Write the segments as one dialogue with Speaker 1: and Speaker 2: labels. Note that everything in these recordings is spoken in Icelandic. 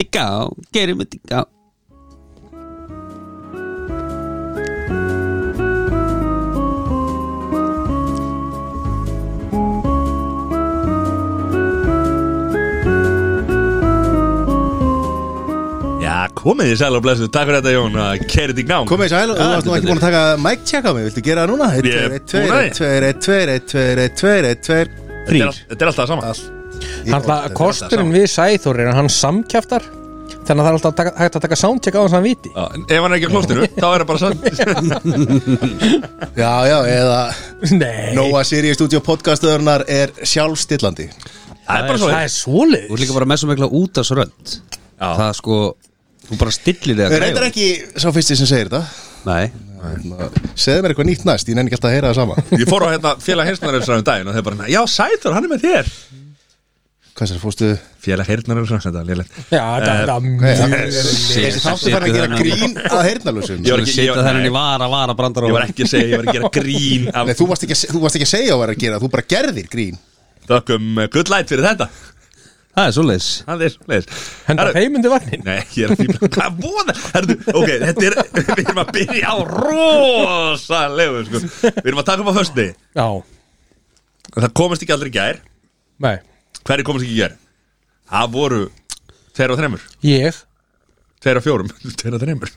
Speaker 1: Digga, gerum við digga
Speaker 2: Já, komið þið sæl og blessuð, takk fyrir þetta Jón að kerið í nám
Speaker 3: Mm. Komið í sæl, þú varst nú ekki búin að taka mic check á mig, viltu gera það núna?
Speaker 2: Ég er búin að því.
Speaker 3: 1-2-1-2-1-2-1-2-1-2-1-2
Speaker 2: Þetta er allt- þetta er alltaf sama
Speaker 4: Þannig að kosturinn við Sæþór er að hann samkjaftar Þannig að það er alltaf að taka- hægt að taka soundcheck á hans að hann viti
Speaker 2: Já, en Ef hann er ekki á klóstinu, þá er það bara sann
Speaker 3: Já, já, eða
Speaker 4: Nei,
Speaker 3: Nóa Sirius Studio podcastöðurnar er sjálfstillandi
Speaker 2: Það er bara svo
Speaker 4: það er svoleið
Speaker 1: Þú er líka bara með svo mikla út af svo rönd
Speaker 2: Já.
Speaker 1: Það er sko, þú bara stillir þig að
Speaker 3: Við reyndar ekki sá fyrsti sem segir þetta
Speaker 1: Nei,
Speaker 3: Segðu mér eitthvað nýtt næst, ég nenni ekki alltaf að heyra það sama
Speaker 2: Ég fór á hérna félag heyrnaröfisar um daginn og þeir bara, já, Sæþór, hann er með þér
Speaker 3: Hvað sér, fórstu
Speaker 2: Félag heyrnaröfisar, þetta er lélægt
Speaker 4: Já, það er mjög
Speaker 3: Þessi þáttu farin að gera grín að heyrnalusum
Speaker 2: hérna. Ég
Speaker 1: þú
Speaker 2: var ekki- ég
Speaker 1: setja
Speaker 2: var-
Speaker 1: þennan
Speaker 2: nei.
Speaker 1: í vara, vara, brandar
Speaker 2: Ég var ekki að segja, ég var að gera grín
Speaker 3: Nei,
Speaker 2: af
Speaker 3: þú varst ekki að- þú varst ekki að segja að vera að gera, þú bara gerðir grín
Speaker 2: þökkum eh, good light fyrir þetta
Speaker 1: Það er svoleiðis
Speaker 2: Það er svoleiðis
Speaker 4: Henda
Speaker 2: Herru,
Speaker 4: þeim undir vagnin
Speaker 2: Nei, ég er að fýbla Hvað bóða? Herðu, ok, þetta er Við erum að byrja á rosalegu sko. Við erum að taka upp á föstu
Speaker 4: Já,
Speaker 2: Það komast ekki aldrei í gær
Speaker 4: nei,
Speaker 2: Hverju komast ekki í gær? Það voru Tveir og þremur
Speaker 4: ég
Speaker 2: Tveir og fjórum Tveir og þremur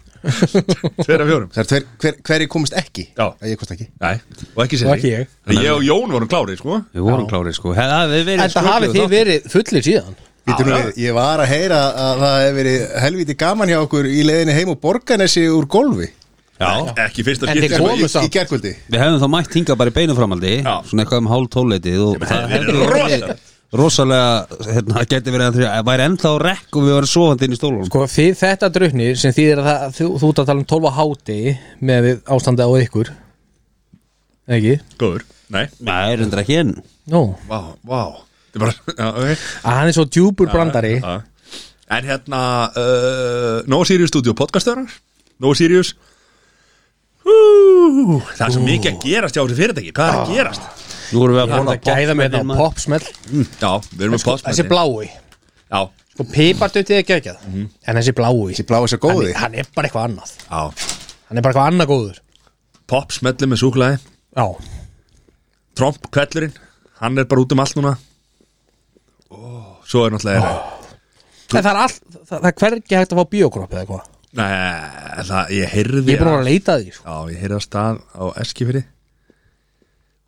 Speaker 2: Tveir og fjórum
Speaker 3: Það er tver- hver- Hverjir komist ekki?
Speaker 2: Já.
Speaker 3: Ég komst ekki
Speaker 2: Nei, og ekki sér
Speaker 4: Og ekki ég.
Speaker 2: Ég og Jón vorum klári, sko
Speaker 1: Við vorum klárið sko Það hefði verið
Speaker 4: Þetta
Speaker 1: skröklegur
Speaker 4: hafið þið
Speaker 1: þáttur.
Speaker 4: verið fullir síðan
Speaker 3: Býtu nú
Speaker 2: Já,
Speaker 3: við, ég var að heyra að það hefur verið helviti gaman hjá okkur í leiðinni heim og borganessi úr golfi
Speaker 2: Já Ekki fyrsta
Speaker 4: En
Speaker 2: skipti sko.
Speaker 4: þeir
Speaker 2: sem
Speaker 4: komu
Speaker 2: ég-
Speaker 4: samt.
Speaker 3: í gerkvöldi
Speaker 1: Við hefum þá mætt hingað bara í beinu framhaldi
Speaker 2: Já.
Speaker 1: Svona eitthvað um hálf tóleitið Og það
Speaker 2: hefði
Speaker 1: hefði
Speaker 2: verið
Speaker 1: verið rosalega hérna, Það geti verið að það væri ennþá rekk Og við varum sofandi inn í stólunum
Speaker 4: Sko þið þetta drauknir sem þýðir að það, þú, þú ert að tala um 12 háti með við ástandið á ykkur Ekki?
Speaker 2: Góður Nei
Speaker 1: Nei, reyndar ekki enn
Speaker 4: Nú,
Speaker 2: Vá, vá Þetta er bara Já, ok
Speaker 4: að hann er svo djúpur brandari
Speaker 2: Já. En hérna uh, No Sirius Studio podcastöðar No Sirius Hú, Það er svo mikið að gerast hjá þessu fyrirtæki Hvað er að gerast?
Speaker 1: Nú erum við að
Speaker 4: Það er
Speaker 1: bóla
Speaker 4: að gæða með þetta á popsmell
Speaker 2: Já, við erum með
Speaker 4: Þessi
Speaker 2: podcasti
Speaker 4: blái
Speaker 2: Já,
Speaker 4: Sko piparduttið er geggjað En Mhm. þessi blái
Speaker 3: Þessi blá þessi góði
Speaker 4: hann, hann er bara eitthvað annað
Speaker 2: já
Speaker 4: Hann er bara eitthvað annað góður
Speaker 2: Pop smetli með súklaði
Speaker 4: Já,
Speaker 2: Tromp kvellurinn Hann er bara út um allt núna Ó, Svo er náttúrulega
Speaker 4: en það er allt Það, það er hvergi hægt að fá bíókropp eða eitthvað
Speaker 2: Nei, það, ég heyrði
Speaker 4: Ég er búin að vera að leita að því sko.
Speaker 2: Já, ég heyrði að stað á Eskifirði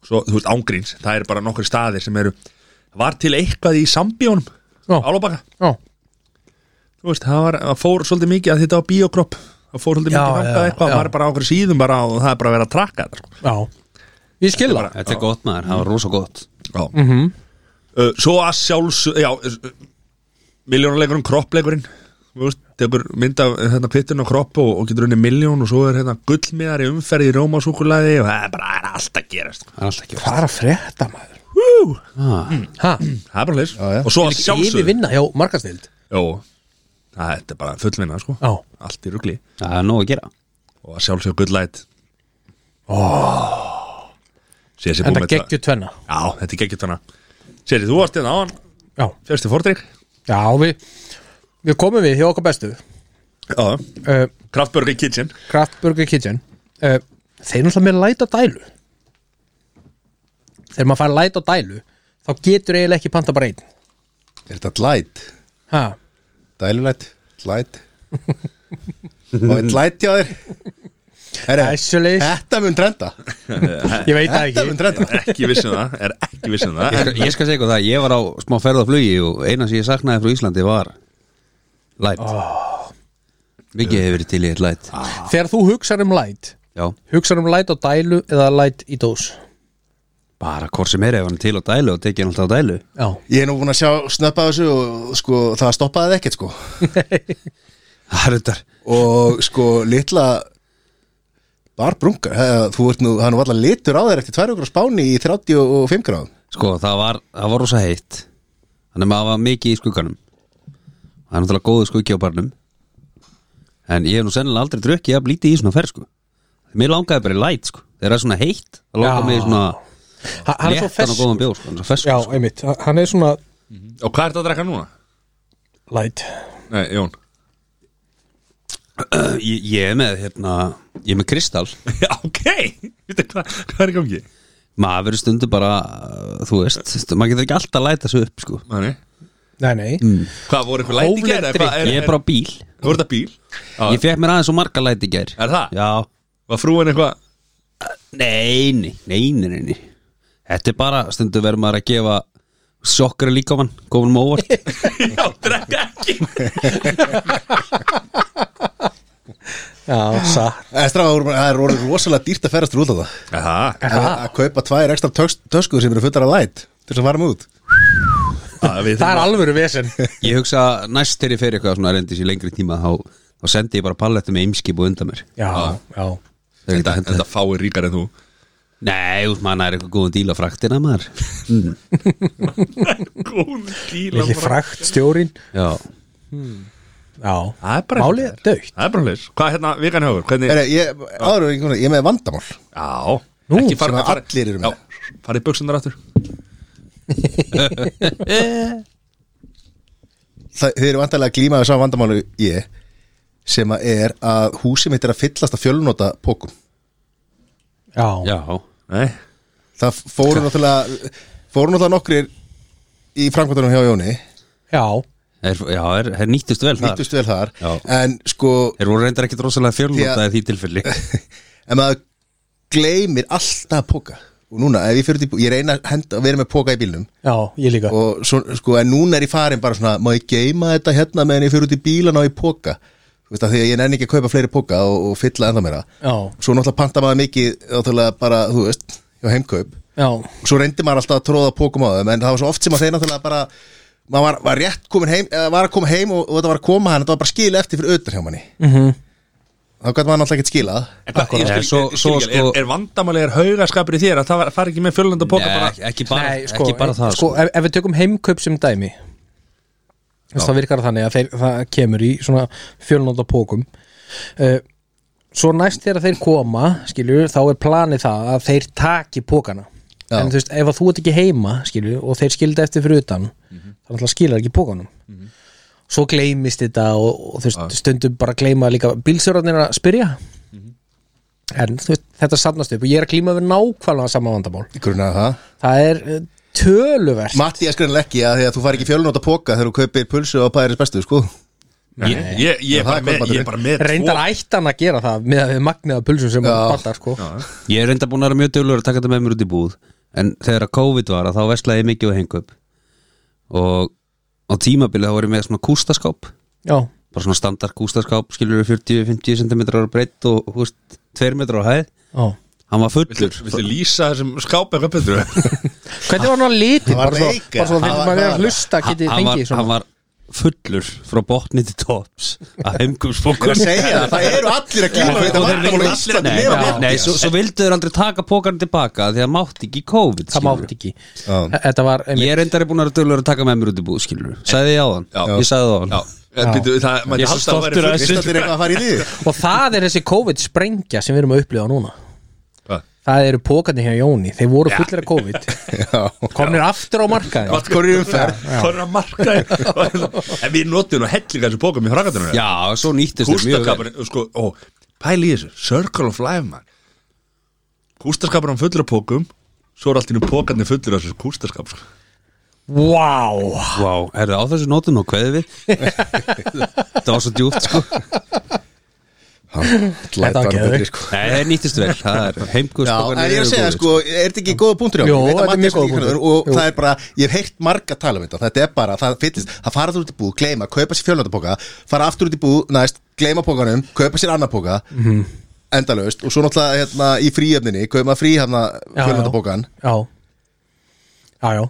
Speaker 2: Svo, þú veist, ángríns Það eru bara nokkur staðir sem eru Var til eitthvað í sambíónum
Speaker 4: Já.
Speaker 2: Álóbaka
Speaker 4: Já,
Speaker 2: þú veist, það var, það fór svolítið mikið að þetta á biokropp, það fór svolítið
Speaker 4: Já,
Speaker 2: mikið þangað
Speaker 4: já,
Speaker 2: eitthvað,
Speaker 4: já.
Speaker 2: það var bara á okkur síðum bara og það er bara að vera að trakka þetta sko.
Speaker 4: já Ég skil það
Speaker 1: Þetta er gott maður, það var rosa gott
Speaker 2: mm
Speaker 3: Mhm.
Speaker 2: -hmm. uh, svo að sjálfs já, uh, miljónuleikurinn kroppleikurinn, þú veist tekur mynd af uh, hérna kvittin og kropp og, og getur unni miljón og svo er hérna gullmiðar í umferði í rómasúkulaði og það er bara það er allt að gerast sko.
Speaker 1: Það er alltaf ekki
Speaker 4: Hvað er að frétta maður?
Speaker 2: Hú,
Speaker 1: ah.
Speaker 4: Ha,
Speaker 2: það er bara leys
Speaker 3: Já, já.
Speaker 2: og svo að
Speaker 4: yfir
Speaker 2: sjálfsögðu
Speaker 4: vinna hjá markastild
Speaker 2: Jó, það þetta er bara fullvinna sko.
Speaker 4: Já.
Speaker 2: allt í rugli
Speaker 1: Það er nóg að gera
Speaker 2: og að sjálfsögðu gullæt oh.
Speaker 4: En það geggjur tvenna
Speaker 2: Já, þetta er geggjut hana Séri, þú varst hérna á hann,
Speaker 4: Já,
Speaker 2: fjöstu fordrykk
Speaker 4: já við, við komum við hjá okkar bestu
Speaker 2: Já,
Speaker 4: uh,
Speaker 2: Kraftburger Kitchen
Speaker 4: Kraft Burger Kitchen uh, Þeir náttúrulega með læt á dælu Þegar maður fær læt á dælu Þá getur eiginlega ekki panta bara einn
Speaker 3: Er þetta light?
Speaker 4: ha,
Speaker 3: Dælulætt? Light? Og eitt light hjá þér? Herre,
Speaker 4: Æsulis.
Speaker 3: þetta mun trenda
Speaker 4: Ég veit það
Speaker 3: Þetta mun
Speaker 4: ekki
Speaker 3: trenda
Speaker 2: Ekki vissum það, er ekki vissum það
Speaker 1: Ég skal, ég skal segja eitthvað það, ég var á smá ferð á flugi og eina sem ég saknaði frá Íslandi var light Mikið hefur verið til í eitt light
Speaker 4: Þegar þú hugsar um læt
Speaker 1: Já,
Speaker 4: Hugsar um læt á dælu eða læt í dós
Speaker 1: bara hvort sem er ef hann er til á dælu og tekið hann alltaf á dælu
Speaker 4: Já,
Speaker 3: Ég er nú búin að sjá snöppa þessu og sko, það stoppaði það ekkert sko
Speaker 1: Það er þetta
Speaker 3: Og sko, litla barbrungar, he- þú ert nú, það er nú alltaf litur á þér eftir tvær okkur á spáni í 35 gráðum
Speaker 1: Sko, það var, það var rosa heitt Þannig að maður var mikið í skugganum Það er náttúrulega góðu skuggi á barnum En ég hef nú sennilega aldrei drukkið að blíti í svona ferð sko Mér langaði bara í light sko Þegar það er svona heitt, það langaði
Speaker 4: Já.
Speaker 1: mig í svona
Speaker 4: Ha- hann er
Speaker 1: léttan
Speaker 4: svo
Speaker 1: og
Speaker 4: feskur
Speaker 1: góðan bjór sko, hann er svo feskur,
Speaker 4: Já,
Speaker 1: sko.
Speaker 4: einmitt, Ha- hann er svona
Speaker 2: Og hvað er þetta að drekka núna?
Speaker 4: læt
Speaker 2: Nei, Jón
Speaker 1: ég, ég er með hérna, ég er með kristall
Speaker 2: Já, ok, veitu hvað hva er í gangi?
Speaker 1: maður verður stundu bara uh, þú veist, maður getur ekki alltaf að læta þessu upp sko.
Speaker 2: Mani.
Speaker 4: Nei, nei mm.
Speaker 2: Hvað voru eitthvað læti
Speaker 4: Hófleg
Speaker 2: gera?
Speaker 4: drykk.
Speaker 2: Hvað er,
Speaker 1: ég er bara á bíl,
Speaker 2: Voru þetta bíl? Já.
Speaker 1: ég fekk mér aðeins og marga læti gær
Speaker 2: Er það?
Speaker 1: Já,
Speaker 2: Var frúin eitthvað?
Speaker 1: nei, nei, nei, nei, nei, nei. þetta er bara stundu verður maður að gefa sjokkra líka mann, komin með óvart
Speaker 2: Já, drekka ekki
Speaker 4: Já, satt
Speaker 3: En strafa, voru bara- það er orðið rosalega dýrt að ferast út á það
Speaker 2: Það,
Speaker 3: Að að kaupa tvær ekstra töks- töskur sem eru fullar af læt til þess að fara með út
Speaker 2: það við
Speaker 4: Það er alvöru vesen
Speaker 1: Ég hugsa næst þegar ég fer eitthvað svona erendis í lengri tíma þá, þá sendi ég bara palletti með ymskip og undan mér
Speaker 4: Já, já
Speaker 1: Það er ekki að
Speaker 2: Þetta,
Speaker 1: henda
Speaker 2: þetta fáir ríkar en þú
Speaker 1: Nei, út maður er eitthvað góðan díl á fraktina maður
Speaker 2: Góðan díla
Speaker 4: Lilli frækt stjórin
Speaker 1: Já,
Speaker 4: Já,
Speaker 2: Það er bara
Speaker 4: málið er dögt
Speaker 2: Það er bara hlýs Hvað hérna, vikan hefur? Hvernig?
Speaker 3: er, ég, áður, ég, ég er með vandamál
Speaker 2: Já
Speaker 4: Nú,
Speaker 2: ekki
Speaker 3: sem
Speaker 2: fara,
Speaker 3: að
Speaker 2: fara,
Speaker 3: allir eru með.
Speaker 2: Já, farið buksundar aftur
Speaker 3: það, Þið eru vantarlega að glíma við sá vandamálu ég sem að er að húsið mitt er að fyllast af fjölunóta pókum
Speaker 4: Já,
Speaker 1: já
Speaker 2: Nei
Speaker 3: Það fóru náttúrulega fóru náttúrulega nokkrir í framkvæmtunum hjá Jóni
Speaker 4: já,
Speaker 1: er, Já, er, er nýttust vel þar
Speaker 3: nýttust vel þar
Speaker 1: Já.
Speaker 3: en sko,
Speaker 1: Þeir voru reyndar ekkit rosalega
Speaker 3: Því
Speaker 1: fjölnóta
Speaker 3: að-
Speaker 1: í því tilfelli
Speaker 3: en maður gleymir alltaf póka og núna, ef ég fyrir til, ég reyna að henda að vera með póka í bílnum
Speaker 4: já, ég líka
Speaker 3: og svo, sko, en núna er ég farin bara svona, má ég geima þetta hérna meðan ég fyrir út í bílan og í póka þú veist að því að ég nenni ekki að kaupa fleiri póka og, og fylla ennþá meira
Speaker 4: Já,
Speaker 3: svo náttúrulega panta maður mikið náttúrulega bara, þú veist, hjá heimkaup
Speaker 4: já,
Speaker 3: og svo reyndi maður alltaf að tróða pókum á þeim en það var svo oft sem að þeir náttúrulega bara maður var, var rétt komin heim, eða var að koma heim og, og þetta var að koma hann, þetta var bara skil eftir fyrir auðvitað hjá manni mm -hmm. þá gæti maður náttúrulega ekki skilað
Speaker 2: En hvað, ég skil-
Speaker 1: Nei, svo-
Speaker 2: ég skil
Speaker 1: svo
Speaker 2: ekki, er,
Speaker 1: sko-
Speaker 2: er vandamáli, er haugaskapur í þér að það var- fara ekki með fjölund og poka
Speaker 1: Nei,
Speaker 2: bara
Speaker 1: ekki, ekki, bara,
Speaker 4: Nei, sko,
Speaker 1: ekki bara það
Speaker 4: sko,
Speaker 1: sko.
Speaker 4: Ef, ef við tökum heimkaup sem dæmi þess að það virkar þannig að þeir, það kemur í svona fjölnóta pókum uh, svo næst þegar þeir koma skilju, þá er planið það að þeir taki pókana
Speaker 3: Já.
Speaker 4: en þú veist, ef að þú ert ekki heima skilju, og þeir skilda eftir fyrir utan mm
Speaker 1: Mhm.
Speaker 4: -hmm. þannig að skilja ekki pókanum svo gleymist þetta og, og þú veist, stundum bara gleyma líka bílsjórarnir að spyrja
Speaker 1: Mhm.
Speaker 4: en þú veist, þetta safnast upp og ég er að glíma við nákvæmlega sama vandamál
Speaker 3: í grunna það
Speaker 4: það er eh, töluvert
Speaker 3: Matti er skrinlega ekki að því að þú fari ekki fjölunóta póka þegar þú kaupir pulsu og pæðiris bestu sko
Speaker 2: Ég, ég, ég,
Speaker 3: Já,
Speaker 2: er
Speaker 3: það
Speaker 2: bara
Speaker 3: er
Speaker 2: með, ég er
Speaker 3: kvöldmaturinn.
Speaker 2: bara með
Speaker 4: reyndar
Speaker 2: tvo-
Speaker 4: ættan að gera það með að við magnaða pulsum sem hún bandar sko já,
Speaker 1: Ég er reyndar búin að vera mjög dölur að taka þetta með mér út í búð En þegar að COVID var að þá veslaði ég mikið á hengaup Og á tímabilið þá var ég með svona kústaskáp
Speaker 4: já,
Speaker 1: bara svona standard kústaskáp skilur 40-50 cm ára breytt og hú veist, 2 metrar á hæð hann var fullur
Speaker 2: Viltu lýsa þessum skápa eitthvað betur?
Speaker 4: hvernig var hann að liti
Speaker 3: Hann var
Speaker 4: bara svo,
Speaker 3: veika.
Speaker 4: bara svo
Speaker 3: Hann
Speaker 4: þegar
Speaker 3: var-
Speaker 4: maður er
Speaker 3: hann
Speaker 4: að
Speaker 3: var-
Speaker 4: hlusta getið
Speaker 1: hann var,
Speaker 4: fengið
Speaker 1: hann
Speaker 4: svona
Speaker 1: var fullur frá botni til tops að heimgumsfókur
Speaker 3: Hvað segja það? Það eru allir að glíma við þetta vandamál á Íslandi
Speaker 1: Nei,
Speaker 3: nema
Speaker 1: já,
Speaker 3: Matti.
Speaker 1: nei svo, svo vildu þeir aldrei taka pókarn tilbaka því að mátti ekki COVID
Speaker 4: það
Speaker 1: skilurðu.
Speaker 4: mátt ekki
Speaker 3: Já.
Speaker 4: þetta var einmitt,
Speaker 1: Ég er reyndari búin að vera dölur að taka með mér út í búð skilur Sæði ég á þann,
Speaker 2: Já.
Speaker 1: ég sæði það á
Speaker 2: Já,
Speaker 1: hann
Speaker 2: en býtu, það, maður
Speaker 1: Ég er svo
Speaker 2: haldi að það væri
Speaker 1: stoltur að
Speaker 2: full-
Speaker 1: þessu.
Speaker 3: Veist allir eitthvað að fara í því?
Speaker 4: og það er þessi COVID sprengja sem við erum að upplifa núna
Speaker 2: Hvað?
Speaker 4: það eru pókarnir hjá Jóni, þeir voru fullir af COVID
Speaker 3: Já,
Speaker 4: komnir aftur á markaði
Speaker 2: Hvað
Speaker 1: um
Speaker 2: er í umferð? Hvað er að marka En við notum nú hellinga þessu bókum í frakatunum
Speaker 1: Já, svo nýttist þeir mjög vel.
Speaker 2: Kústakapur, sko, ó, pæli í þessu Circle of Life, man Kústaskapur hann fullur af pókum Svo er allt í nú pókarnir fullur af þessu kústaskap sko.
Speaker 4: wow
Speaker 1: Vá, herðu á þessu nótum og kveði við Það var svo djúpt sko
Speaker 4: Þetta var geðveikt.
Speaker 3: sko
Speaker 1: Nei, það nýttist vel, það er heimgust
Speaker 3: Já, en ég er að segja sko, er þetta ekki góða punktur hjá
Speaker 4: Jó,
Speaker 3: mér? Ég veit að
Speaker 4: þetta er
Speaker 3: Matti
Speaker 4: mjög góður
Speaker 3: skilur
Speaker 4: punktur.
Speaker 3: hvernig- hérna Og
Speaker 4: Jú.
Speaker 3: það er bara, ég hef heyrt marga tala um þetta Þetta er bara, það fyllist, það fara þú út í búð, gleyma, kaupa sér fjölnöndapóka Fara aftur út í búð, næst, gleyma pókanum, kaupa sér annar póka
Speaker 4: Mhm.
Speaker 3: Endalaust, og svo náttúrulega hérna í fríöfninni Kaupa maður frí hérna fjölnöndapókan
Speaker 4: já, já, já.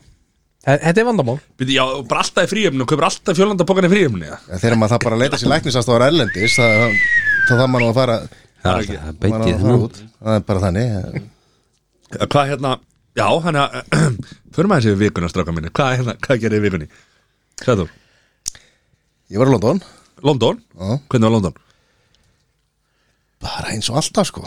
Speaker 4: Þe- þetta er vandamál
Speaker 2: Býtu, já, og bara alltaf í fríöfni og kaupir alltaf fjölanda pókarnir í fríöfni ja.
Speaker 3: Þegar maður það bara leita sér læknisastáðar erlendis Það það þarf maður nú að fara
Speaker 1: Það það
Speaker 3: maður
Speaker 1: beit
Speaker 3: á
Speaker 1: ég
Speaker 3: að
Speaker 1: það
Speaker 3: fara
Speaker 1: nú
Speaker 3: út. Það er bara þannig
Speaker 2: Hvað hérna, já, hann að Förum aðeins yfir vikuna, stráka minni Hvað, hérna, hvað gerir í vikunni? Sæður,
Speaker 3: Ég var í London
Speaker 2: London?
Speaker 3: Já.
Speaker 2: Hvernig var London?
Speaker 3: Bara eins og alltaf sko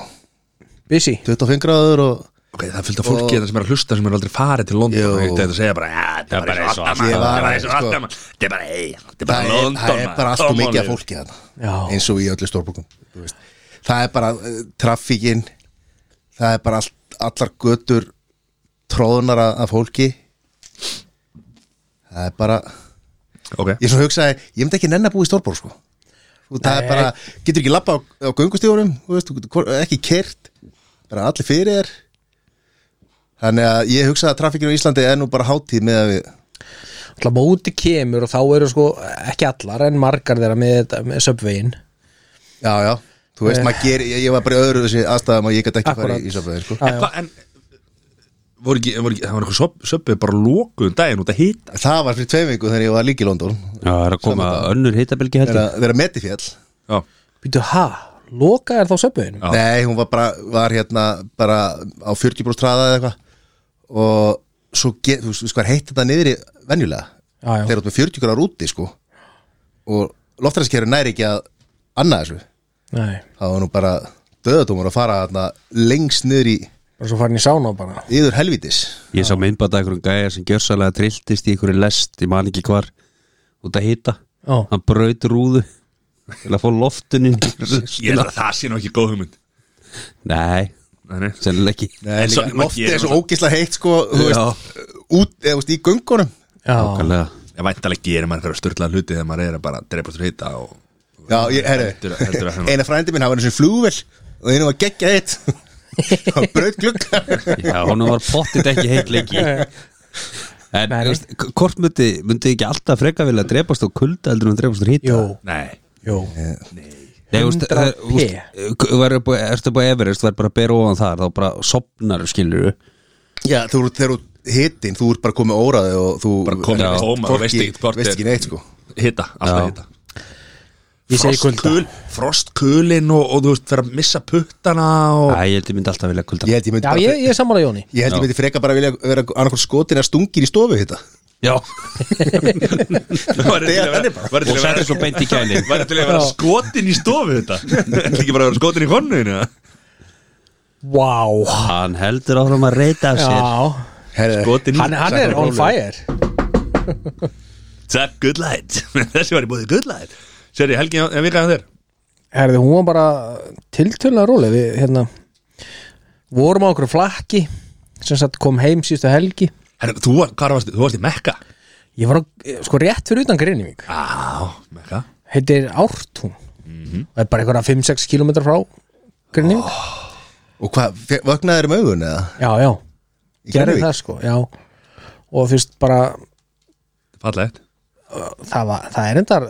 Speaker 4: busy
Speaker 3: 25 gráður og
Speaker 2: ok, það er fullt af fólki og... sem er að hlusta sem er aldrei farið til London
Speaker 3: Jú.
Speaker 2: og þetta er að segja bara, ja, þetta er bara eins og alltaf
Speaker 3: Ég
Speaker 2: maður, þetta er
Speaker 3: var-
Speaker 2: bara eins og
Speaker 3: sko-
Speaker 2: alltaf maður, þetta er bara, ei, þetta er bara
Speaker 3: það er,
Speaker 2: London
Speaker 3: það er
Speaker 2: maður,
Speaker 3: bara allt og
Speaker 2: come on,
Speaker 3: mikið af fólki þarna
Speaker 4: Já.
Speaker 3: eins og í öllu stórbúkum það er bara uh, traffíkin það er bara allt, allar götur tróðunar af- af fólki það er bara
Speaker 2: ok,
Speaker 3: ég svona hugsaði, ég myndi ekki nenn að búa í stórbúr sko og það er
Speaker 4: Nei.
Speaker 3: bara, getur ekki lappa á, á göngustíðunum, þú veist, þú getur hvor- ekki kert bara allir fyrir þér þannig að ég hugsaði að traffíkinu í Íslandi er nú bara hátíð með að við
Speaker 4: Alltaf móti kemur og þá eru sko ekki allar en margar þeirra með, þetta- með söpvegin
Speaker 3: Já, já, þú veist, maður ger, ég, ég var bara í öðru þessi aðstæðum og ég gæti ekki
Speaker 4: Akkúrat.
Speaker 3: farið í Ísafræðin, sko.
Speaker 2: en hvað, en voru ekki, voru ekki, það var eitthvað söpbið bara lókuðum daginn út að hýta
Speaker 3: Það var fyrir tveim viku þegar ég var líka í London,
Speaker 1: Já, það er að koma önnur hitabelgi heldur
Speaker 3: þegar þegar Meti fjall.
Speaker 2: já,
Speaker 4: Býtu, ha? Loka er þá söpvegin?
Speaker 2: Já.
Speaker 3: Nei, hún var bara, var hérna bara á 40 brúst hraða eða eitthvað og svo, ge, þú veist, þú veist hvað er heitt þetta niður í venjulega,
Speaker 4: Já, já.
Speaker 3: þegar þú ert með 40 gráður úti, sko, og loftræðskerfi næri ekki að annað þessu,
Speaker 4: Nei,
Speaker 3: það var nú bara döðatómur að fara hérna lengst niður í
Speaker 4: bara svo farin í sána bara
Speaker 3: yður helvitis.
Speaker 1: Ég sá myndbata einhverjum gæja sem gjörsalega trilltist í einhverju lest, ég man ekki hvar út að hita,
Speaker 4: Já.
Speaker 1: hann braut rúðu til að fá loftunin
Speaker 2: ég held að það sé nú ekki góð hugmynd
Speaker 1: Nei,
Speaker 2: Nei, nei.
Speaker 1: sennilega ekki
Speaker 3: Nei,
Speaker 2: En svo-
Speaker 3: líka, loftið er svo
Speaker 2: maður
Speaker 3: ógislega heitt, sko, þú veist, út, eða, þú veist, í göngunum.
Speaker 4: Já,
Speaker 1: Nákvæmlega.
Speaker 2: ég væntalega gerir maður einhverja störla hluti þegar maður er að bara dreipast úr hýta og
Speaker 3: Já, ég,
Speaker 2: Heldur- heldur að
Speaker 3: herri,
Speaker 2: hann-
Speaker 3: eina frændi minn hafa einu sem flugvel og einu var geggja eitt og braut glugga
Speaker 1: Já, honum var pottit ekki heitt lengi En
Speaker 4: Nei.
Speaker 1: þú veist, k- hvort myndi, myndi ekki alltaf freka vilja drepast á kulda heldur en drepast á hýta
Speaker 4: jú,
Speaker 2: nei,
Speaker 4: jú
Speaker 1: Nei, þú veist,
Speaker 4: 100p.
Speaker 1: það- þú veist, eh, k- verður búið- Ertu búið Everest, verður bara að bera ofan þar þá bara sopnar, skilur
Speaker 3: Já, þú eru þegar þú hittin, þú ert bara komið óraði og þú
Speaker 2: Bara kominn í kóma og veist ekkert hvort
Speaker 3: veist
Speaker 2: er-
Speaker 3: ekki neitt sko
Speaker 2: hýta, alltaf hýta
Speaker 4: Ég segi kulda
Speaker 2: Frostkul, frostkulin og, og þú veist, fyrir að missa puttana og
Speaker 1: Æ, ég held ég myndi alltaf vilja kulda
Speaker 3: Ég held ég myndi,
Speaker 4: Já,
Speaker 3: bara,
Speaker 4: ég, ég er sammála Jóni
Speaker 3: ég, held ég myndi freka bara vilja vera annarkvort skotin að stungin í stofu hérna. þetta
Speaker 1: Já,
Speaker 2: Var
Speaker 3: Deyja þannig bara.
Speaker 2: var til
Speaker 1: og
Speaker 2: að vera
Speaker 1: setja svo beint í kæli
Speaker 2: Var til að vera
Speaker 4: Já.
Speaker 2: skotin í stofu þetta En ekki bara að vera skotin í konnuðinu
Speaker 4: Vá
Speaker 1: Hann heldur áfram að reyta af sér
Speaker 4: Já,
Speaker 3: Herre,
Speaker 2: Skotin í
Speaker 4: hann, hann er on fire
Speaker 2: Takk, good light Þessi var í búið good light Seri, Helgi, ég vikaði þér
Speaker 4: Herði, hún var bara tiltölulega róleg við hérna vorum á okkur flakki sem sagt kom heim síðustu helgi
Speaker 2: Herra, þú, var, hvar varst, þú varst í Mekka
Speaker 4: ég var á, sko rétt fyrir utan Greinvík
Speaker 2: Á, Mekka
Speaker 4: heitir Ártún
Speaker 2: Mhm.
Speaker 4: og er bara einhverja 5-6 km frá Greinvík
Speaker 3: Og hvað, fe- vöknaðu þér um augun eða?
Speaker 4: já, já,
Speaker 3: Í
Speaker 4: gerði
Speaker 3: Grenivík?
Speaker 4: það sko já. og þú veist bara
Speaker 2: Fallegt
Speaker 4: það, var, það er endar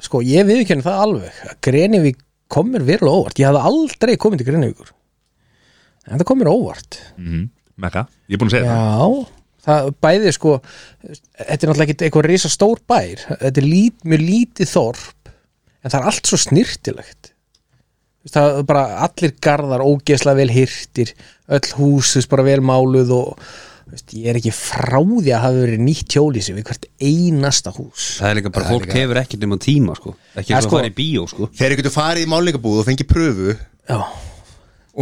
Speaker 4: sko ég viðkjörnum það alveg að Greinvík kom mér verulega óvart ég hafði aldrei komið til Greinvíkur en það kom mér óvart
Speaker 2: mm, Mekka, ég er búin að segja það
Speaker 4: Já, það bæði sko þetta er náttúrulega ekki eitthvað risa stór bær þetta er lít, mjög lítið þorp en það er allt svo snirtilegt það er bara allir garðar ógeðslega vel hirtir öll hús, þú veist, bara vel máluð og þú veist, ég er ekki frá því að hafa verið nýtt hjólísi við hvert einasta hús
Speaker 1: Það er líka bara, fólk hefur ekkert nema tíma, sko Ekki
Speaker 4: Ja,
Speaker 1: eins og
Speaker 4: sko.
Speaker 1: að fara í bíó, sko
Speaker 3: Þegar ykkur farið í málningabúð og fengið pröfu
Speaker 4: Já,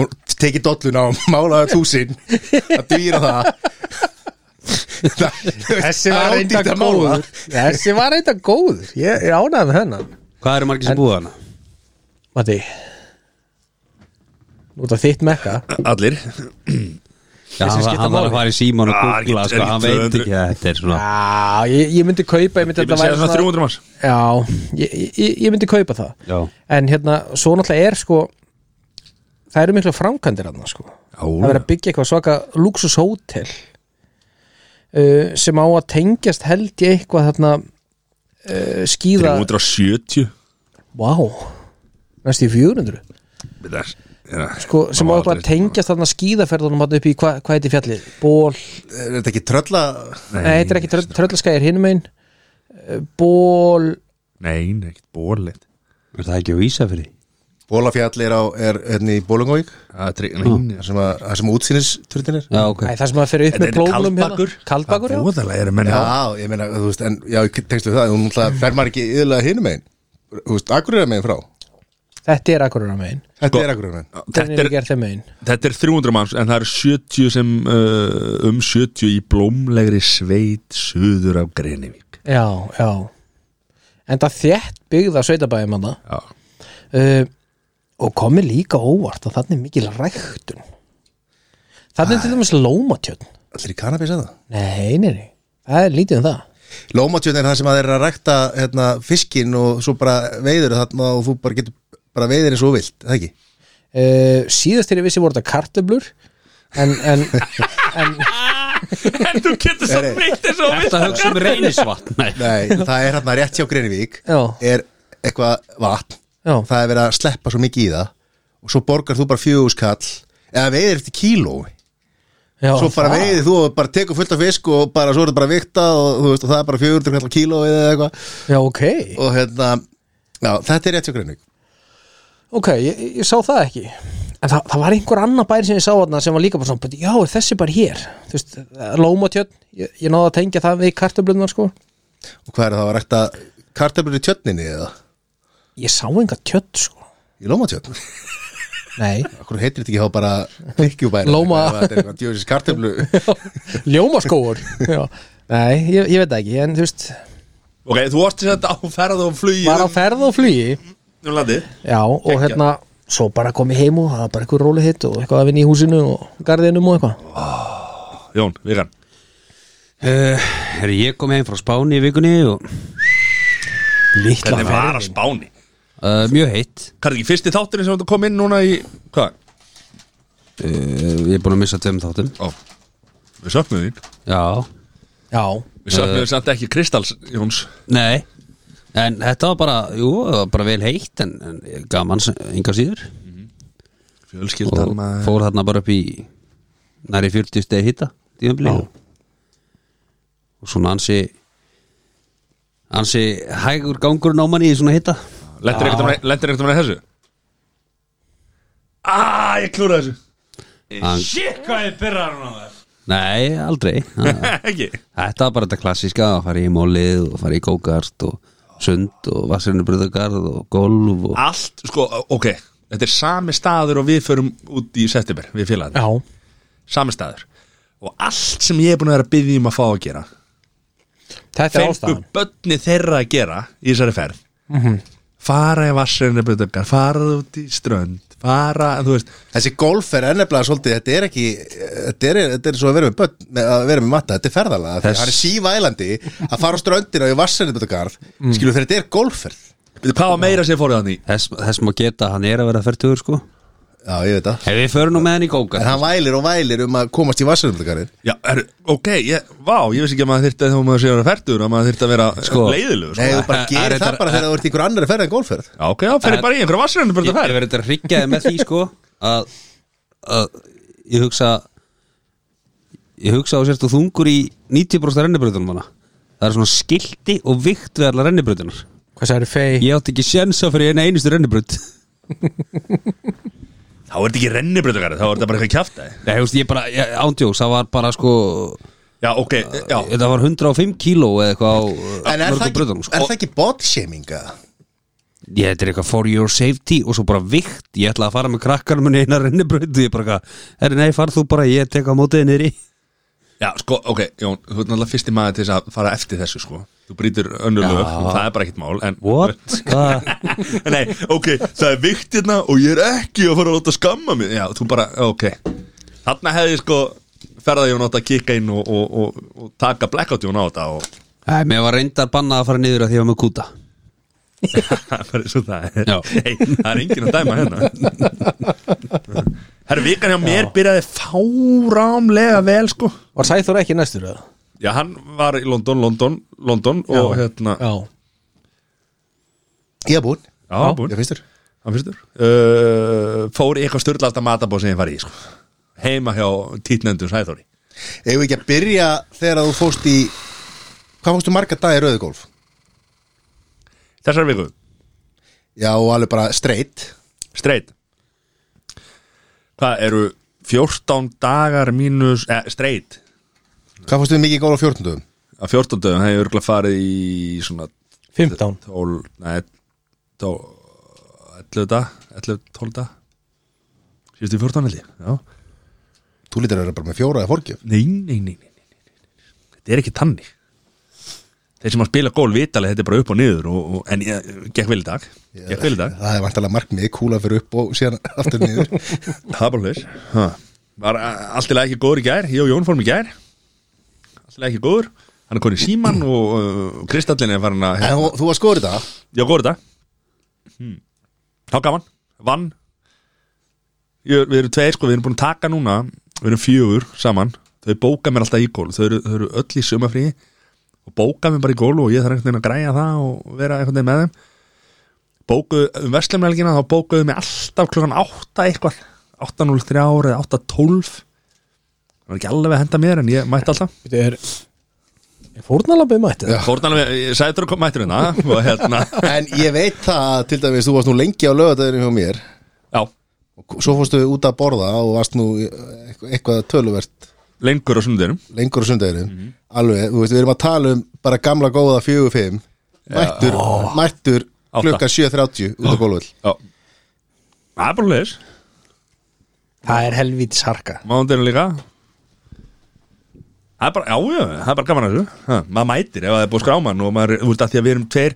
Speaker 3: og tekið dolluna og málaðu túsin að dýra það
Speaker 4: þessi var reynda góður Þessi var reynda góður Ég, ég ánaði með hennan
Speaker 1: Hvað eru margir sem búið hana?
Speaker 4: Mati Nú er það þitt mekka
Speaker 2: Allir
Speaker 1: Já,
Speaker 4: sem
Speaker 1: hann,
Speaker 4: skipta
Speaker 1: hann var að
Speaker 4: máli.
Speaker 1: fara í síman og
Speaker 2: Ah, hann
Speaker 1: googla
Speaker 2: getur-
Speaker 1: sko,
Speaker 2: er
Speaker 1: hann
Speaker 2: ekki
Speaker 1: veit
Speaker 2: 200.
Speaker 1: ekki að þetta er svona
Speaker 4: Já, ég, ég myndi kaupa Ég myndi
Speaker 2: Ég
Speaker 4: að
Speaker 2: myndi segja svona 300 manns
Speaker 4: Já, ég, ég, ég myndi kaupa það
Speaker 1: Já.
Speaker 4: En hérna, svo náttúrulega er sko Það eru mikla framkvæmdir hann sko. Það verður að byggja eitthvað svaka Luxus hótel uh, Sem á að tengjast held ég eitthvað Þarna uh, Skíða,
Speaker 2: 370
Speaker 4: vá Næstu í 400
Speaker 2: Þetta er- Já,
Speaker 4: sko, Sem á
Speaker 2: maður
Speaker 4: eitthvað að
Speaker 2: aldrei-
Speaker 4: tengjast þarna skíðaferðunum Hann upp í, hva, hvað heiti fjallið? Ból,
Speaker 3: Er þetta ekki trölla
Speaker 4: nei, þetta er ekki tröll, tröllaskæðir hinum Uh, einn Ból
Speaker 2: Nei, nei, ekkert bólit
Speaker 1: Er það ekki að vísa fyrir?
Speaker 3: Bólafjall er, á, er hérna í Bólungavík
Speaker 2: Það er tri- nei,
Speaker 3: þar sem, að- þar sem útsýnisturðin er
Speaker 1: Já, ok
Speaker 4: Æ, það sem að fyrir upp
Speaker 2: Þetta
Speaker 4: með
Speaker 2: er
Speaker 4: blómum
Speaker 2: kaldbakur.
Speaker 4: Kaldbakur, já
Speaker 2: Óðalega eru menn
Speaker 3: Já, ég meina, þú veist, en já, ég tengstu það, þú náttúrulega fer maður ekki yðurlega hinum megin, þú veist, akkur er megin frá
Speaker 4: Þetta Þetta er akkurat að megin
Speaker 3: Þetta
Speaker 2: Sko-
Speaker 3: er akkur umræðin
Speaker 2: þetta er,
Speaker 4: gert þeim megin
Speaker 2: þetta er 300 manns en það eru 70 sem uh, um 70 í blómlegri sveit suður af Greinivík
Speaker 4: Já, já En það þétt byggða sveitabæði manna
Speaker 2: Já,
Speaker 4: uh, Og komi líka á óvart að þannig mikil ræktun Þannig til dæmis lómatjörn
Speaker 3: Allir í kannabis eða?
Speaker 4: Nei, nei, nei, það er lítið um það
Speaker 3: Lómatjörn er það sem að þeir eru að rækta hérna, fiskin og svo bara veiður þarna og þú bara getur bara veiðir eins og þú vilt, er það ekki?
Speaker 4: uh, Síðast þegar ég vissi voru þetta kartöblur En, en, en
Speaker 2: En þú getur svo breytt þess að
Speaker 1: Þetta hugsa um reynisvatn Nei,
Speaker 3: Nei, það er hérna rétt hjá Greinivík
Speaker 4: Já.
Speaker 3: er eitthvað vatn
Speaker 4: Já.
Speaker 3: það er verið að sleppa svo mikið í það og svo borgar þú bara fjöguskall eða veiðir eftir kíló
Speaker 4: já,
Speaker 3: svo bara
Speaker 4: það-
Speaker 3: veiðir þú og bara tekur fullt af fisk og bara svo er þetta bara viktað og, þú veist, og það er bara 400 kallar kíló eða eitthvað
Speaker 4: Já, ok,
Speaker 3: og hérna, já, þetta er rétt hjá Greinivík
Speaker 4: ok, ég, ég sá það ekki En það, það var einhver annar bær sem ég sá þarna sem var líka bara svona, "But já, er þessi bara hér Þú veist, Lómatjörn, ég, ég náði að tengja það við kartöblunar sko
Speaker 3: og hvað er það að rækta kartöflur í tjörninni eða?
Speaker 4: Ég sá enga tjörn sko
Speaker 3: Í Lómatjörn?
Speaker 4: Nei,
Speaker 3: Akkur heitir þetta ekki þá bara Kirkjubæri
Speaker 4: Lóma.
Speaker 3: Þetta er eitthvað djöfisins kartöflu
Speaker 4: ljómaskóur já. Nei, ég, ég veit það ekki, en þú veist
Speaker 2: Ok, þú varst þetta á ferð og flugi
Speaker 4: Var á ferð og flugi
Speaker 2: um landi
Speaker 4: Já, og
Speaker 2: Geggjað.
Speaker 4: hérna, svo bara komið heim og það var bara eitthvað róli hitt og eitthvað að vinna í húsinu og garðinum og eitthvað
Speaker 2: Jón, Vigan
Speaker 1: uh, er ég kom heim frá Spáni í vikunni og
Speaker 4: Lítla
Speaker 2: Hvernig var að
Speaker 4: ferðin
Speaker 2: spáni?
Speaker 1: uh, mjög heitt
Speaker 2: Hvað er ekki fyrsti þátturinn sem þetta kom inn núna í Hvað?
Speaker 1: uh, Ég er búin að missa tveim þáttum
Speaker 2: Ó, við söknum þín
Speaker 1: Já,
Speaker 4: Já,
Speaker 2: Við
Speaker 3: Eh.
Speaker 2: söknum þín samt ekki Kristals, Jóns
Speaker 1: nei En þetta var bara, jú, það var bara vel heitt En, en gaman yngar síður
Speaker 2: Fjölskyldan
Speaker 1: Og
Speaker 2: maður
Speaker 1: fór þarna bara upp í Næri 40 stegi hitta Tíðanbli Og svona ansi Ansi hægur gangur náman í svona hitta
Speaker 2: Lendir ekkert um að þessu? Ah, ég klúra þessu
Speaker 1: Hann-
Speaker 2: Shit, hvað ég byrjar hún á það
Speaker 1: Nei, aldrei Ha.
Speaker 2: Ekki
Speaker 1: Þetta var bara þetta klassíska að fara í mólið og fara í kókart og sund og vassirinubröðagarð og golf og
Speaker 2: Allt, sko, ok Þetta er sami staður og við förum út í september Við félagin,
Speaker 4: já
Speaker 2: sami staður Og allt sem ég er búin að vera að byggja um að fá að gera
Speaker 4: Þetta er
Speaker 2: Fengu
Speaker 4: ástæðan
Speaker 2: börni þeirra að gera Í þessari ferð Fara í vassirinu breytökar, fara út í strönd Fara, þú veist
Speaker 3: Þessi golf er ennefnilega svolítið Þetta er ekki, þetta er, þetta er svo að vera með börn með- að vera með matta, þetta er ferðalega Þess... Það er sívælandi að fara á ströndina og í vassarinnbutagarð mm. Skilur þegar þetta er golfferð
Speaker 2: Veitu, Hvað var meira sem fórið hann í?
Speaker 1: þess, þess má geta að hann er að vera 40 sko
Speaker 3: Já, ég veit það
Speaker 1: Ef við förum nú með hann í
Speaker 3: En
Speaker 1: kókart
Speaker 3: hann vælir og vælir um að komast í vassarinnbutagarðin
Speaker 2: Já, er, ok, ég, vá, ég vissi ekki að maður þyrfti Þegar maður sé að vera ferður, að maður þyrfti að vera
Speaker 1: Sko.
Speaker 2: leiðilegur
Speaker 3: Nei,
Speaker 2: sko.
Speaker 3: þú bara
Speaker 1: Eh,
Speaker 3: gerir
Speaker 1: eh,
Speaker 3: það
Speaker 1: eh,
Speaker 3: bara þegar þú ert í einhver annari ferð en golfferð
Speaker 2: Já, ok, þá
Speaker 1: Eh,
Speaker 2: ferði bara í einhverja vassirinu
Speaker 1: Ég, ég
Speaker 2: breytökar
Speaker 1: verið að hryggjaði með því sko að, að ég hugsa ég hugsa á sért og þungur í 90% rennibröðunum hana Það er svona skilti og vikt við allar rennibröðunar
Speaker 4: Hvað sagði fei?
Speaker 1: Ég átti ekki sjensa fyrir eina einustu rennibröð
Speaker 2: Þá er þetta ekki rennibreytökar, þá er þetta bara eitthvað kjafta
Speaker 1: Nei, þú veist, ég bara, ég- ándjóks, það var bara sko
Speaker 2: Já, ok, já,
Speaker 1: Þetta var 105 kíló eða eitthvað á uh,
Speaker 3: En er það,
Speaker 1: mörgum
Speaker 3: ekki,
Speaker 1: bröðunum
Speaker 3: er það ekki bodyshaminga?
Speaker 1: Ég, þetta er eitthvað for your safety og svo bara vikt, ég ætla að fara með krakkanum minni einar rennibraut og ég bara eitthvað, herri nei, far þú bara, ég tek á mótið niðri
Speaker 2: Já, sko, ok, Jón, þú ert náttúrulega fyrsti maður til þess að fara eftir þessu, sko Þú brýtur önnur lög og það er bara ekkert mál en...
Speaker 1: What? Hvað?
Speaker 2: Nei, ok, það er viktirna og ég er ekki að fara að láta skamma mig Já, þú bara, ok Þarna hefði, sko, ferða Jón átt að kika inn og, og, og, og taka blackout Jón á þetta og
Speaker 1: Nei, mér var reyndar bannað að fara niður að því að ég var með kúta
Speaker 2: Það er bara eins og það er
Speaker 1: Já.
Speaker 2: Nei, það er enginn að dæma hérna Herra, vikan hjá mér byrjaði fárámlega vel, sko
Speaker 4: Var Sæþór ekki næstur það?
Speaker 2: Já, hann var í London, London, London og hérna,
Speaker 4: Já,
Speaker 3: Ég er búinn,
Speaker 2: já, búinn.
Speaker 3: ég finnst þér
Speaker 2: hann fyrstur uh, fór í eitthvað styrlaðasta matabóð sem ég var í sko. heima hjá títnendum Sæþóri
Speaker 3: Eigum við ekki að byrja þegar þú fóst í Hvað fóstu marga dagi rauðu golf?
Speaker 2: þessar viku,
Speaker 3: Já, og alveg bara straight
Speaker 2: streit hvað eru 14 dagar mínus eh, streit,
Speaker 3: Hvað fórstu við mikið í golf á 14 dögum?
Speaker 2: að 14 dögum það er örgulega farið í svona
Speaker 4: 15
Speaker 2: tól, nei, tól 11 dag, 11, 12 dag Sýrst í 14 held ég Já
Speaker 3: Þú lítur að vera bara með fjóra eða forgjöf
Speaker 2: Nei, nei, nei, nei, nei, nei, nei. Þetta er ekki tannig Þeir sem að spila gól vitali Þetta er bara upp og niður og, og, En ég gekk vel í dag Gekk vel í dag
Speaker 3: Það er vantalega markmið, kúla fyrir upp og síðan aftur niður
Speaker 2: Það er bara hlur Var uh, allt í lagi ekki góður í gær Ég og Jón fórum í gær Allt í lagi ekki góður Hann er konið síman og uh, Kristallin er farin að
Speaker 3: En þú, þú var skorið það
Speaker 2: Já, góður þetta hmm. Þá gaman, vann ég, Við erum tveir sko, við erum búin að taka núna Við erum fjögur saman Þau bóka mér alltaf í gól, þau eru, þau eru öll í sumafrí Og bóka mér bara í gól Og ég þarf einhvern veginn að græja það og vera einhvern veginn með þeim Bókuðu, um verslumrælgina Þá bókuðu mér alltaf klukkan 8 eitthvað 8.03 ára eða 8.12 Það var ekki alveg að henda mér En ég mætti alltaf
Speaker 4: Þetta er, er fórnalabbi mættið
Speaker 2: Fórnalum, ég sagði þurra að koma mættur hérna Og hérna,
Speaker 3: En ég veit það, að, til dæmis, þú varst nú lengi á lögadagurinn hjá mér
Speaker 2: já,
Speaker 3: og Svo fórstu út að borða og varst nú í- eitthvað töluvert
Speaker 2: lengur á sunnudinum
Speaker 3: lengur á sundagurinn
Speaker 2: Mhm.
Speaker 3: Alveg, þú veist, við erum að tala um bara gamla góða fjögur fimm Mættur, mættur
Speaker 2: Átta.
Speaker 3: klukka 7.30 út á gólföll
Speaker 2: Já Það er bara leis
Speaker 4: Það er helvítið sarka
Speaker 2: Mándinu líka Það er bara, já, já, það er bara gaman að þessu ha, Maður mætir ef það er búið skráman og maður, þú veist að því að við erum tveir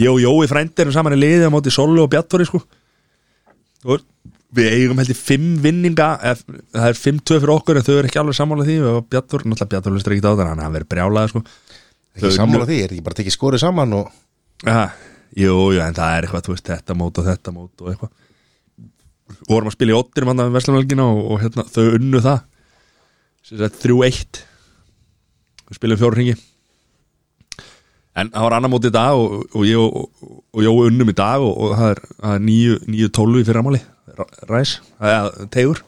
Speaker 2: Ég og Jói frændir erum saman í liði á móti Solu og Bjartori sko og Við eigum heldur fimm vinninga ef, það er fimm tvö fyrir okkur en þau eru ekki alveg sammála því og Bjartor, náttúrulega Bjartor listur ekki á það hann verður brjálaði sko
Speaker 3: Ekki
Speaker 2: Þau-
Speaker 3: sammála því, er ekki bara tekið skorið saman og
Speaker 2: Aha, jú, jú, en það er eitthvað, þú veist, þetta mót og þetta mót og eitthvað og vorum að spila í óttirum hann að Veslanvelgina og, og hérna, þau unnu það sem sagt 3-1 við spilum fjóru hringi en það var annar mót í dag og, og ég og, og, og Jói unnum í dag og, og það er, það er 9-12 í fyrramáli ræs, það er tegur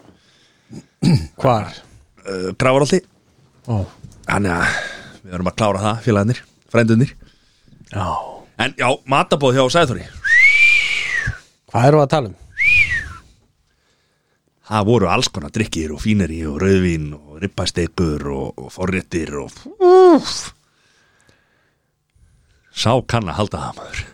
Speaker 4: Hvar?
Speaker 2: uh, grafur alltið
Speaker 4: Ó.
Speaker 2: þannig að við verðum að klára það félagarnir, frændunir
Speaker 4: Já
Speaker 2: en já, matabóð hjá Sæðþóri
Speaker 4: Hvað erum við að tala um?
Speaker 2: Það voru alls konar drikkir og fíneri og rauðvín og rippastekur og, og forréttir og úf. Sá kann að halda það maður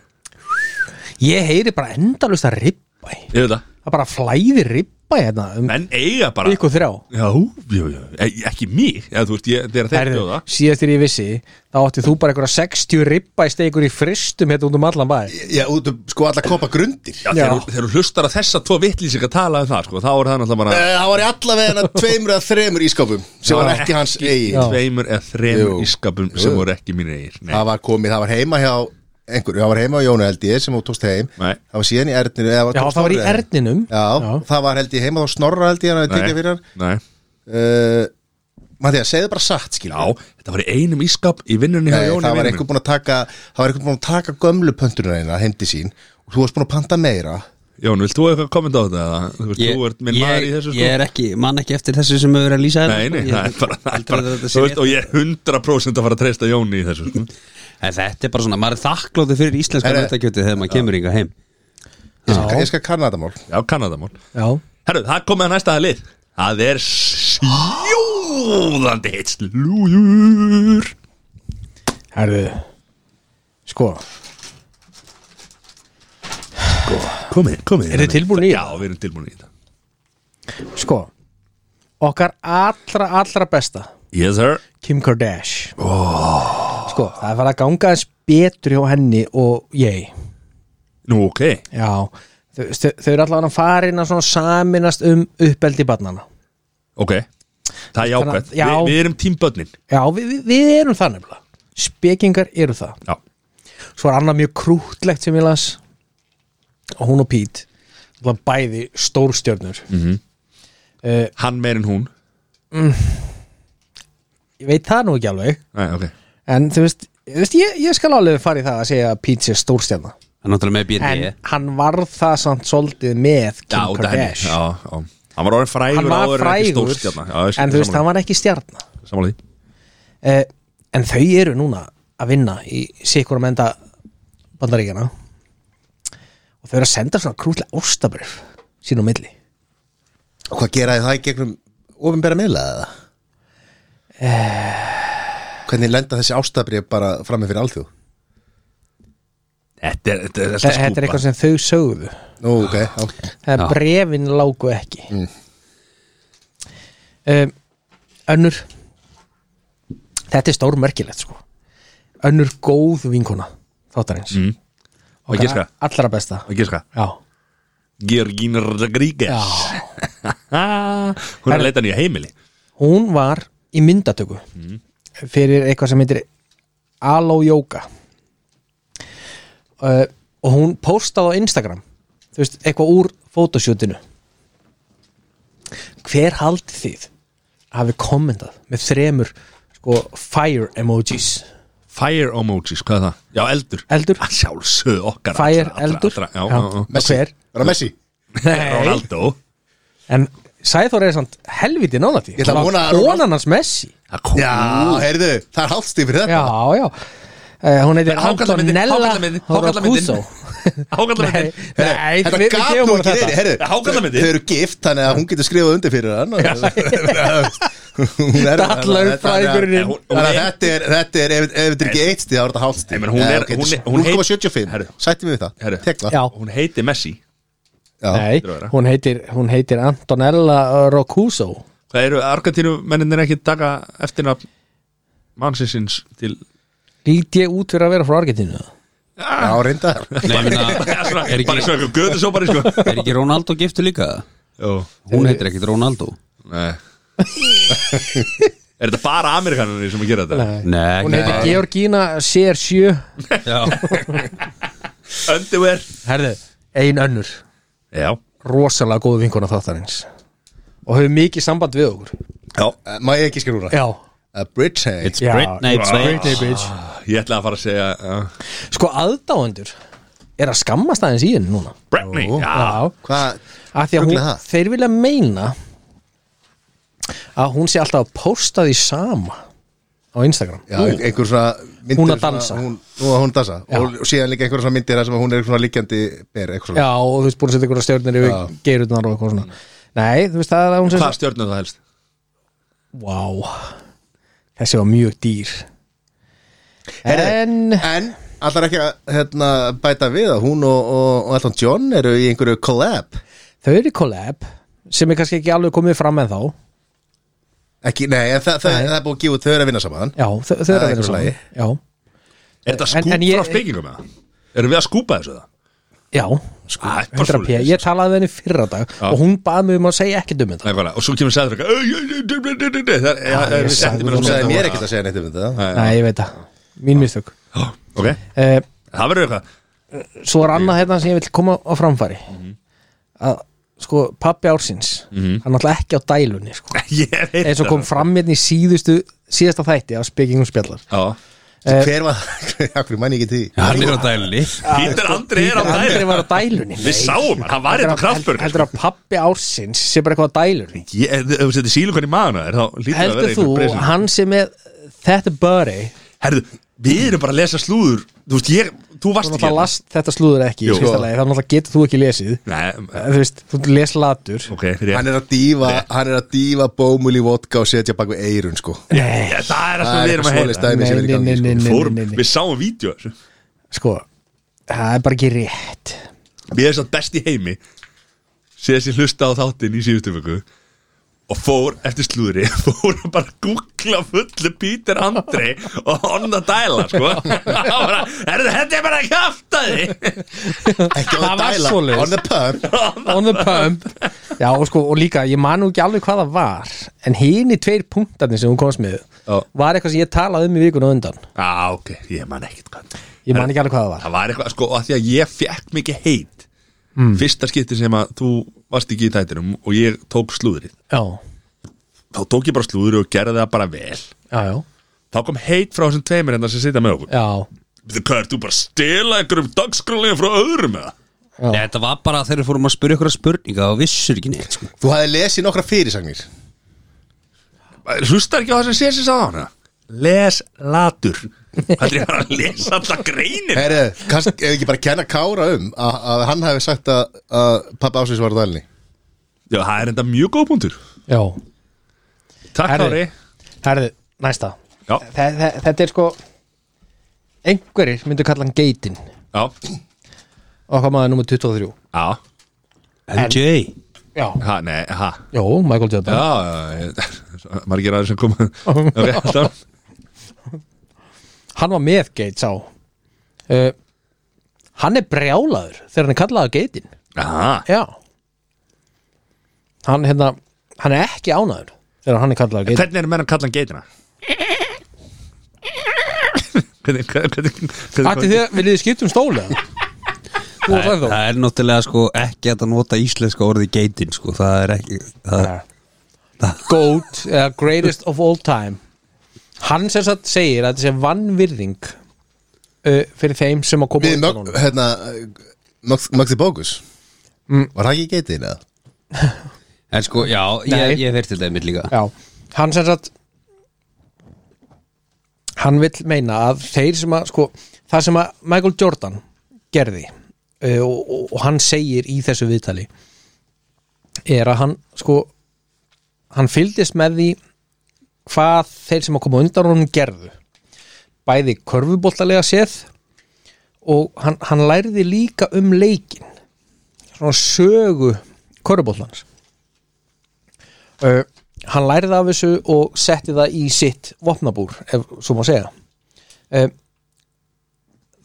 Speaker 4: Ég heyri bara endalust að ribba
Speaker 2: Ég veit það
Speaker 4: Það bara flæðir ribba hérna um
Speaker 2: Menn eiga bara
Speaker 4: ykkur þrjá
Speaker 2: Já, jú, jú, e ekki mig Eða þú veist, ég, þegar þeir
Speaker 4: Herðu,
Speaker 2: bjóða
Speaker 4: síðast þegar ég vissi þá átti þú bara einhverja 60 ribba í stegur í fristum hérna út um allan bæ
Speaker 3: Já, út um sko alla koppa grundir
Speaker 2: Já, þegar þú- þegar þú hlustar að þessa tvo vitlýsingar tala um það, sko, þá er það náttúrulega bara
Speaker 3: Eh, Það var í allavega tveimur eða þremur ískápum sem var ekki hans eigi
Speaker 4: Já.
Speaker 2: Tveimur eða þremur
Speaker 3: Jú.
Speaker 2: ískapum
Speaker 3: Jú.
Speaker 2: sem voru ekki mínir eigir Nei,
Speaker 3: Það var komið, það var heima hjá einhverju, það var heima hjá Jónu held ég sem þú tókst heim
Speaker 2: Nei.
Speaker 3: Það var síðan í Erdninu eða
Speaker 4: Já,
Speaker 3: tók
Speaker 4: það var í
Speaker 3: Snorri.
Speaker 4: erninum
Speaker 3: Já, það var held ég heima þá snorra held ég hann að tekja fyrir hann
Speaker 2: nei
Speaker 3: uh, Mattias, segðu bara satt skil
Speaker 2: Já, þetta var í einum ískap í vinnunni hjá
Speaker 3: Nei,
Speaker 2: Jóni
Speaker 3: það var
Speaker 2: vinur
Speaker 3: eitthvað
Speaker 2: minn.
Speaker 3: búin að taka það var eitthvað búin að taka gömlu pöntununa eina heim til sín og þú varst búin að panta meira
Speaker 2: Jón, vilt þú eitthvað kommenta á þetta? eða? Þú veist, þú ert minn maður í þessu sko
Speaker 1: Ég er ekki, mann ekki eftir þessu sem hefur verið að lýsa hérna,
Speaker 2: Nei, nei,
Speaker 1: sko.
Speaker 2: það er
Speaker 1: Ég-
Speaker 2: bara, það er
Speaker 1: heldur
Speaker 2: bara
Speaker 1: að þetta sé
Speaker 2: þú veist,
Speaker 1: rétt.
Speaker 2: og ég er 100% að fara að treysta Jóni í þessu sko.
Speaker 1: En þetta er bara svona, maður er þakkláttur fyrir íslenska
Speaker 3: Herre.
Speaker 1: nautakjötið þegar maður kemur yngar heim
Speaker 3: ég skal, ég skal kanna þetta mál
Speaker 2: Já, Kanadamón
Speaker 4: Já,
Speaker 2: Herru, það komið að næsta lið Það er sjóðandi heitt slúður
Speaker 4: herðu Sko,
Speaker 2: Komið, komið
Speaker 4: Er þið tilbúin í
Speaker 2: Já,
Speaker 4: það?
Speaker 2: við erum tilbúin í þetta
Speaker 4: sko Okkar allra, allra besta
Speaker 2: Yes, sir
Speaker 4: Kim Kardashian
Speaker 2: Oh.
Speaker 4: Sko, það er farið að ganga eins betur hjá henni og ég
Speaker 2: Nú, ok
Speaker 4: Já, þau, þau, þau eru allavega farin að svona saminast um uppeldi barnana
Speaker 2: Ok Það er jákvæmt
Speaker 4: Já.
Speaker 2: Vi, Við erum tímbötnin
Speaker 4: Já, við, við, við erum það nefnilega Spekingar eru það
Speaker 2: Já
Speaker 4: Svo er annað mjög krútlegt sem ég las og hún og Pete allavega bæði stórstjörnur
Speaker 2: Mm. Hann meir en hún
Speaker 4: Ég veit það nú ekki alveg
Speaker 2: Nei, ok
Speaker 4: en þú veist, þú veist ég, ég skal alveg fara í það að segja að Pete sé stórstjörna
Speaker 1: Það er náttúrulega með
Speaker 4: en
Speaker 1: BND
Speaker 4: hann varð það samt svolítið með
Speaker 2: Já,
Speaker 4: Kim
Speaker 2: út af henni Já,
Speaker 4: Kardashian
Speaker 2: já Hann var orðin frægur
Speaker 4: Hann var
Speaker 2: áður en ekki
Speaker 4: frægur
Speaker 2: stórstjarna. Já,
Speaker 4: en þú veist, hann var ekki stjarnar
Speaker 2: Samála því
Speaker 4: eh, en þau eru núna að vinna í sikkurum enda bandaríkjana og þau eru að senda svona krútlega óstabrif sín á milli
Speaker 3: og hvað geraði það í gegnum ofinbera miðlaði eða? hvernig lenda þessi ástabrið bara frammi fyrir alþjóð
Speaker 2: Þetta er, þetta er,
Speaker 4: þetta er eitthvað sem þau sögðu
Speaker 3: Nú, ok, já
Speaker 1: Já.
Speaker 4: Það er brefin lágu ekki
Speaker 3: Mm.
Speaker 4: um, Önnur Þetta er stór merkilegt sko Önnur góð vinkona Þáttarins
Speaker 2: Mm.
Speaker 4: Og
Speaker 2: Má giska?
Speaker 4: allra besta
Speaker 2: Ekki sko
Speaker 4: Já,
Speaker 2: Georgina
Speaker 4: já.
Speaker 2: Rodriguez Hún er að leita nýja heimili
Speaker 4: Hún var í myndatöku Fyrir eitthvað sem heitir Alo Yoga uh, Og hún postaði á Instagram Þú veist, eitthvað úr fótosjótinu Hver haldið þið hafi kommentað með þremur sko, fire emojis
Speaker 2: Fire emojis, hvað er það? Já, eldur
Speaker 4: Eldur.
Speaker 2: Að Sjálfsög okkar
Speaker 4: Fire
Speaker 2: allra, allra,
Speaker 4: eldur
Speaker 2: allra, Já, já, já
Speaker 4: Og hver
Speaker 3: Er það Messi?
Speaker 4: Nei.
Speaker 2: Ronaldo
Speaker 4: En Sæþór er samt helviti náða því
Speaker 3: Ég ætla að vona að-
Speaker 4: Ónan hans Messi
Speaker 2: Það kom
Speaker 3: Já, heyrðu, það er hálfstíð fyrir
Speaker 4: Já,
Speaker 3: þetta
Speaker 4: já uh, Hún heitir
Speaker 2: Hákarlamyndin,
Speaker 4: Antonella
Speaker 2: hákarlamyndin, hákarlamyndin.
Speaker 4: Horokuso
Speaker 2: Hákallamyndin
Speaker 4: Nei, nei,
Speaker 3: Þetta
Speaker 4: við við
Speaker 3: gat
Speaker 4: gefum
Speaker 3: nú
Speaker 4: honum
Speaker 3: ekki
Speaker 4: þetta.
Speaker 3: verið, heyrðu
Speaker 2: Hákarlamyndir.
Speaker 3: Þau eru gift, þannig að hún getur skrifað undir fyrir hann og- Hún er
Speaker 4: Dallaður fræðingurinn.
Speaker 2: Hún- hún
Speaker 3: Þannig að
Speaker 2: er-
Speaker 3: þetta er, þetta er, ef ef þetta er ekki eitt stíð, þá er þetta hálft
Speaker 2: Nei,
Speaker 3: stíð
Speaker 2: menn hún er- hún er- hún heit-
Speaker 3: 0,75,
Speaker 2: Herru.
Speaker 3: sætti mig við það
Speaker 2: Herru.
Speaker 3: Tek það
Speaker 4: Já,
Speaker 2: Hún heiti Messi
Speaker 3: Já.
Speaker 4: nei,
Speaker 2: hlýtur að vera.
Speaker 4: hún heitir, hún heitir Antonella Rocuso
Speaker 2: Hvað eru Argentínu menninir ekki taka eftirnafn mannsinsins til
Speaker 4: Lít ég út fyrir að vera frá Argentínu
Speaker 3: Já, reyndar
Speaker 1: Nei, ég meina,
Speaker 2: Já, svona,
Speaker 1: Er ekki-
Speaker 2: Bara svona eitthvað göðu svo bara sko
Speaker 1: er ekki Ronaldo giftu líka?
Speaker 2: Jó
Speaker 1: Hún heitir ekkit Ronaldo
Speaker 2: Nei Er þetta bara Amerikanarnir sem að gera þetta?
Speaker 1: Nei,
Speaker 4: Hún heitir
Speaker 1: ekki
Speaker 4: Georgina CR7
Speaker 1: Já.
Speaker 2: Underwear
Speaker 4: Herðu, ein önnur
Speaker 2: Já
Speaker 4: Rosalega góð vinkona þáttarins Og hefur mikið samband við okkur
Speaker 2: Já
Speaker 3: Eh, Má ég ekki skilur hún
Speaker 4: Já,
Speaker 3: það? Bridgehead
Speaker 1: It's
Speaker 4: Já.
Speaker 1: Britney, it's
Speaker 4: Britney
Speaker 1: Bates
Speaker 4: bitch
Speaker 2: Ég ætla að fara að segja uh,
Speaker 4: Sko aðdáendur er að skammast aðeins í henni núna
Speaker 2: Britney
Speaker 3: Jú.
Speaker 2: Já
Speaker 3: Hvað?
Speaker 4: að því að hún,
Speaker 3: Ruglið það.
Speaker 4: þeir vilja meina að hún sé alltaf að posta því sama á Instagram
Speaker 3: Já, einhver svona myndir
Speaker 4: Hún að
Speaker 3: svona-
Speaker 4: dansa.
Speaker 3: Hún, nú að hún dansa og, og síðan líka einhver svona myndir þar sem hún er svona líkjandi ber, eitthvað svona
Speaker 4: Já, og þú veist búin að setja einhverja stjórnir yfir geirutnar og eitthvað svona Nei, þú veist það er að hún sem
Speaker 2: Hvað stjórnum það helst?
Speaker 4: Vá, þessi var mjög dýr En
Speaker 3: En allar ekki að hérna, bæta við að hún og, og, og Elton John eru í einhverju collab
Speaker 4: þau eru í collab sem er kannski ekki alveg komið fram en þá
Speaker 3: ekki, Nei, en það, það,
Speaker 4: Nei.
Speaker 3: það er búið að gefa út þau eru að vinna saman
Speaker 4: Já, þau, þau eru
Speaker 3: Það er
Speaker 4: að vera
Speaker 3: einhverju
Speaker 4: saman
Speaker 3: lagi.
Speaker 4: Já,
Speaker 2: Er þetta
Speaker 4: En-
Speaker 2: skúp
Speaker 4: en ég-
Speaker 2: frá spekingum eða? Erum við að skúpa þessu það?
Speaker 4: já
Speaker 2: Ah, bara
Speaker 4: 100p,
Speaker 2: svoleiðis.
Speaker 4: ég talaði við henni fyrra dag
Speaker 2: Já.
Speaker 4: og hún baði mig um að segja ekkert um þetta
Speaker 2: Nei, hvað, og svo kemur sæður
Speaker 4: ég sagði
Speaker 3: Hún
Speaker 4: Hún
Speaker 3: sagði mér ekkert
Speaker 2: eitthvað
Speaker 3: að segja neitt um þetta
Speaker 4: Nei, ég veit það, mín mistök
Speaker 2: Ok,
Speaker 4: uh,
Speaker 2: það verður eitthvað
Speaker 4: svo er annað hérna sem ég vil koma á framfæri
Speaker 2: Mhm.
Speaker 4: að sko pappi ársins hann er náttúrulega ekki á dælunni sko.
Speaker 2: Ég veit
Speaker 4: eins og
Speaker 2: það.
Speaker 4: kom fram hérna í síðustu síðasta þætti á spekingum spjallar
Speaker 2: Já.
Speaker 3: Hver var það? Akkur mann ekki til því
Speaker 1: Hann er á dæli
Speaker 2: Pítur Andri er á
Speaker 4: Sko, Andri
Speaker 2: dæri
Speaker 4: var á dælunni
Speaker 2: Við sáum hann, hann var hérna eitthvað kraftbörg
Speaker 4: heldur að pappi ársins sé bara eitthvað á dælunni
Speaker 2: Ef þú setur sílukon í maðuna er þá lítur það að vera
Speaker 4: heldur
Speaker 2: einhver
Speaker 4: þú
Speaker 2: breysin
Speaker 4: hann sé með þetta börri
Speaker 2: Herðu, við erum bara að lesa slúður Þú veist, ég, þú varst ekki
Speaker 4: það last þetta slúður ekki í
Speaker 2: Jú.
Speaker 4: fyrsta lagi, þannig að getur þú ekki lesið
Speaker 2: Nei,
Speaker 4: þú veist, þú les latur
Speaker 2: ok, fyrir ég
Speaker 3: Hann er að dýfa, hann er að dýfa bómul í vodka og setja bak við eirun sko
Speaker 4: nei,
Speaker 2: Ég- Það er það sem
Speaker 3: Það
Speaker 2: við
Speaker 3: er
Speaker 2: erum
Speaker 3: eitthvað
Speaker 2: að
Speaker 3: svoleiðis
Speaker 2: heyra
Speaker 3: dæmi sem er
Speaker 4: nei,
Speaker 3: í
Speaker 4: nei, nei,
Speaker 3: gangi sko.
Speaker 4: nei, nei,
Speaker 2: Fórum,
Speaker 4: nei, nei.
Speaker 2: Við sáum vídeo þessu
Speaker 4: sko, það er bara ekki rétt
Speaker 2: Mér er satt best í heimi Sér sem hlusta á þáttinn í síðustu vöku Og fór eftir slúðri Fór að bara googla fullu Pítur Andri Og honna dæla sko bara, Er þetta er bara að kjafta því
Speaker 3: Ekki á
Speaker 4: Það var
Speaker 3: dæla,
Speaker 4: svoleiðis.
Speaker 3: on the pump
Speaker 4: on the pump já og sko og líka ég man nú ekki alveg hvað það var en hini tveir punktarnir sem hún komst með
Speaker 2: Já.
Speaker 4: var eitthvað sem ég talaði um í vikuna á undan
Speaker 2: Á, ok, ég man ekkert hvað
Speaker 4: ég man ekki alveg hvað það var
Speaker 2: Það var eitthvað, sko, að því að ég fekk mikið heit Fyrsta skipti sem að þú varst ekki í tætinum Og ég tók slúðrið
Speaker 4: já,
Speaker 2: Þá tók ég bara slúðrið og gerði það bara vel
Speaker 4: já, já,
Speaker 2: Þá kom heit frá þessum tveimur hérna sem sitja með okkur
Speaker 4: já.
Speaker 2: Veitu, Hvað, ert þú bara að stela einhverjum dagskrálega frá öðrum eða?
Speaker 1: Nei, Þetta var bara þegar við fórum að spyrja ykkur spurninga og vissur ekki neitt sko.
Speaker 3: Þú hafði lesið nokkra fyrirsagnir
Speaker 2: Hlustar ekki á það sem sé sér sá hana? Les latur Það er bara að lesa alltaf greinin
Speaker 3: Herri, kannski, ef ekki bara kenna Kára um að, að hann hafi sagt að, að pappa ásins var á dælinni
Speaker 2: Já, það er enda mjög góð punktur
Speaker 4: já.
Speaker 2: Takk
Speaker 4: Herri.
Speaker 2: Kári
Speaker 4: herðu, næsta
Speaker 2: Já,
Speaker 4: þe þe þetta er sko einhverjir myndu kalla hann geitin
Speaker 2: já,
Speaker 4: okkar maður nummer 23
Speaker 2: Já,
Speaker 1: MJ
Speaker 4: já,
Speaker 2: ha, nei, ha
Speaker 4: Jó, Michael Jordan
Speaker 2: Já, já, já, margir aðeins sem koma rétt á
Speaker 4: hann var með Gates á uh, hann er brjálaður þegar hann er kallaður Gatein
Speaker 2: Aha,
Speaker 4: já hann, hérna, hann er ekki ánaður þegar hann er kallaður Gatein
Speaker 2: Hvernig er menn að kalla hann geitina? hvernig, hvernig, hvernig,
Speaker 4: Ætti
Speaker 2: hvernig
Speaker 4: þið, viljið þið skipta um stóli eða? Þú og
Speaker 1: Það,
Speaker 4: Sæþór
Speaker 1: það er náttúrulega sko ekki hægt að nota íslenska orðið geitin sko Það er ekki það,
Speaker 4: Nei. Goat eða greatest of all time Hann sem sagt segir að þetta sé vannvirðing uh, fyrir þeim sem að koma
Speaker 3: Við
Speaker 4: undan
Speaker 3: mög,
Speaker 4: honum.
Speaker 3: hérna Mögði Bókus
Speaker 4: Mm.
Speaker 3: Var það ekki getið neða?
Speaker 1: En sko, já,
Speaker 4: Nei.
Speaker 1: ég, ég verð til dæmið líka
Speaker 4: Já, hann sem sagt hann vill meina að þeir sem að sko, það sem að Michael Jordan gerði uh, og, og, og hann segir í þessu viðtali er að hann sko hann fylgdist með því hvað þeir sem að koma undan honum gerðu bæði körfuboltalega séð og hann, hann læriði líka um leikin svona sögu körfuboltans uh, hann læriði af þessu og setti það í sitt vopnabúr, ef svo má segja uh,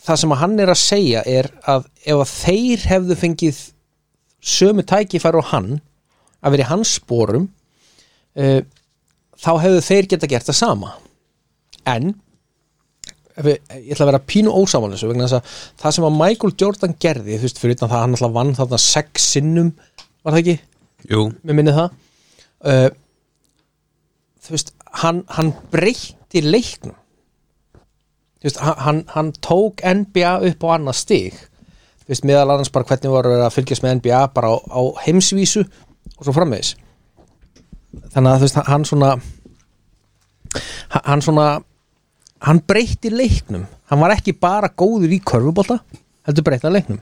Speaker 4: það sem að hann er að segja er að ef að þeir hefðu fengið sömu tækifæri og hann að vera í hans spórum uh, þá hefðu þeir geta gert það sama en ef við, ég ætla að vera pínu ósaman þessu vegna þess að það sem að Michael Jordan gerði þú veist fyrir utan það að hann alltaf vann þarna sex sinnum, var það ekki?
Speaker 1: Jú,
Speaker 4: mér minni það uh, þú veist hann, hann breytti leiknum þú veist hann- hann, hann tók NBA upp á annað stig þú veist meðal annars bara hvernig voru verið að fylgjast með NBA bara á, á heimsvísu og svo framvegis þannig að þú veist hann svona hann- hann svona hann breytti leiknum hann var ekki bara góður í körfubólta heldur breytti hann leiknum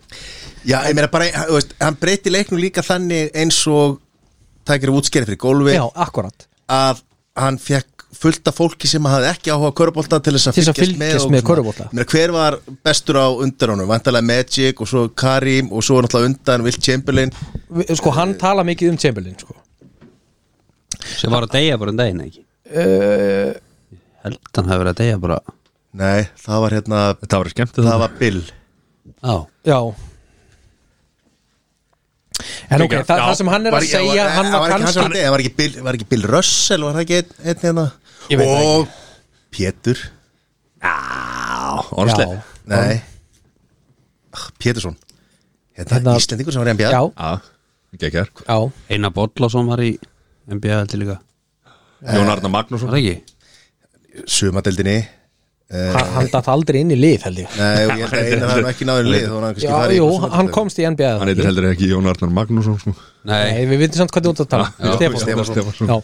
Speaker 3: Já, ég meina bara, þú veist, hann breyti leiknum líka þannig eins og tækir útskerið fyrir gólfi
Speaker 4: já, akkurat
Speaker 3: að hann fekk fullt af fólki sem hafði ekki áhuga á körubólta til þess að
Speaker 4: Til þess
Speaker 3: fylgjast,
Speaker 4: að fylgjast
Speaker 3: og
Speaker 4: með
Speaker 3: svona-
Speaker 4: körfubolta.
Speaker 3: Ég meina, hver var bestur á undan honum, vantarlega Magic og svo Karim og svo náttúrulega undan Will Chamberlain
Speaker 4: Vi- sko hann tala mikið um Chamberlain sko
Speaker 1: sem var að deyja bara um daginn ekki
Speaker 4: uh,
Speaker 1: Ég Held hann hafi verið að deyja bara
Speaker 3: nei, það var hérna,
Speaker 2: Þetta var skemmt
Speaker 3: það var Bill
Speaker 1: Já,
Speaker 4: já en ok,
Speaker 2: Ekki,
Speaker 4: það,
Speaker 2: já,
Speaker 4: það sem hann er
Speaker 3: Var
Speaker 4: að
Speaker 3: ekki-
Speaker 4: segja
Speaker 3: var-
Speaker 4: hann var
Speaker 3: ekki hann sem var
Speaker 4: kannski
Speaker 3: deyja, var ekki Bill, var ekki Bill Russell var það ekki einn- einn hérna
Speaker 4: Ég veit það
Speaker 3: og Pétur
Speaker 4: já,
Speaker 2: Orðslega
Speaker 3: nei Ah, Pétursson hérna,
Speaker 4: Hérna-
Speaker 3: Íslendingur sem var í NBA
Speaker 4: já,
Speaker 2: Já, ekki ekki
Speaker 4: já,
Speaker 1: Einar Bollason var í NBA heldur líka
Speaker 2: Jón Arna
Speaker 1: Var
Speaker 2: Magnússon
Speaker 1: það ekki?
Speaker 3: sumadeldinni
Speaker 4: hann, hann datt aldrei inn í lið held ég
Speaker 3: Nei, og ég held að eina hafði ekki náður lið þó var hann kannski
Speaker 4: já,
Speaker 3: farið í
Speaker 4: jú,
Speaker 3: eitthvað svona-
Speaker 4: hann komst í NBA
Speaker 2: Hann heitir heldur ekki Jón Arnar Magnússon sko.
Speaker 1: Nei,
Speaker 4: Nei, við veitum samt hvað þú út að tala
Speaker 1: Já,
Speaker 4: Stefán.
Speaker 3: Stefán.
Speaker 4: Já.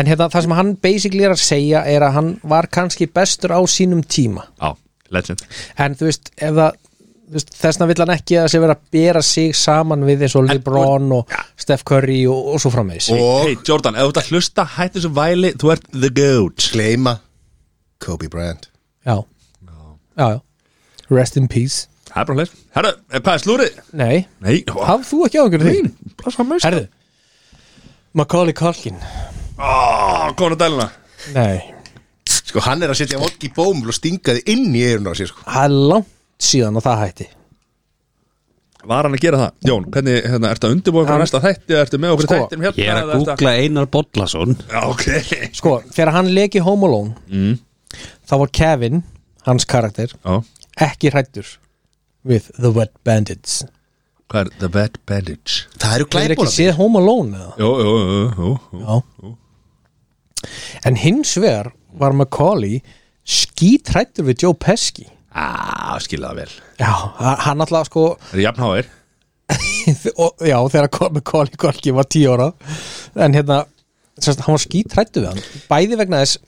Speaker 4: en hérna, það sem hann basically er að segja er að hann var kannski bestur á sínum tíma
Speaker 2: Já, legend
Speaker 4: en þú veist, ef það þú veist, þessna vill hann ekki að sé vera að bera sig saman við eins og LeBron og Steph Curry og, og svo framvegis
Speaker 3: Og-
Speaker 2: Hei, Jordan, ef þú ert að hlusta, hættu þessu væli Þú ert the goat
Speaker 3: gleyma Kobe Bryant
Speaker 4: já. já, já, rest in peace
Speaker 2: Það er bara hlæs Herra, eh, hvað er slúrið?
Speaker 4: Nei,
Speaker 2: Nei, ó,
Speaker 4: hafðu þú ekki áhengjur því?
Speaker 2: blasa mæs
Speaker 4: Herðu Macaulay Culkin
Speaker 2: Ah, Kona dæluna
Speaker 4: Nei,
Speaker 3: Sko hann er að setja vodki í bómul og stinga þið inn í eirun á sér sko
Speaker 4: það er langt síðan og það hætti
Speaker 2: Var hann að gera það? Jón, hvernig, hérna, ertu að undirbúa fyrir næsta þætti Ertu með okkur
Speaker 4: Sko,
Speaker 2: þættinum hérna
Speaker 1: ég er að
Speaker 2: eða ertu
Speaker 1: googla Einar Bollason
Speaker 2: Já, ok
Speaker 4: Sko, þegar hann leki Home Alone þá var Kevin, hans karakter
Speaker 2: Já,
Speaker 4: ekki hrættur við The Wet Bandits
Speaker 2: hvað er The Bad Bandage?
Speaker 3: Það eru
Speaker 4: Það er ekki
Speaker 3: glæbólar
Speaker 4: séð Home Alone eða?
Speaker 2: Jó, jó, jó, jó, jó.
Speaker 4: Já En hins vegar var Macaulay skítrættur við Joe Pesci
Speaker 2: Á, skilja það Ah, vel
Speaker 4: Já, hann alltaf sko
Speaker 2: Það er jafnháir
Speaker 4: og, já, þegar kom með Colin Colkin var 10 ára en hérna, sérst, hann var skítrættu við hann bæði vegna þess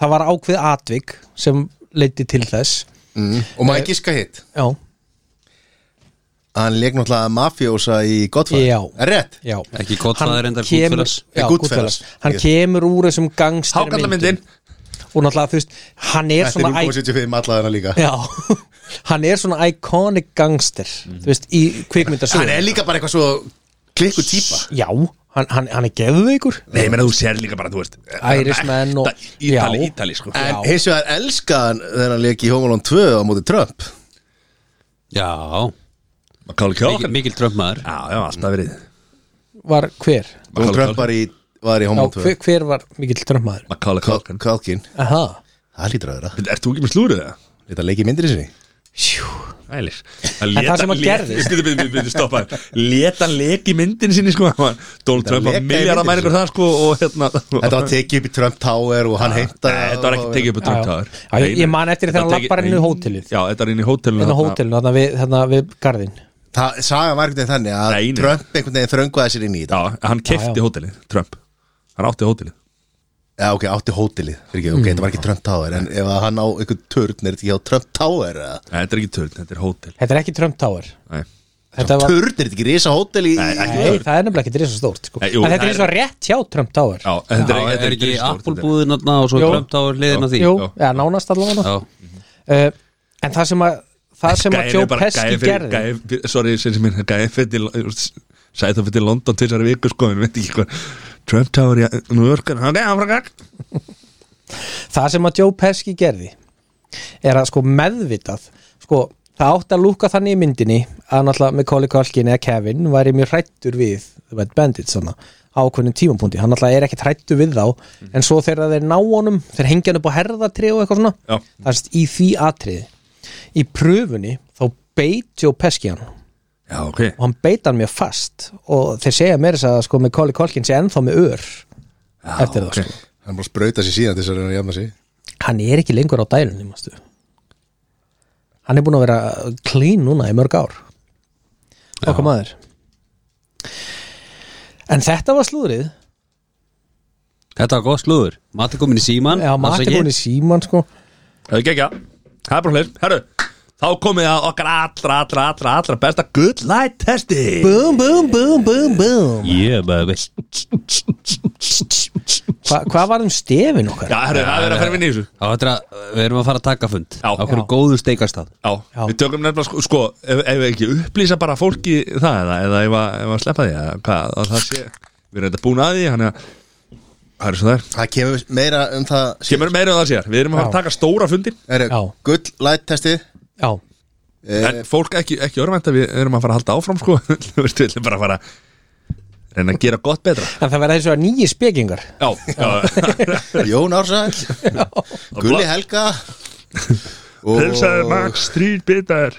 Speaker 4: það var ákveð atvik sem leiti til þess
Speaker 3: mm. Og maður ekki skal hitt
Speaker 4: já,
Speaker 3: Hann leik náttúrulega mafjósa í
Speaker 4: Já.
Speaker 3: Godfather Er rétt?
Speaker 4: já
Speaker 1: Ekki Godfather,
Speaker 4: Hann
Speaker 1: reyndar
Speaker 4: kemur-
Speaker 1: Goodfellas.
Speaker 4: já,
Speaker 3: Goodfellas.
Speaker 4: Goodfellas. hann kemur úr þessum gangstermyndum
Speaker 2: Hákallamyndin
Speaker 4: og náttúrulega þú veist hann er
Speaker 3: Þetta er
Speaker 4: svona
Speaker 3: 0.75 allaðina líka
Speaker 4: Já, hann er svona iconic gangster þú veist, í kvikmyndasögu
Speaker 3: Hann er líka bara eitthvað svo klikku típa
Speaker 4: Já, hann, hann, hann er geðveikur
Speaker 2: Nei, menn að þú sér líka bara, þú veist eh,
Speaker 4: Ærismenn og-
Speaker 2: Ekta Ítali,
Speaker 4: Já.
Speaker 2: Ítali, sko
Speaker 3: En hins vegar elskaðan þegar hann leik í Homalón 2 á móti Trump
Speaker 1: Já,
Speaker 2: Macaulay
Speaker 1: mikil,
Speaker 2: Culkin
Speaker 1: mikil trömmar
Speaker 2: Já, já, alltaf verið
Speaker 4: Var hver?
Speaker 3: Donald Trump var í, var í
Speaker 4: Já,
Speaker 3: Homalón 2
Speaker 4: hver, hver var mikill drömmmaður?
Speaker 2: Macaulay
Speaker 3: Kal-
Speaker 2: Culkin
Speaker 3: Kalkin,
Speaker 4: Aha
Speaker 3: það lítur að vera
Speaker 2: Ert þú ekki með slúrið það?
Speaker 3: Þetta leik í myndir í sinni
Speaker 4: Sjú
Speaker 2: Ælis
Speaker 4: En það sem að gerðist-
Speaker 2: Býtu, býtu, býtu, stoppa Leta lek í myndin sinni, sko Donald Trump var
Speaker 3: leka í
Speaker 2: miljardar
Speaker 3: myndinni
Speaker 2: mæningur það, sko Og hérna Ah,
Speaker 3: Þetta var tekið upp í Trump Tower og hann heimta
Speaker 2: Nei, þetta var ekki tekið upp á Trump
Speaker 4: Já, já.
Speaker 2: Tower
Speaker 4: Já, ég- ég man eftir þegar hann
Speaker 2: Þetta var
Speaker 4: labbar inn í
Speaker 2: tekið-
Speaker 4: hótelið.
Speaker 2: Já, þetta var inn í hótelinu
Speaker 4: Þannig á
Speaker 2: þarna.
Speaker 4: Hérna hótelinu, þarna við, þarna við garðin
Speaker 3: Það saga var einhvern veginn þannig að
Speaker 2: Nei, nei.
Speaker 3: Trump einhvern veginn þrönguði sér inn í þetta
Speaker 2: Já, hann
Speaker 4: Já,
Speaker 2: kefti
Speaker 4: já.
Speaker 2: hótelið, Trump Hann átti hótelið
Speaker 3: Já, ok, átti hótelið Fyrir ekki, ok,
Speaker 2: Mm.
Speaker 3: þetta var ekki Trump Tower En ef að hann á einhvern törn er þetta ekki á Trump Tower eða?
Speaker 2: Nei, þetta er ekki törn, þetta er hótel
Speaker 4: Þetta er ekki Trump Tower
Speaker 2: Nei,
Speaker 4: Þetta var,
Speaker 3: Törn er þetta ekki risa hótel í
Speaker 2: Nei, ekki
Speaker 4: nei,
Speaker 2: törn
Speaker 4: það er nefnilega ekki risa stórt sko.
Speaker 2: Nei, jú,
Speaker 4: En þetta
Speaker 2: það
Speaker 4: er
Speaker 2: er-
Speaker 4: eins og rétt hjá Trump Tower
Speaker 2: Já, en þetta
Speaker 1: Já,
Speaker 2: þetta
Speaker 1: er ekki
Speaker 2: stórt, þetta er-
Speaker 1: Apple-búðin og svo
Speaker 4: Jú.
Speaker 1: trömt á hliðin á því
Speaker 4: Jú,
Speaker 2: já.
Speaker 4: já, nánast allavega
Speaker 1: Já,
Speaker 4: uh, En það sem að það sem að
Speaker 2: Gæinn
Speaker 4: Joe
Speaker 2: er bara-
Speaker 4: Pesci
Speaker 2: gæinn fyrir-
Speaker 4: gerði
Speaker 2: gæinn fyrir- Sorry, sem sem minn, gæði fyrir Sæði það fyrir London til þessari viku sko En veit ekki hvað Trump Tower í New York Nei, hann er frá gang
Speaker 4: Það sem að Joe Pesci gerði er að sko meðvitað sko, það átti að lúka þannig í myndinni að náttúrulega Macaulay Culkin eða Kevin væri mjög hrættur við The Bad Bandits svona, á ákveðnum tímapunkti hann náttúrulega er ekkert hrættur við þá
Speaker 2: Mm.
Speaker 4: en svo þegar þeir ná honum, þeir hengja hann upp á herðatri og eitthvað svona,
Speaker 2: Já.
Speaker 4: það er sérst í því atriði í pröfunni þá beit Joe Pesci hann
Speaker 2: Já, ok
Speaker 4: og hann beit hann mjög fast og þeir segja mér þess að sko Macaulay Culkin sé ennþá með ör eftir það
Speaker 2: ok.
Speaker 4: sko
Speaker 3: Hann bara sprauta sér síðan til þess að hann jafna sér
Speaker 4: hann er ekki lengur á dælunni mástu. hann er búin að vera clean núna í mörg ár okkar maður en þetta var slúðrið
Speaker 1: þetta var góð slúður Mati komin í síman
Speaker 4: já, maður er búin í síman sko
Speaker 2: Það er ekki ekki Það er bara hlir Herru, þá komið að okkar allra, allra, allra, allra besta Good Light testi
Speaker 4: búm, búm, búm, búm, búm
Speaker 1: Yeah, baby
Speaker 4: Hva, hvað var um stefin okkar?
Speaker 2: Já, herru, það er að ferja minn í þessu
Speaker 1: Já, þetta er að, við erum að fara að taka fund
Speaker 2: Já.
Speaker 1: Á hverju
Speaker 4: Já.
Speaker 1: góðu steikastað
Speaker 2: Já,
Speaker 4: Já.
Speaker 2: við tökum nefnilega sko, sko ef, ef við ekki upplýsa bara fólki það eða, eða ef, að, ef að sleppa því eða hvað, að það sé, við erum þetta búin að því þannig að, það er svo það er
Speaker 3: Það kemur meira um það síðar.
Speaker 2: kemur meira um það sér, við erum að fara að
Speaker 4: Já.
Speaker 2: taka stóra fundi
Speaker 3: Heyrðu,
Speaker 4: Já.
Speaker 3: Gull light testið
Speaker 4: já,
Speaker 3: Eh.
Speaker 2: en fólk ekki, ekki örvænt að við erum að fara að halda áfram sko, Þú veist, við erum bara að fara að reyna að gera gott betra
Speaker 4: en það verða eins og að nýji spekingar
Speaker 2: Já, já,
Speaker 3: Jón Ársæk Gulli Helga
Speaker 2: hilsaði Max Street bitar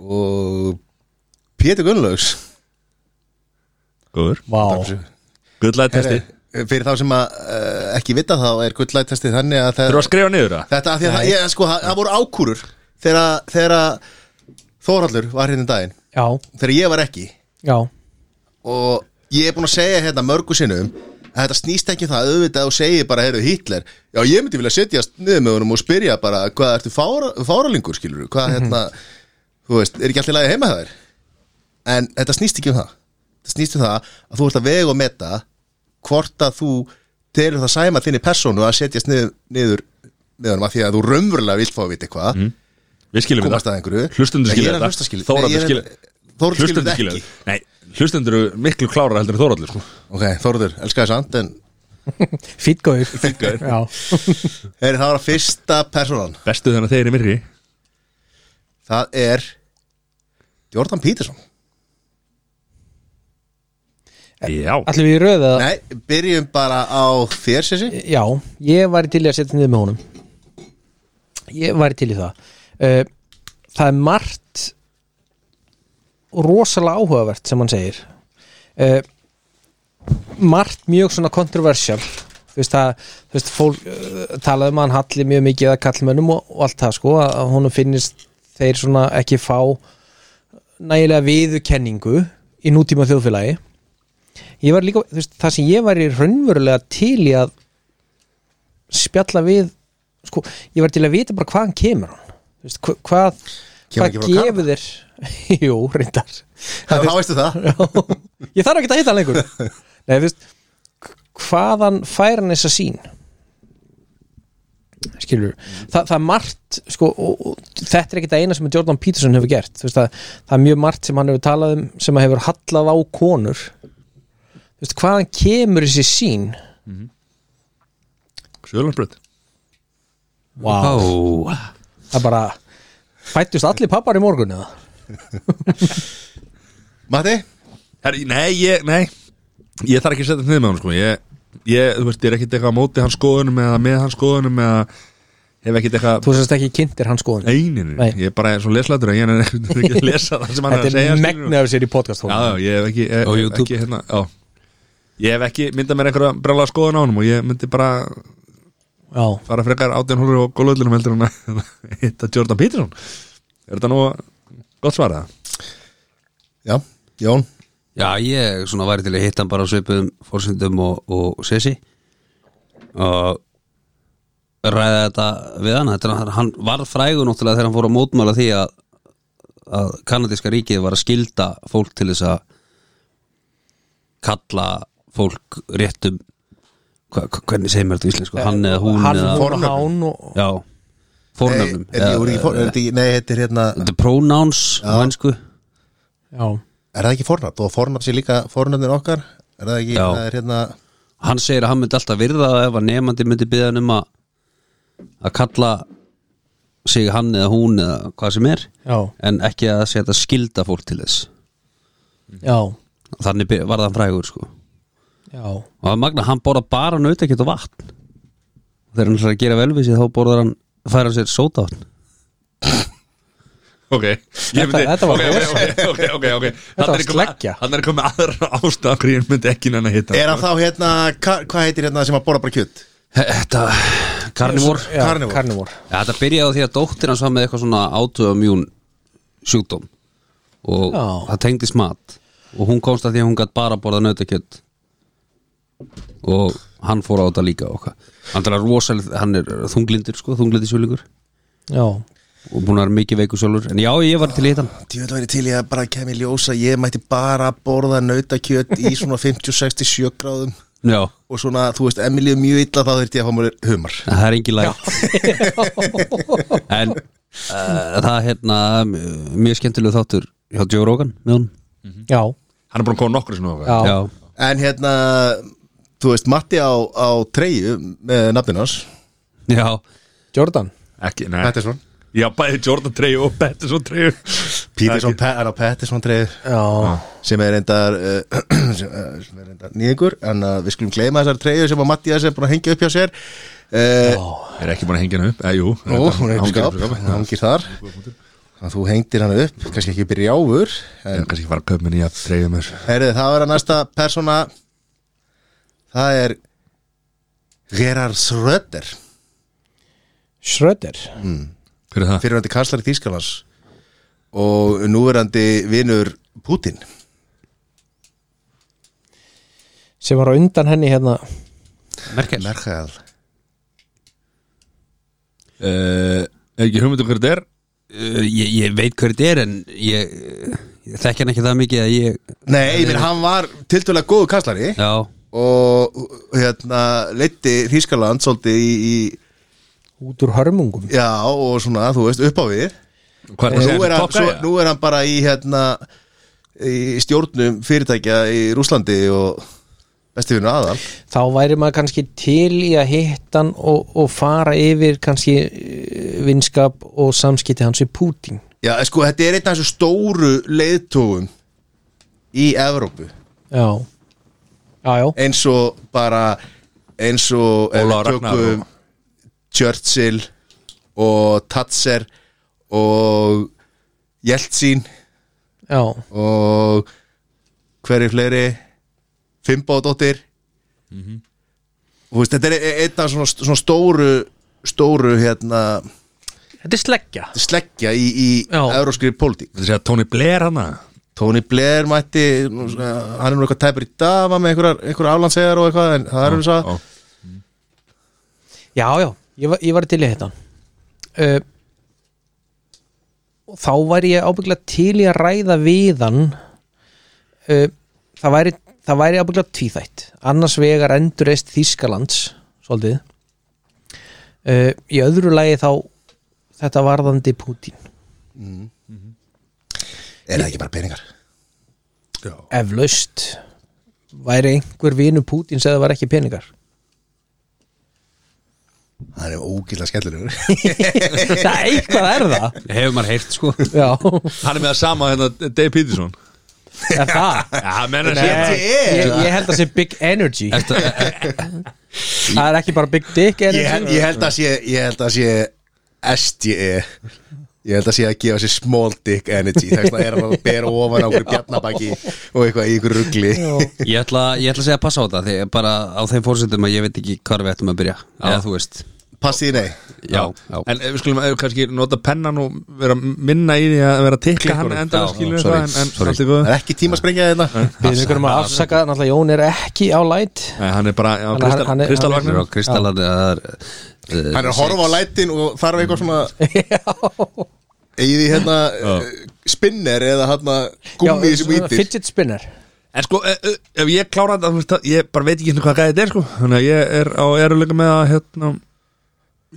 Speaker 3: og Pétur Gunnlaugs
Speaker 2: Góður,
Speaker 4: Vá,
Speaker 2: good light testi
Speaker 3: Fyrir þá sem að uh, ekki vita þá er gull light testið þannig að það,
Speaker 2: Þurfa að skrifa niður það?
Speaker 3: þetta af því að það, ég, sko, það, það voru ákúrur þegar, að- þegar að Þórhallur var hérna um daginn
Speaker 4: já,
Speaker 3: þegar ég var ekki
Speaker 4: já
Speaker 3: og ég er búin að segja hérna mörgu sinnum að þetta snýst ekki um það auðvitað og segir bara, heyrðu Hitler já ég myndi vilja setjast niður með honum og spyrja bara hvað ertu fára, fáralingur skilur
Speaker 2: Mhm.
Speaker 3: hvað hérna, þú veist, er ekki allir lagi heima hjá þér en þetta snýst ekki um það þetta snýst um það að þú ert að vega og meta hvort að þú telur það sæma þinni persónu að setjast niður, niður með honum að því að þú raunverulega vilt fá að vita eitthvað
Speaker 2: Við skiljum
Speaker 3: komast að einhverju
Speaker 2: Hlustundur
Speaker 3: Nei, ég
Speaker 2: Mhm.
Speaker 3: er
Speaker 2: skilja
Speaker 3: að hlusta,
Speaker 2: þetta
Speaker 3: skilur. Nei,
Speaker 2: Þóraldur
Speaker 3: ég er-
Speaker 2: skilja
Speaker 3: Þórhallur skilur
Speaker 2: Hlustundur
Speaker 3: þetta
Speaker 2: skilja
Speaker 3: ekki
Speaker 2: Nei, hlustundur eru miklu klárar heldur en Þóraldur sko.
Speaker 3: ok, Þórður, elskar þess and en
Speaker 4: fýtgauður
Speaker 3: Fínn
Speaker 4: já,
Speaker 3: Heyri, það var að fyrsta persónan
Speaker 2: Bestu þannig að þeir eru myrri
Speaker 3: Það er Jordan Peterson
Speaker 2: Já
Speaker 4: allir við í röðu að
Speaker 3: Nei, byrjum bara á þér Sessi
Speaker 4: Já, ég væri til í að setja niður með honum Ég væri til í það uh, Það er margt rosalega áhugavert sem hann segir uh, Margt mjög svona kontroversial Þú veist það, þú veist, fólk uh, talaði um að hann halli mjög mikið að kallmönnum og, og allt það sko að, að honum finnist þeir svona ekki fá nægilega viðurkenningu í nútíma þjóðfélagi ég var líka, þú veist, það sem ég var í raunverulega til í að spjalla við sko, ég var til að vita bara hvaðan kemur hann þú veist, hva, hvað
Speaker 3: Kemur
Speaker 4: hvað
Speaker 3: ekki frá
Speaker 4: gefur þér jú, reyndar
Speaker 3: Það þá veistu það
Speaker 4: ég þarf ekki að hitta hann lengur Nei, þú veist, hvaðan fær hann þessa sín skilur
Speaker 2: Mm.
Speaker 4: Þa, það er margt sko, og, og, þetta er ekki það eina sem Jordan Peterson hefur gert Þú veist, það, það er mjög margt sem hann hefur talað um sem að hefur hallað á konur Þú veist, hvaðan kemur þessi sín
Speaker 2: Sjölandsbröð
Speaker 1: Ó,
Speaker 4: wow. það er bara fættust allir pappar í morgun eða
Speaker 3: Matti?
Speaker 2: Herri, nei, ég, nei Ég þarf ekki að setja þetta niður með hann sko Ég, ég þú veist, ég er ekkit eitthvað á móti hans skoðunum eða með hans skoðunum eða hef ekkit eitthvað
Speaker 4: þú sérst ekki kynntir hans skoðun
Speaker 2: eininu,
Speaker 4: Nei.
Speaker 2: ég er bara svona leslætur ég er ekkert ekki að lesa það sem hann er að
Speaker 4: þetta
Speaker 2: segja
Speaker 4: er
Speaker 2: skilurðu.
Speaker 4: megnið af sér í podcast
Speaker 2: já, já, ég hef ekki, ég,
Speaker 1: Á
Speaker 2: hef
Speaker 1: YouTube.
Speaker 2: ekki hérna, já. ég hef ekki myndað mér einhverja brjála skoðun á honum og ég myndi bara
Speaker 4: já,
Speaker 2: fara frekar átján hólur og gólöðlunum heldur en að hitta Jordan Peterson er þetta nú gott svara?
Speaker 3: Já, Jón
Speaker 1: Já, ég svona væri til að hitta hann bara á svipum fórsendum og, og sessi og ræða þetta við hann þetta, er- hann var frægur náttúrulega þegar hann fór að mótmála því að, að kanadíska ríkið var að skilda fólk til þess að kalla fólk réttum hva, hva- hvernig segir mér þetta á íslensku hann eða hún
Speaker 4: Eh, hann
Speaker 1: eða,
Speaker 4: og hán og
Speaker 1: já, Eh, fórnöfnum
Speaker 3: Nei, Eh, er þetta í- voru ekki fornöfn? Er þetta í- Nei, þetta er hérna
Speaker 1: þetta er pronouns á hansku
Speaker 4: já,
Speaker 3: Er það ekki fornafn? Og fornafn sé líka fornafnin okkar Er það ekki,
Speaker 1: Já.
Speaker 3: það er hérna
Speaker 1: hann segir að hann myndi alltaf virða það ef að nefandi myndi byggja hann um að að kalla sig hann eða hún eða hvað sem er
Speaker 4: já,
Speaker 1: en ekki að setja skilda fólk til þess
Speaker 4: já,
Speaker 2: Mm.
Speaker 1: og þannig by- varð hann frægur sko og
Speaker 4: já.
Speaker 1: það er magna, hann borða bara nautakjöt og vatn og þegar hann ætlar að gera vel við sig þá borðar hann fær hann sér sótavatn
Speaker 2: ok, ég
Speaker 4: Þetta- þetta var
Speaker 2: ok,
Speaker 4: rosa.
Speaker 2: ok, ok, ok, ok
Speaker 4: var
Speaker 2: Þarna er komið-
Speaker 4: sleggja.
Speaker 2: þarna er komið aðra ástaf hverju ég myndi ekki nenni að hitta
Speaker 3: Er það þá hérna, hva- hvað heitir hérna sem að borða bara kjöt?
Speaker 1: þetta, karnivor
Speaker 4: Já,
Speaker 3: Carnivore.
Speaker 4: Carnivore.
Speaker 1: Já, þetta byrjaði á því að dóttir hans var með eitthvað svona autoimmune sjúkdóm og
Speaker 4: Já.
Speaker 1: það tengdist mat og hún komst að því að hún gætt bara að borða nautakjöt og hann fór á þetta líka og hvað hann er rosalega, hann er þunglindur sko, þunglindisjúlingur
Speaker 4: já,
Speaker 1: og búin að vera mikið veiku sjálfur en já, ég var til í hittan
Speaker 3: Djöðu væri til ég að bara kemja ljósa Ég mætti bara borða nautakjöt í svona 50-67 gráðum
Speaker 1: Já,
Speaker 3: Og svona, þú veist, Emilíu mjög illa þá þurfti ég að fá mér humar
Speaker 1: en það er engin lægt en uh, það hérna mjög- mjög skemmtileg þáttur hjá Joe Rogan með hún
Speaker 4: já,
Speaker 2: hann er búin að koma nokkru sinni á það
Speaker 4: já, já.
Speaker 1: Já,
Speaker 3: En hérna, þú veist, Matti á, á treyju með nafninu hans
Speaker 1: já,
Speaker 4: Jordan
Speaker 2: ekki, nei
Speaker 3: Pettersson
Speaker 2: já, bæði Jordan 3 og Pettersson 3
Speaker 3: Peterson, Pe er á Pettersson treyju
Speaker 4: já,
Speaker 3: sem er reyndar, uh, sem, uh, sem er reyndar nýðingur en uh, við skulum gleyma þessar treyju sem að Mattias er búin að hengja upp hjá sér uh,
Speaker 2: er ekki búin að hengja hann upp, eða jú
Speaker 3: Nú, hún er upp í
Speaker 2: hangir
Speaker 3: skáp, hún hangir þar Þannig að þú hengdir hann upp, kannski ekki byrja áfur
Speaker 2: Ég er kannski fara að kaupa mér nýja treyjum mér
Speaker 3: Herðu, það er að næsta persóna Það er Gerard Schröder
Speaker 4: Schröder
Speaker 2: Hver er það?
Speaker 3: fyrirverandi kanslari Þýskalands og núverandi vinur Putin
Speaker 4: sem var á undan henni hérna
Speaker 1: Merkel
Speaker 3: Merkel
Speaker 2: Uh, ekki hugmyndum hver þetta er
Speaker 1: Uh, ég, ég veit hver þetta er en ég, ég þekk hann ekki það mikið að ég
Speaker 3: Nei, menn hann var tiltölulega góðu kanslari
Speaker 1: já,
Speaker 3: og hérna leitti Þýskaland svolítið í, í
Speaker 4: út úr hörmungum
Speaker 3: já og svona þú veist upp á við
Speaker 2: Hvað
Speaker 3: og
Speaker 2: er
Speaker 3: nú er, hann, svo,
Speaker 2: það?
Speaker 3: nú er hann bara í hérna í stjórnum fyrirtækja í Rúslandi og besti vinur aðal
Speaker 4: þá væri maður kannski til í að hitta hann og, og fara yfir kannski eh, vinskap og samskipti hans við Putin
Speaker 3: Já, en sko, þetta er einn af þessu stóru leiðtógum í Evrópu
Speaker 4: já, já, já,
Speaker 3: eins og bara eins og ef við
Speaker 2: Ólafur Ragnar
Speaker 3: tökum Churchill og Tatser og Jeltsin
Speaker 4: já,
Speaker 3: og hverju fleiri Fimboðdóttir Mhm. Þú veist, þetta er e-, einn af svona, svona stóru stóru hérna
Speaker 4: þetta er sleggja
Speaker 3: sleggja í, í
Speaker 4: Já.
Speaker 3: euróskri pólitík
Speaker 2: Þetta segja Tony Blair hana
Speaker 3: Tony Blair mætti nú, svona, hann er nú eitthvað tæpur í dag var með einhverjar einhverjar aflandsegar og eitthvað en það er um það
Speaker 2: Ó,
Speaker 4: já, já, ég var, ég var til í að hitta hann uh, og þá væri ég ábyggla til í að ræða við hann uh, það væri það væri ábyggla tvíþætt annars vegar endurreist Þýskalands svolítið uh, í öðru lagi þá þetta varðandi Putin
Speaker 3: Er það ekki bara peningar?
Speaker 2: Já.
Speaker 4: eflaust væri einhver vinu Pútín sem það var ekki peningar
Speaker 3: Það er ógíslega skemmtilegur
Speaker 4: það eitthvað er það
Speaker 1: Hefur maður heyrt sko
Speaker 4: já,
Speaker 2: Hann er með það sama hérna Dave Peterson
Speaker 4: er það
Speaker 2: Já, menn að
Speaker 4: Nei, ég, ég held að sé big energy
Speaker 1: eh,
Speaker 4: það er ekki bara big dick
Speaker 3: ég, hel-
Speaker 4: energy
Speaker 3: ég held að sé Ég held að sé SDE Ég held að sé að gefa sér small dick energy Þess vegna er hann að bera ofan á okkur bjarnabaki og eitthvað í ykkur rugli
Speaker 1: Ég ætla, ég ætla að segja að passa á þetta Þegar bara á þeim fórsendum að ég veit ekki hvar við ættum að byrja Já, þú veist
Speaker 3: Passið nei
Speaker 1: Já, já.
Speaker 2: En við skulum eh, kannski nota pennan og vera minna í því að vera að tikka hann
Speaker 3: Klikkunum.
Speaker 2: enda
Speaker 1: Já,
Speaker 2: skilur
Speaker 1: sorry,
Speaker 2: það en, en
Speaker 1: sorry.
Speaker 2: allt í góðu
Speaker 3: Það er ekki hérna. tíma að sprengja þetta
Speaker 4: við erum að afsaka, náttúrulega Jón er ekki á light
Speaker 2: Nei, hann er bara, já,
Speaker 4: Hann-
Speaker 2: Kristal,
Speaker 4: hann er-
Speaker 2: Kristal
Speaker 1: Hann er
Speaker 4: hann er-
Speaker 2: Vagnar
Speaker 1: á Kristallan
Speaker 3: Hann
Speaker 1: Hann
Speaker 3: er að horfa á lætin og þarf eitthvað svona Egið í hérna eh, spinner eða hérna gummi sem
Speaker 4: svona
Speaker 3: ítir
Speaker 4: fidget spinner
Speaker 2: En sko, eh, eh, ef ég klára þetta, þú veist það, ég bara veit ekki hérna hvað gæði þetta er sko Þannig að ég er á erulega með að, hérna,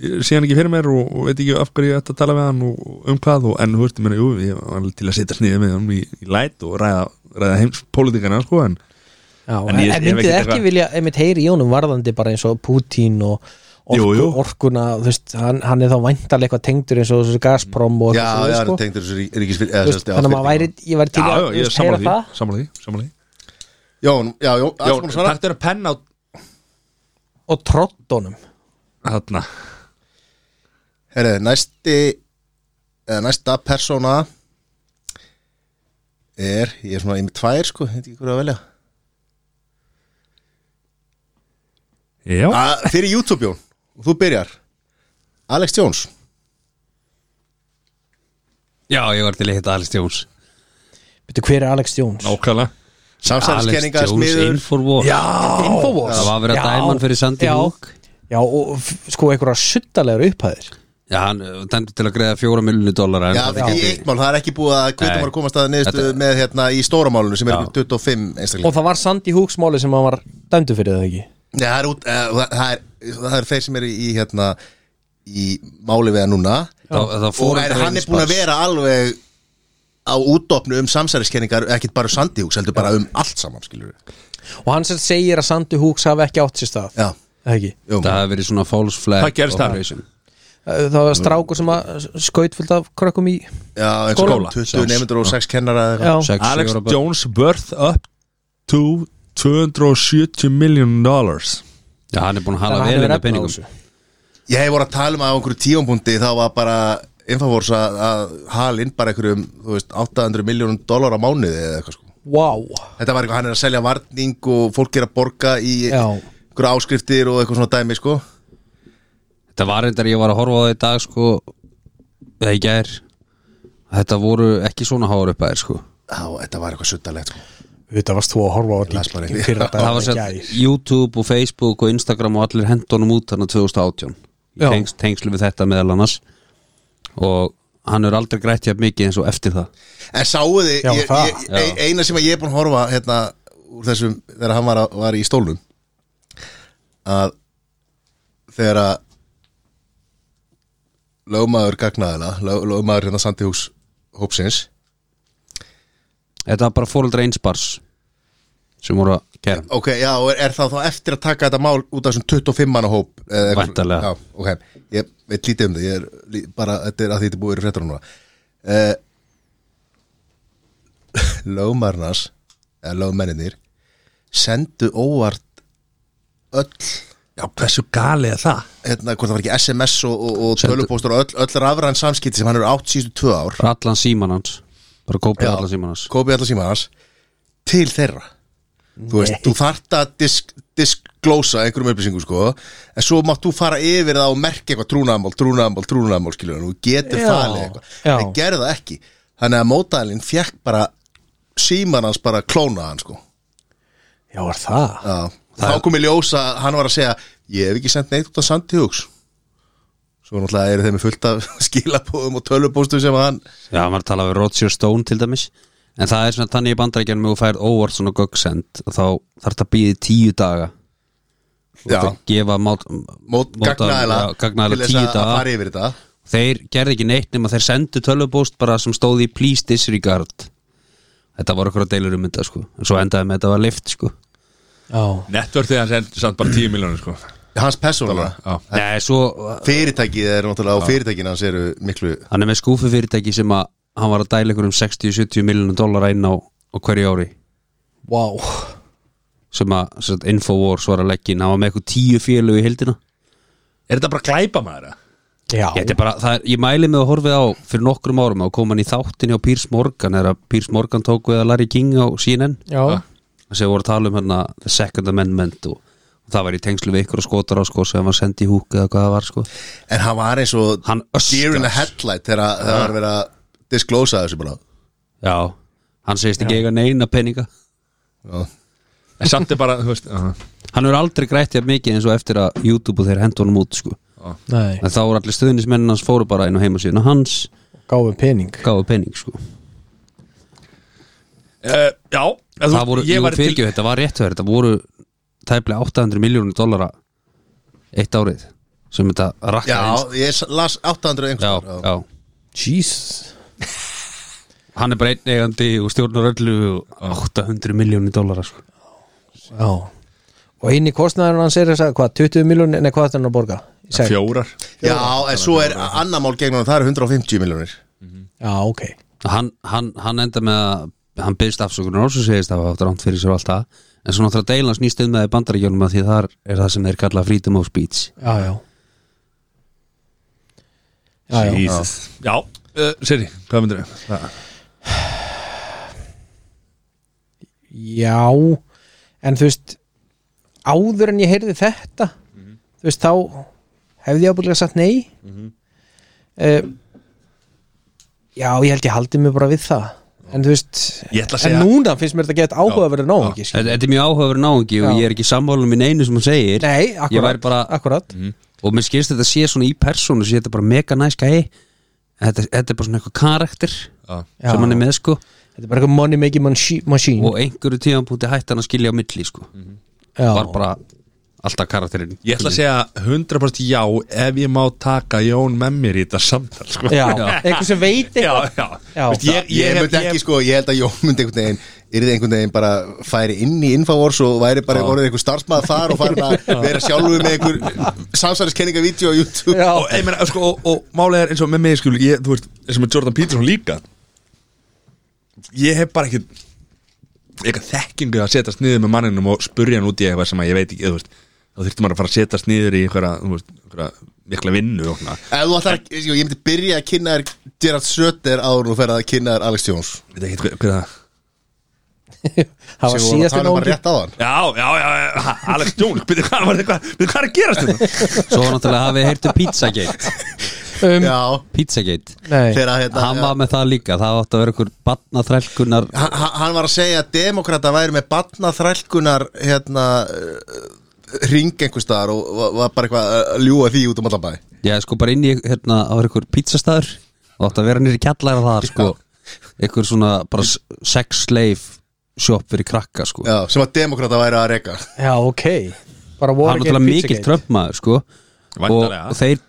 Speaker 2: ég sé hann ekki fyrir mér og, og veit ekki af hverju ég ætti að tala við hann og og um hvað og, En þú veist, ég meina, jú, ég var alveg til að setja nýðið með hann í, í læt og ræða, ræða heimspólitíkana sko En
Speaker 4: já,
Speaker 2: En ég-
Speaker 4: en, en
Speaker 2: ég hef
Speaker 4: myndið
Speaker 2: ekkert
Speaker 4: ekki
Speaker 2: eitthvað-
Speaker 4: vilja einmitt heyri í Jónum varðandi bara eins og Putin og orku,
Speaker 2: Jú, jú.
Speaker 4: orkuna þú veist, hann, hann er þá væntalega eitthvað tengdur eins og þessu Gazprom og
Speaker 3: Já,
Speaker 4: eitthvað
Speaker 3: já,
Speaker 4: svoleiðis,
Speaker 3: það
Speaker 4: sko.
Speaker 3: er tengdur þessu ríkisfyr
Speaker 4: Þú veist, þannig að maður væri, ég væri til
Speaker 2: já,
Speaker 4: að
Speaker 2: já,
Speaker 4: þú
Speaker 2: ég er
Speaker 4: veist, heyra
Speaker 2: sammála því,
Speaker 4: það
Speaker 2: sammála því, sammála því
Speaker 3: Jón, já, Jón, alls konar
Speaker 2: Jón,
Speaker 3: svara
Speaker 2: takk þér að penna á
Speaker 4: og trottonum
Speaker 2: Þarna
Speaker 3: Herri, næsti eða næsta persóna er ég er svona í með tvær sko, þetta er ekki hverju að velja
Speaker 2: Já
Speaker 3: A, Ah, Fyrir YouTube Jón, og þú byrjar Alex Jones
Speaker 1: Já, ég var til að hitta Alex Jones
Speaker 4: Veitu hver er Alex Jones?
Speaker 2: Nákvæmlega
Speaker 1: Alex
Speaker 3: samsæðiskenninga
Speaker 1: Jones
Speaker 3: smiður
Speaker 1: Infowar
Speaker 2: Já
Speaker 4: Infowars
Speaker 1: Það var að vera
Speaker 4: Já.
Speaker 1: dæman fyrir Sandy
Speaker 4: Já.
Speaker 1: Hook
Speaker 4: Já, og f- sko einhverja suttalegar upphæðir
Speaker 1: Já, hann dæmdi til að greiða fjóra miljonu dólar
Speaker 3: Já, það er ekki í eitt mál, það er ekki búið að
Speaker 1: Nei.
Speaker 3: kvita maður að komast að niðurstu
Speaker 1: Þetta-
Speaker 3: með hérna í stóramálunum sem er
Speaker 1: Já.
Speaker 3: 25
Speaker 4: Og
Speaker 3: einstaklega
Speaker 4: það var Sandy Hooks máli sem hann var dæmdu fyrir það ekki
Speaker 3: Nei, það er, út, uh, það, er, það er þeir sem eru í hérna í máli við hann núna og er, hann er búin að vera alveg á útdopnu um samsæðiskenningar ekkit bara um sandihús, heldur bara um allt saman skilur við
Speaker 4: Og hann sem segir að Sandy Hooks hafi ekki átt sér stað
Speaker 3: Já,
Speaker 4: Eða ekki
Speaker 3: jú,
Speaker 1: Það hefði verið svona false flag
Speaker 2: Það gerist það.
Speaker 1: operation.
Speaker 4: Eh, Það var strákur sem að skaut fullt af krökkum í
Speaker 3: já, eins og
Speaker 2: skóla.
Speaker 3: 20 nefndur og 6 kennara eða eitthvað.
Speaker 4: Já,
Speaker 1: Sex
Speaker 2: Alex
Speaker 1: ára börn.
Speaker 2: Jones worth up to 270 million dollars
Speaker 1: Já, hann er búin að
Speaker 4: Þannig
Speaker 1: hala
Speaker 4: að
Speaker 1: vel
Speaker 4: hann hefur
Speaker 1: með
Speaker 4: efni á
Speaker 1: peningum
Speaker 4: þessu.
Speaker 3: Ég hef voru að tala um að á einhverju tíumbúndi þá var bara Infowars að, að halinn bara einhverjum þú veist, 800 miljónum dólar á mánuði eða eitthvað sko
Speaker 4: Wow
Speaker 3: Þetta var eitthvað, hann er að selja varning og fólk er að borga í
Speaker 4: Já.
Speaker 3: einhverju áskriftir og eitthvað svona dæmi sko
Speaker 1: Þetta var reyndar ég var að horfa á það í dag sko eða í gær Þetta voru ekki svona háar uppæðir sko
Speaker 3: Já, þetta var eitthvað suttalegt sko
Speaker 4: Þetta varst þú að horfa á
Speaker 3: las bara
Speaker 4: líkin
Speaker 3: ekki.
Speaker 4: fyrir
Speaker 1: Það var
Speaker 4: þetta
Speaker 1: sett YouTube og Facebook og Instagram og allir hendunum út hann 2018
Speaker 4: Já.
Speaker 1: í tengs, tengslu við þetta meðal annars og hann er aldrei grætt hjá mikið eins og eftir það
Speaker 3: En sáu þið,
Speaker 4: Já,
Speaker 3: ég,
Speaker 4: það.
Speaker 3: ég, ein- eina sem að ég er búin að horfa hérna úr þessum, þegar hann var, að, var í stólnum að þegar að lögmaður gagnaðina, lög, lögmaður hérna Sandihús hópsins
Speaker 1: Þetta var bara fóreldra einspars sem voru að kæra
Speaker 3: Ok, já, og er, er það þá eftir að taka þetta mál út af þessum 25 manna hóp eða eitthvað-
Speaker 1: Væntanlega.
Speaker 3: Já, ok, ég veit lítið um það ég er lí- bara, þetta er að því þetta er búið í fréttur núna uh, Lögmarnas eða lögmenninir sendu óvart öll,
Speaker 2: Já, hversu gali er það?
Speaker 3: hérna, hvort það var ekki SMS og, og, og
Speaker 1: Sendu-
Speaker 3: tölupóstur og öll, öll rafræn samskipti sem hann eru átt síðustu tvö ár
Speaker 1: Allan síman hans bara kópið allan síman hans
Speaker 3: kópið alla síma hans til þeirra þú veist, þú þart að disk, disklósa einhverjum upplýsingum sko en svo mátt þú fara yfir það og merka eitthvað trúnaðamál, trúnaðamál, trúnaðamál skilur en þú getur
Speaker 4: Já,
Speaker 3: falið eitthvað
Speaker 4: já.
Speaker 3: en gerði það ekki, þannig að mótælinn fjekk bara síman hans bara klóna hann sko
Speaker 4: Já, var það
Speaker 3: Já. þá kom í ljós að hann var að segja ég hef ekki sendt neitt út af Sandhjóks svo náttúrulega eru þeim fullt af skilabóðum og tölvupóstum sem hann
Speaker 1: Já, maður talaði við Roger Stone til dæmis En það er svona þannig í bandarækjanum og færð óvart svona göggsend og þá þarf það að býði tíu daga Þú ert að gefa mát,
Speaker 3: mót
Speaker 1: móta-
Speaker 3: gagnaðila
Speaker 1: já, gagnaðila
Speaker 3: til
Speaker 1: tíu
Speaker 3: þess að- að
Speaker 1: daga
Speaker 3: fara yfir þetta
Speaker 1: þeir gerði ekki neitt nema þeir sendu tölvupóst bara sem stóði í please disregard þetta var okkur að deilur um þetta sko en svo endaði með þetta var lift sko
Speaker 4: Já,
Speaker 2: Nettvörðið hans er samt bara 10 miljónir sko
Speaker 3: hans persónulega
Speaker 2: Já.
Speaker 1: Nei, svo
Speaker 3: fyrirtækið er náttúrulega og fyrirtækin hans eru miklu
Speaker 1: hann er með skúfi fyrirtæki sem að hann var að dæla ykkur um 60-70 miljonum dólar inn á, á hverju ári
Speaker 4: wow
Speaker 1: sem að sem sagt, Infowars var að leggja inn hann var með eitthvað tíu félög í heldina
Speaker 2: Er þetta bara glæpa maður?
Speaker 4: Já,
Speaker 1: ég, þetta er bara, það er, ég mæli mig að horfið á fyrir nokkrum árum að koma hann í þáttin hjá Piers Morgan er að Piers Morgan tók við að Larry King á CNN
Speaker 4: já.
Speaker 1: sem voru að tala um hérna The Second Amendment og, og það var í tengslu við ykkur og skotar á sko sem var sendið í húk eða hvað það var sko
Speaker 3: en hann var eins og
Speaker 1: Hann
Speaker 3: deer in the
Speaker 1: öskrar.
Speaker 3: headlight þegar að- það var verið að disclosa þessu bara
Speaker 1: já, hann segist ekki eiga neina peninga
Speaker 3: Já.
Speaker 2: En samt er bara, þú veist aha.
Speaker 1: hann hefur aldrei grætt jafn mikið eins og eftir að YouTube og þeir hendur honum út sko
Speaker 4: Nei,
Speaker 1: en þá voru allir stöðnismennin hans fóru bara inn á heimasíðuna hans
Speaker 4: gáfum pening
Speaker 1: gáðu pening sko
Speaker 2: Eh, Já, ef þú-
Speaker 1: það voru,
Speaker 2: ég
Speaker 1: jú
Speaker 2: væri
Speaker 1: fyrirgjöf, þetta var rétt verið þetta voru tæplega 800 miljónir dollara eitt árið sem þetta rakka
Speaker 3: já, ég s- las
Speaker 1: já,
Speaker 3: 800 einhvers staðar,
Speaker 1: já,
Speaker 4: Jesus
Speaker 1: hann er bara einn eigandi og stjórnar öllu og 800 miljónir dollara sko.
Speaker 4: Já Og inn í kostnæður hann segir þess að hvað, 20 miljónir, nei hvað þetta hann að borga? Í sekt?
Speaker 2: Fjórar
Speaker 3: já, en svo er annar mál gegn hann það eru 150 miljónir
Speaker 4: Já, ok
Speaker 1: hann, hann, hann enda með að hann byrst afsökunar og svo segist það var rámt fyrir sér og allt það en svo náttúrulega deilans nýst um það í bandaríkjónum að því þar er það sem þeir kalla freedom of speech
Speaker 4: Já, já Já, já
Speaker 2: Jesus. Já, uh, Siri, hvað myndir við?
Speaker 4: Já, en þú veist áður en ég heyrði þetta þú veist, þá hefði ég ábúinlega sagt nei mm Já, ég held ég haldi mig bara við það en þú veist,
Speaker 2: Ég ætla að
Speaker 4: en
Speaker 2: segja-
Speaker 4: núna finnst mér þetta gett áhugaverið nóg ekki skilur.
Speaker 1: Þetta þetta er mjög áhugaverð náungi og
Speaker 4: Já.
Speaker 1: ég er ekki sammálum minn einu sem hann segir
Speaker 4: Nei, akkurat,
Speaker 1: Ég væri bara-
Speaker 4: akkurat.
Speaker 1: og mér skilst þetta sé svona í persónu sé þetta bara mega næs gæi þetta, þetta er bara svona eitthvað karakter
Speaker 4: Já.
Speaker 1: sem hann er með sko
Speaker 4: Þetta er bara eitthvað money making machi- machine
Speaker 1: og einhverju tíðanbúti hætti hann að skilja á milli sko
Speaker 4: Já,
Speaker 1: var bara alltaf karakterinn
Speaker 2: Ég ætla að segja 100% já ef ég má taka Jón með mér í þetta samtal sko.
Speaker 4: já. eitthvað sem veit
Speaker 2: já, já.
Speaker 4: eitthvað Já.
Speaker 2: Veist,
Speaker 3: ég, myndi ekki sko, ég held að Jón myndi einhvern veginn yrði einhvern veginn bara færi inn í Infowars og væri bara orðið einhver starfsmæð þar og farin að vera sjálfur með einhver samsæðiskenningavídeó á YouTube
Speaker 4: Já.
Speaker 2: og, ég meina, sko, og, og málið er eins og með mig skil, ég, þú veist, eins og með Jordan Peterson líka ég hef bara ekki eitthvað þekkingu að setjast niður með manninum og spurja hann út í eitthvað sem að ég veit ekki þú veist, þá þurftum maður að fara að setjast niður í einhverja, þú veist, einhverja mikla vinnu og svona
Speaker 3: Ef þú ætlar að, ég ég myndi byrja að kynna þér Gerard Sötter áður og ferða að kynna þér Alex Jones
Speaker 2: Ég veit ekki hvað- hvað það
Speaker 4: það var
Speaker 3: Sem við vorum að
Speaker 4: síðast
Speaker 3: tala
Speaker 4: en
Speaker 3: um bara
Speaker 4: óngi
Speaker 3: rétt áðan.
Speaker 2: Já, já, já, já, ha, Alex Jones byrju, hvað, var- hvað, byrju, hvað er að gerast hérna? þetta?
Speaker 1: svo var náttúrulega hafið heyrtu Pizzagate
Speaker 4: um,
Speaker 3: Já,
Speaker 1: Pizzagate,
Speaker 4: Nei,
Speaker 3: þegar að hérna
Speaker 1: hann var með það líka það átti að vera einhver batnaþrælkunar
Speaker 3: hann- hann hann var að segja að demokrata væri með batnaþrælkunar hérna uh, ring einhvers staðar og var- var bara eitthvað að ljúa því út um allan bæ
Speaker 1: já sko bara inn í hérna á einhver pizzastæður og átti að vera nýri kjallara þar sko einhver svona bara s- sex slave shop fyrir krakka sko
Speaker 3: Já, sem að demokrata væri að reka
Speaker 4: já, ok Bara
Speaker 1: hann
Speaker 4: voru
Speaker 1: var náttúrulega mikill trömpmaður sko og,
Speaker 2: Væntanlega.
Speaker 1: og þeir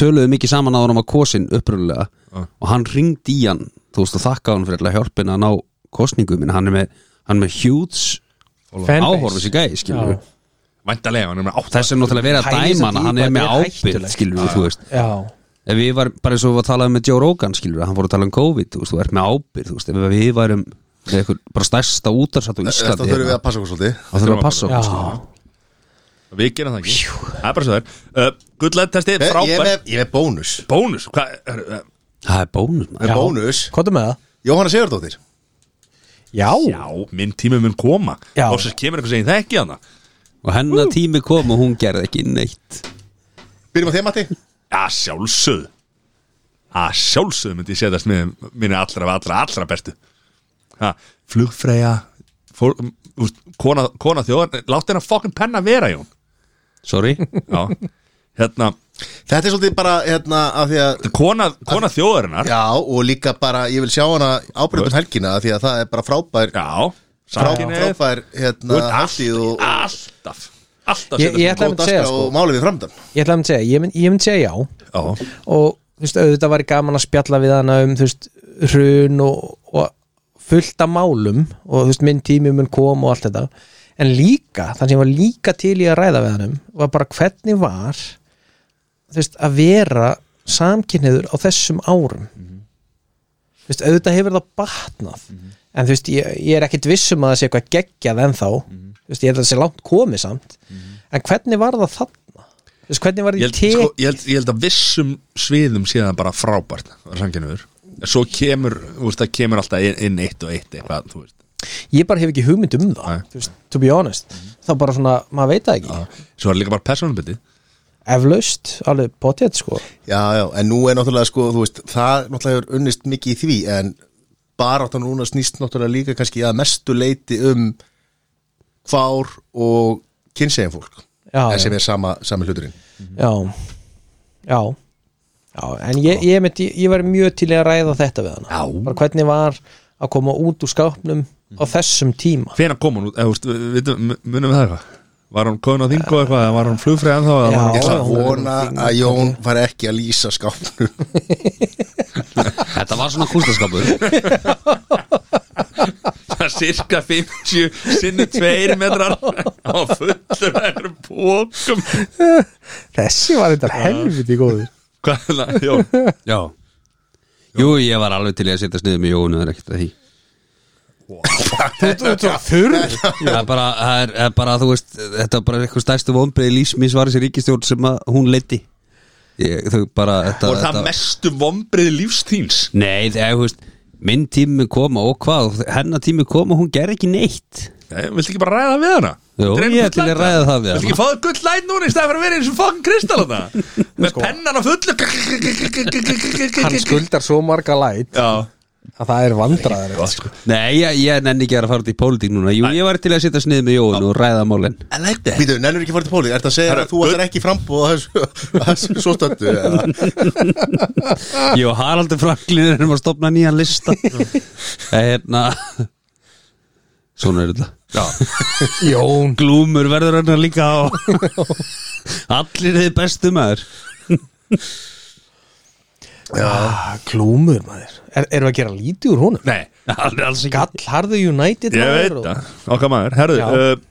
Speaker 1: töluðu mikið saman á hann var kosin upprunalega
Speaker 2: Ah.
Speaker 1: og hann ringdi í hann þú veist og þakkaði hann fyrir alltaf hjálpin að ná kosningum en hann er með, hann er með huge áhorfið sér gæði skilur
Speaker 4: Já.
Speaker 1: við
Speaker 2: Væntalega, hann er með átt
Speaker 1: þess er náttúrulega verið að
Speaker 4: Pælir
Speaker 1: dæma hann
Speaker 4: samt í
Speaker 1: hann
Speaker 4: hvað
Speaker 1: er með
Speaker 4: þetta er
Speaker 1: ábyrð
Speaker 4: hættulegt.
Speaker 1: skilur við þú veist
Speaker 4: Já,
Speaker 1: ef við varum bara eins og við varum að tala um með Joe Rogan skilur við hann voru að tala um COVID þú veist þú ert með ábyrð þú veist ef við varum með einhver bara stærsta útarsat á
Speaker 3: Þetta
Speaker 1: Íslandi
Speaker 3: þurfum við
Speaker 1: hérna,
Speaker 3: að passa okkur svolítið
Speaker 1: þá þurfum við að passa
Speaker 4: já,
Speaker 1: okkur sko. skilur við.
Speaker 2: Við gerum það ekki Það er bara svo það er uh, Gullæð testi,
Speaker 3: Ég ég er
Speaker 2: frábær
Speaker 3: með, ég er með bónus
Speaker 2: Bónus Hvað er uh,
Speaker 1: það er bónus maður
Speaker 3: Með bónus
Speaker 4: hvað er með það?
Speaker 3: Jóhanna Sigurdóttir
Speaker 4: Já,
Speaker 2: Já, minn tími mun koma
Speaker 4: Já.
Speaker 2: Og svo kemur eitthvað segið það ekki hana
Speaker 1: og hennar tími kom og hún gerði ekki neitt
Speaker 3: Byrjum á þeim Matti
Speaker 2: Já, sjálfsögð Já, sjálfsögð myndi ég setjast með Minni allra, allra, allra bestu ha, Flugfreyja fór, úst, kona, kona þjóðar Látt hennar fokkin penna vera, Jón
Speaker 1: sorry
Speaker 2: Já Hérna,
Speaker 3: Þetta er svolítið bara hérna af því að
Speaker 2: kona, kona þjóðarinnar
Speaker 3: Já og líka bara ég vil sjá hana ábyrjum helgina af því að það er bara frábær
Speaker 2: Já,
Speaker 3: frá,
Speaker 2: samkynhneigð.
Speaker 3: frábær
Speaker 2: Þú
Speaker 3: hérna
Speaker 2: ert
Speaker 3: hátíð og,
Speaker 2: alltaf alltaf
Speaker 4: Ég-
Speaker 2: setja
Speaker 4: ég-
Speaker 2: ég,
Speaker 4: ætla að segja,
Speaker 3: Kótaska
Speaker 4: sko.
Speaker 3: og máli við framdann
Speaker 4: Ég ætla að segja, ég mynd, ég mynd segja
Speaker 2: já,
Speaker 4: já og þú veist, auðvitað væri gaman að spjalla við hana um þú veist, hrun og, og fullt af málum og þú veist, minn tími mun kom og allt þetta en líka, þannig sem ég var líka til í að ræða við hann var bara hvernig var þú veist, að vera samkynniður á þessum árum
Speaker 2: Mhm.
Speaker 4: þú veist, auðvitað hefur það batnað en þú veist, ég, ég er ekkit viss um að það sé eitthvað geggjað ennþá
Speaker 2: Mhm.
Speaker 4: þú veist, ég held að það sé langt komið samt en hvernig var það þarna þú veist, hvernig var
Speaker 2: ég,
Speaker 4: því
Speaker 2: held, sko, ég, held, ég held að vissum sviðum séðan bara frábært sanginuður, svo kemur þú veist, það kemur alltaf inn- inn eitt og eitt eitthvað, þú veist
Speaker 4: ég bara hef ekki hugmynd um það
Speaker 2: Nei.
Speaker 4: þú veist, to be honest þá bara svona, maður veit það ekki ja.
Speaker 2: svo er líka bara persónubitið
Speaker 4: eflaust, alveg potið sko
Speaker 3: Já, já, en nú er náttúrulega sko, þú veist, það náttúrulega er unnist mikið í því en baráttan núna snýst náttúrulega líka kannski að mestu leiti um kvár og kynsegin fólk
Speaker 4: Já,
Speaker 3: en sem
Speaker 4: já.
Speaker 3: er sama, sami hluturinn
Speaker 4: já, já já, en ég, ég, mynd, ég, ég var mjög til í að ræða þetta við hana
Speaker 2: Já.
Speaker 4: bara hvernig var að koma út úr skápnum á þessum tíma
Speaker 2: hvenær kom hún út, eða, þú veist, við- við- munum við það eitthvað var hún komin á þingu eitthvað, eða var hún flugfrið ennþá eða
Speaker 4: Já.
Speaker 2: var hún-
Speaker 3: Ég ætla að
Speaker 4: hún er
Speaker 3: vona að Jón var ekki að lýsa skápnum
Speaker 1: Þetta var svona kústaskapur
Speaker 2: það er cirka 50 sinni 2 metrar á fullur eitthvað bókum
Speaker 4: þessi var þetta helviti góður
Speaker 2: hvað er það, Jón
Speaker 1: Já Jú, ég var alveg til í að setja sniðum í Jónu Það er ekkert að því Það er bara, það er, það er bara þú veist Þetta er bara eitthvað stærstu vonbreið lífsmins var þessi ríkistjórn sem að hún leiti ég, Þau bara þetta,
Speaker 2: og það
Speaker 1: þetta,
Speaker 2: mestu vombrið lífstíns
Speaker 1: Nei, það er, þú veist Minn tími koma og hvað Hennar tími koma, hún ger ekki neitt
Speaker 2: Nei, viltu ekki bara ræða við hana?
Speaker 1: Jú,
Speaker 2: Þetta er einu
Speaker 1: ég er
Speaker 2: gull
Speaker 1: til í að
Speaker 2: læt.
Speaker 1: ræða það við
Speaker 2: Viltu ekki fá það gull læt núna í stæði fyrir að vera eins og fokkin kristall þetta Með pennan á fullu
Speaker 4: Sko. hann skuldar svo marga læt
Speaker 2: Já
Speaker 4: að það er sko. vandræðar
Speaker 1: Nei, ég, ég nenni ekki að fara út í pólitík núna Jú, ég var til í að setja sniðum í Jónu og ræða málin
Speaker 2: I like that
Speaker 3: Býtu, nennur ekki að fara til póli, ert að segja
Speaker 2: Herra,
Speaker 3: að þú ætlar ekki frambúð að þessu- að þessu svo stöndu
Speaker 1: Ég og Haraldur Franklin erum að stopna nýjan lista Það er hérna Svona er þetta
Speaker 4: sko. Jón,
Speaker 1: Glúmur verður hérna líka á Allir þið bestu maður
Speaker 4: ah, klúmur maður er, erum við að gera lítið úr honum?
Speaker 2: Nei,
Speaker 1: Allir alls ekki
Speaker 4: Gallharðu United
Speaker 2: ég
Speaker 4: maður
Speaker 2: veit
Speaker 4: og-
Speaker 2: það Okkar maður, herðu
Speaker 4: Já.
Speaker 2: uh,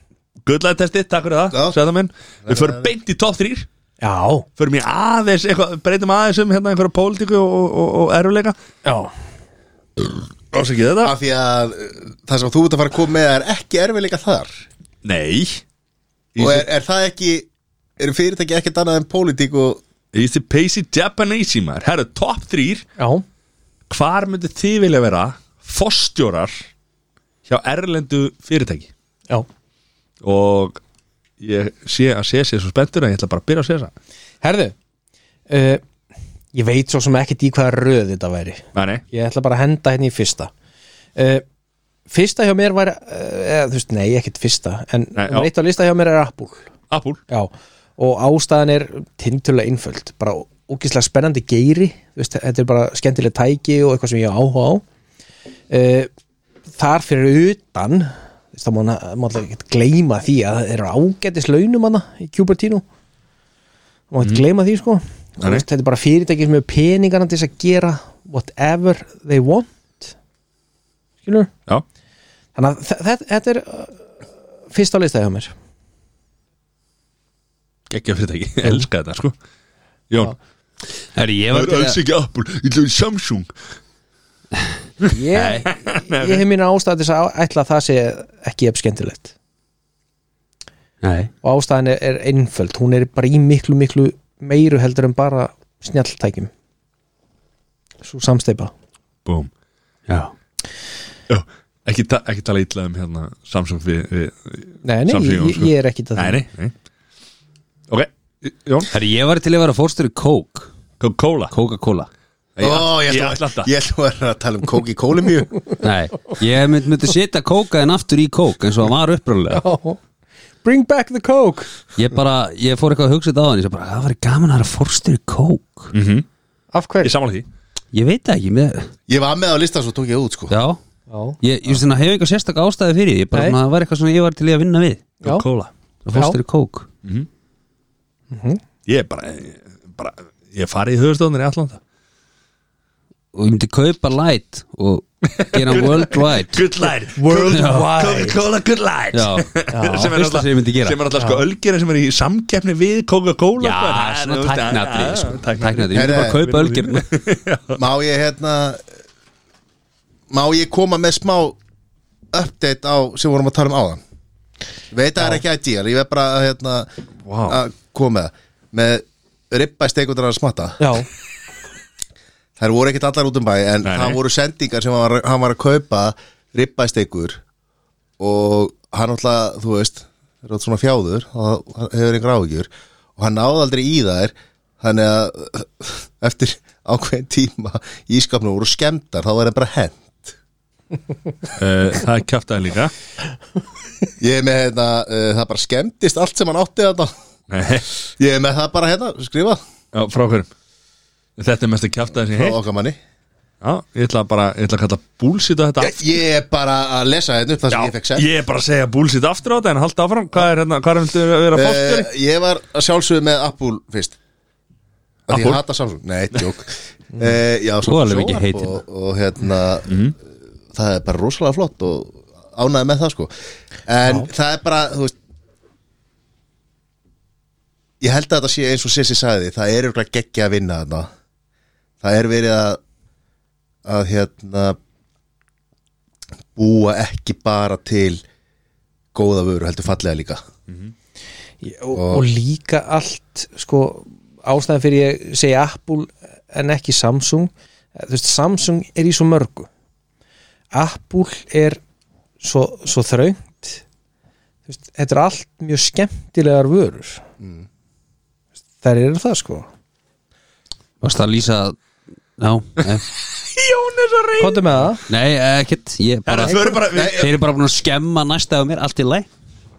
Speaker 2: Gull læt testi, takk fyrir
Speaker 3: Já.
Speaker 2: það Sæða minn Við förum beint í top 3
Speaker 4: Já,
Speaker 2: Förum í aðeins, eitthvað, breytum aðeins um hérna einhverja pólitíku og, og, og, og eruleika
Speaker 4: já
Speaker 2: Ásakið
Speaker 4: Ah.
Speaker 2: þetta
Speaker 3: af því að uh, það sem þú ert að fara að koma með er ekki erfiðleika þar
Speaker 2: Nei
Speaker 3: og er, er það ekki eru fyrirtæki ekkert annað en pólitík og
Speaker 2: Easy Pacey Japanese maður Herðu, top 3
Speaker 4: Já,
Speaker 2: hvar myndu þið vilja vera fostjórar hjá erlendu fyrirtæki
Speaker 4: já
Speaker 2: og ég sé að sé sér svo spenntur að ég ætla bara að byrja að sé þessa
Speaker 4: Herðu uh, Ég veit svo sem ekkert í hvaða röð þetta væri
Speaker 2: Nei, nei,
Speaker 4: Ég ætla bara að henda henni í fyrsta uh, Fyrsta hjá mér væri uh, eða, Þú veist, nei, ekkert fyrsta En
Speaker 2: Nei,
Speaker 4: nummer
Speaker 2: já.
Speaker 4: eitt á lista hjá mér er Apple
Speaker 2: Apple
Speaker 4: Já, og ástæðan er tindulega einföld Bara ógislega spennandi geiri Þú veist, Þetta er bara skemmtileg tæki og eitthvað sem ég á áhuga á uh, Þar fyrir utan þú veist, þá má hann- má alltaf ekki gleyma því að það eru ágætis launum hana í Cupertino má ekki gleyma því sko
Speaker 2: Nei,
Speaker 4: Og þú
Speaker 2: nei.
Speaker 4: veist, þetta er bara fyrirtæki sem er peningana til þess að gera whatever they want skilur
Speaker 2: Já,
Speaker 4: þannig að þe- þe- þetta er uh, fyrst á lista hjá mér
Speaker 2: geggja fyrirtæki, elska þetta sko Jón,
Speaker 1: Herri, ég var
Speaker 2: það
Speaker 1: til í
Speaker 2: er
Speaker 1: að
Speaker 2: alls ekki Apple, ég ætla að vera Samsung
Speaker 4: ég, ég hef mínu ástæð til þess að ætla að það sé ekki ef skemmtilegt
Speaker 1: Nei,
Speaker 4: og ástæðan er, er einföld hún er bara í miklu miklu meiru heldur en bara snjalltækjum svo samsteipa
Speaker 2: Búm
Speaker 1: já
Speaker 2: Já, ekki, ta ekki tala ítla um hérna Samsung við, við
Speaker 4: nei, nei,
Speaker 2: Samsung,
Speaker 4: ég,
Speaker 2: Jón,
Speaker 4: ég,
Speaker 2: sko.
Speaker 4: ég er ekki það
Speaker 2: Nei, nei, nei Ok, Jón,
Speaker 1: Herri, ég var til í að vera fórstjóri Coke
Speaker 2: Coca-Cola
Speaker 1: Coca-Cola
Speaker 3: Ó, ég
Speaker 2: ég
Speaker 3: ætla-
Speaker 2: ætla alltaf
Speaker 3: ég ætla að vera að tala um kók í kólumíu
Speaker 1: Nei, ég mynd, myndi setja Coca en aftur í Coke eins og það var uppræðulega
Speaker 4: Já. bring back the coke
Speaker 1: Ég bara, ég fór eitthvað að hugsa þetta á hann Ég sagði bara, "Ah, það var gaman að vera fórstjóri Coke
Speaker 4: af hverju
Speaker 2: Ég samanlega því
Speaker 1: Ég veit það ekki, með,
Speaker 3: ég var með á listan svo tók ég út sko
Speaker 1: já
Speaker 4: Já.
Speaker 1: Ég, ég veist þannig að hef eitthvað sérstak ástæði fyrir því, Ég bara
Speaker 4: Nei.
Speaker 1: svona, það var eitthvað svona ég var til í að vinna við
Speaker 4: Já.
Speaker 1: Coca-Cola Það fórst þér í kók
Speaker 2: Ég er bara, bara Ég farið í höfustöðunir í Atlanta
Speaker 1: Og ég myndi kaupa light Og gera hann worldwide
Speaker 2: Good light
Speaker 4: Worldwide
Speaker 2: Coca-Cola good light
Speaker 1: Já.
Speaker 2: sem er
Speaker 1: Fyrsta sem ég myndi
Speaker 2: náttúrulega
Speaker 1: gera.
Speaker 2: sem er náttúrulega sko ölgera sem er í samkeppni við Coca-Cola sko, en
Speaker 1: Já,
Speaker 2: það er,
Speaker 1: svona
Speaker 2: þú veist,
Speaker 1: tæknatri
Speaker 2: já,
Speaker 1: sko.
Speaker 2: já,
Speaker 1: Tæknatri, ég
Speaker 3: Herre,
Speaker 1: myndi bara kaupa ölgir
Speaker 3: Má ég hérna Má ég koma með smá update á sem vorum að tala um áðan Veit að það er ekki ideal Ég veit bara að hérna
Speaker 2: Vá.
Speaker 3: að koma með það. með ribba steikundar að smatta
Speaker 4: Já,
Speaker 3: Þær voru ekkert allar út um bæ en
Speaker 2: Nei, nei.
Speaker 3: það voru sendingar sem hann var, hann var að kaupa ribbæsteikur og hann alltaf, þú veist er alltaf svona fjáður og það hefur einhver áhugjur og hann náði aldrei í þær þannig að eftir ákveðin tíma í skapnum voru skemmtar, þá var það bara hent
Speaker 2: Uh, það er kjáftæði líka
Speaker 3: ég er með hérna, uh, það bara skemmtist allt sem hann átti þetta
Speaker 2: Nei,
Speaker 3: ég er með það bara hérna, skrifa
Speaker 2: já, frá hverjum Þetta er mest að kjáftæði sem ég
Speaker 3: frá
Speaker 2: heitt
Speaker 3: okkar manni
Speaker 2: Já, ég ætla bara, ég ætla að kalla búlsýt á þetta
Speaker 3: ég, ég er bara að lesa hérna upp
Speaker 2: Já,
Speaker 3: það sem ég fekk sent
Speaker 2: ég er bara að segja búlsýt aftur á þetta en halda áfram, hvað er hérna, hvað er hérna að vera fórstjöri?
Speaker 3: uh, Ég var að sjálfsögðu með Apple fyrst Af Því
Speaker 2: Apple?
Speaker 3: ég hata Samsung Nei, tjók uh, Já,
Speaker 1: Mm. Þú alveg ekki Mm.
Speaker 3: sjónvarp
Speaker 1: heitir
Speaker 3: og, og hérna Það er bara rosalega flott og ánæði með það sko En það er bara, þú veist Ég held að þetta sé eins og Sissi sagði Það er auðvitað geggja að vinna þarna Það er verið að að hérna búa ekki bara til góða vöru, heldur fallega líka
Speaker 4: og, og líka allt sko, ástæðan fyrir ég segi Apple en ekki Samsung Eh, þú veist, Samsung er í svo mörgu Apple er svo, svo þröngt þú veist, þetta er allt mjög skemmtilegar vörur mm. þær eru það sko
Speaker 1: Varst það að lýsa Já, nei.
Speaker 2: Jón er svo reynd
Speaker 4: hvað er með það?
Speaker 1: nei, ekkert Ég bara,
Speaker 2: Við erum bara, við,
Speaker 1: þeir eru bara búin að skemma næsta af mér Allt í læ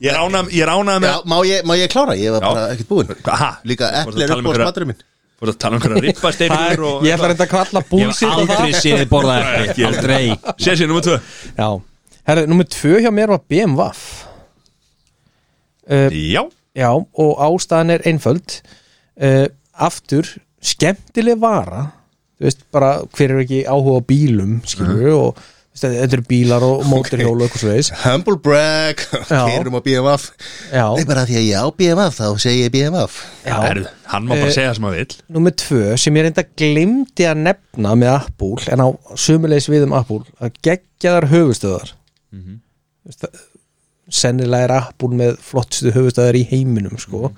Speaker 2: ég er ánað, ég er ánað með
Speaker 3: Já, má ég, má ég klára? Ég var bara ekkert búinn
Speaker 2: Aha,
Speaker 3: Líka
Speaker 2: Þú varst að
Speaker 3: epli er
Speaker 2: tala um
Speaker 3: upp á
Speaker 2: einhverja-
Speaker 3: smaturinn minn
Speaker 2: Fór að tala um hverja rippasteinir og
Speaker 4: ég ætla reynda að kalla
Speaker 1: Ég hef
Speaker 4: búlsýtt á það
Speaker 1: aldrei séð þið borða
Speaker 2: Ekki.
Speaker 1: ekki Aldrei
Speaker 2: Sér sér, nummer tvö
Speaker 4: Já, herðu, nummer tvö hjá mér var BMW uh,
Speaker 2: Já,
Speaker 4: Já, og ástæðan er einföld uh, Aftur, skemmtileg vara Þú veist, bara hver er ekki áhuga á bílum, skilur við og þú veist, þetta eru bílar og mótorhjól og eitthvað svo veist
Speaker 3: Humble brag
Speaker 4: Já.
Speaker 3: Keirum á BMF
Speaker 4: Já,
Speaker 3: Nei, bara af því að ég á BMF þá segi ég BMF
Speaker 4: já,
Speaker 2: Herðu, hann má bara
Speaker 4: Eh,
Speaker 2: segja það sem hann vill
Speaker 4: nummer tvö sem ég reynda glemdi að nefna með Apple en á sömulegis við um Apple að geggjaðar höfustöðar mm -hmm. Sennilega er Apple með flottstu höfustöðar í heiminum, sko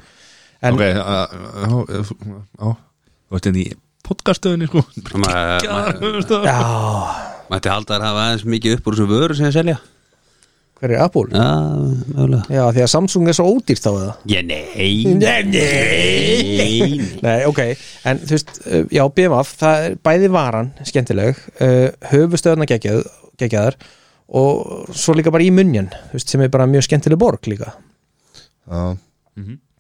Speaker 4: en-
Speaker 2: Ok, já, já Þú veist henni í podcaststöðinni sko
Speaker 1: Maður- maður-
Speaker 2: Kjáðar
Speaker 4: Já,
Speaker 1: Mætti halda þær hafa aðeins mikið upp úr þessum vöru sem ég selja
Speaker 4: hver er Apple?
Speaker 1: Já, mögulega
Speaker 4: Já, því að Samsung er svo ódýrt á það
Speaker 1: Já, nei Nei, nei
Speaker 4: Nei, ok, en þú veist, uh, já, BMF það er bæði varan, skemmtileg uh, höfustöðna geggjaðar og svo líka bara í munjan þú veist, sem er bara mjög skemmtileg borg líka
Speaker 3: Já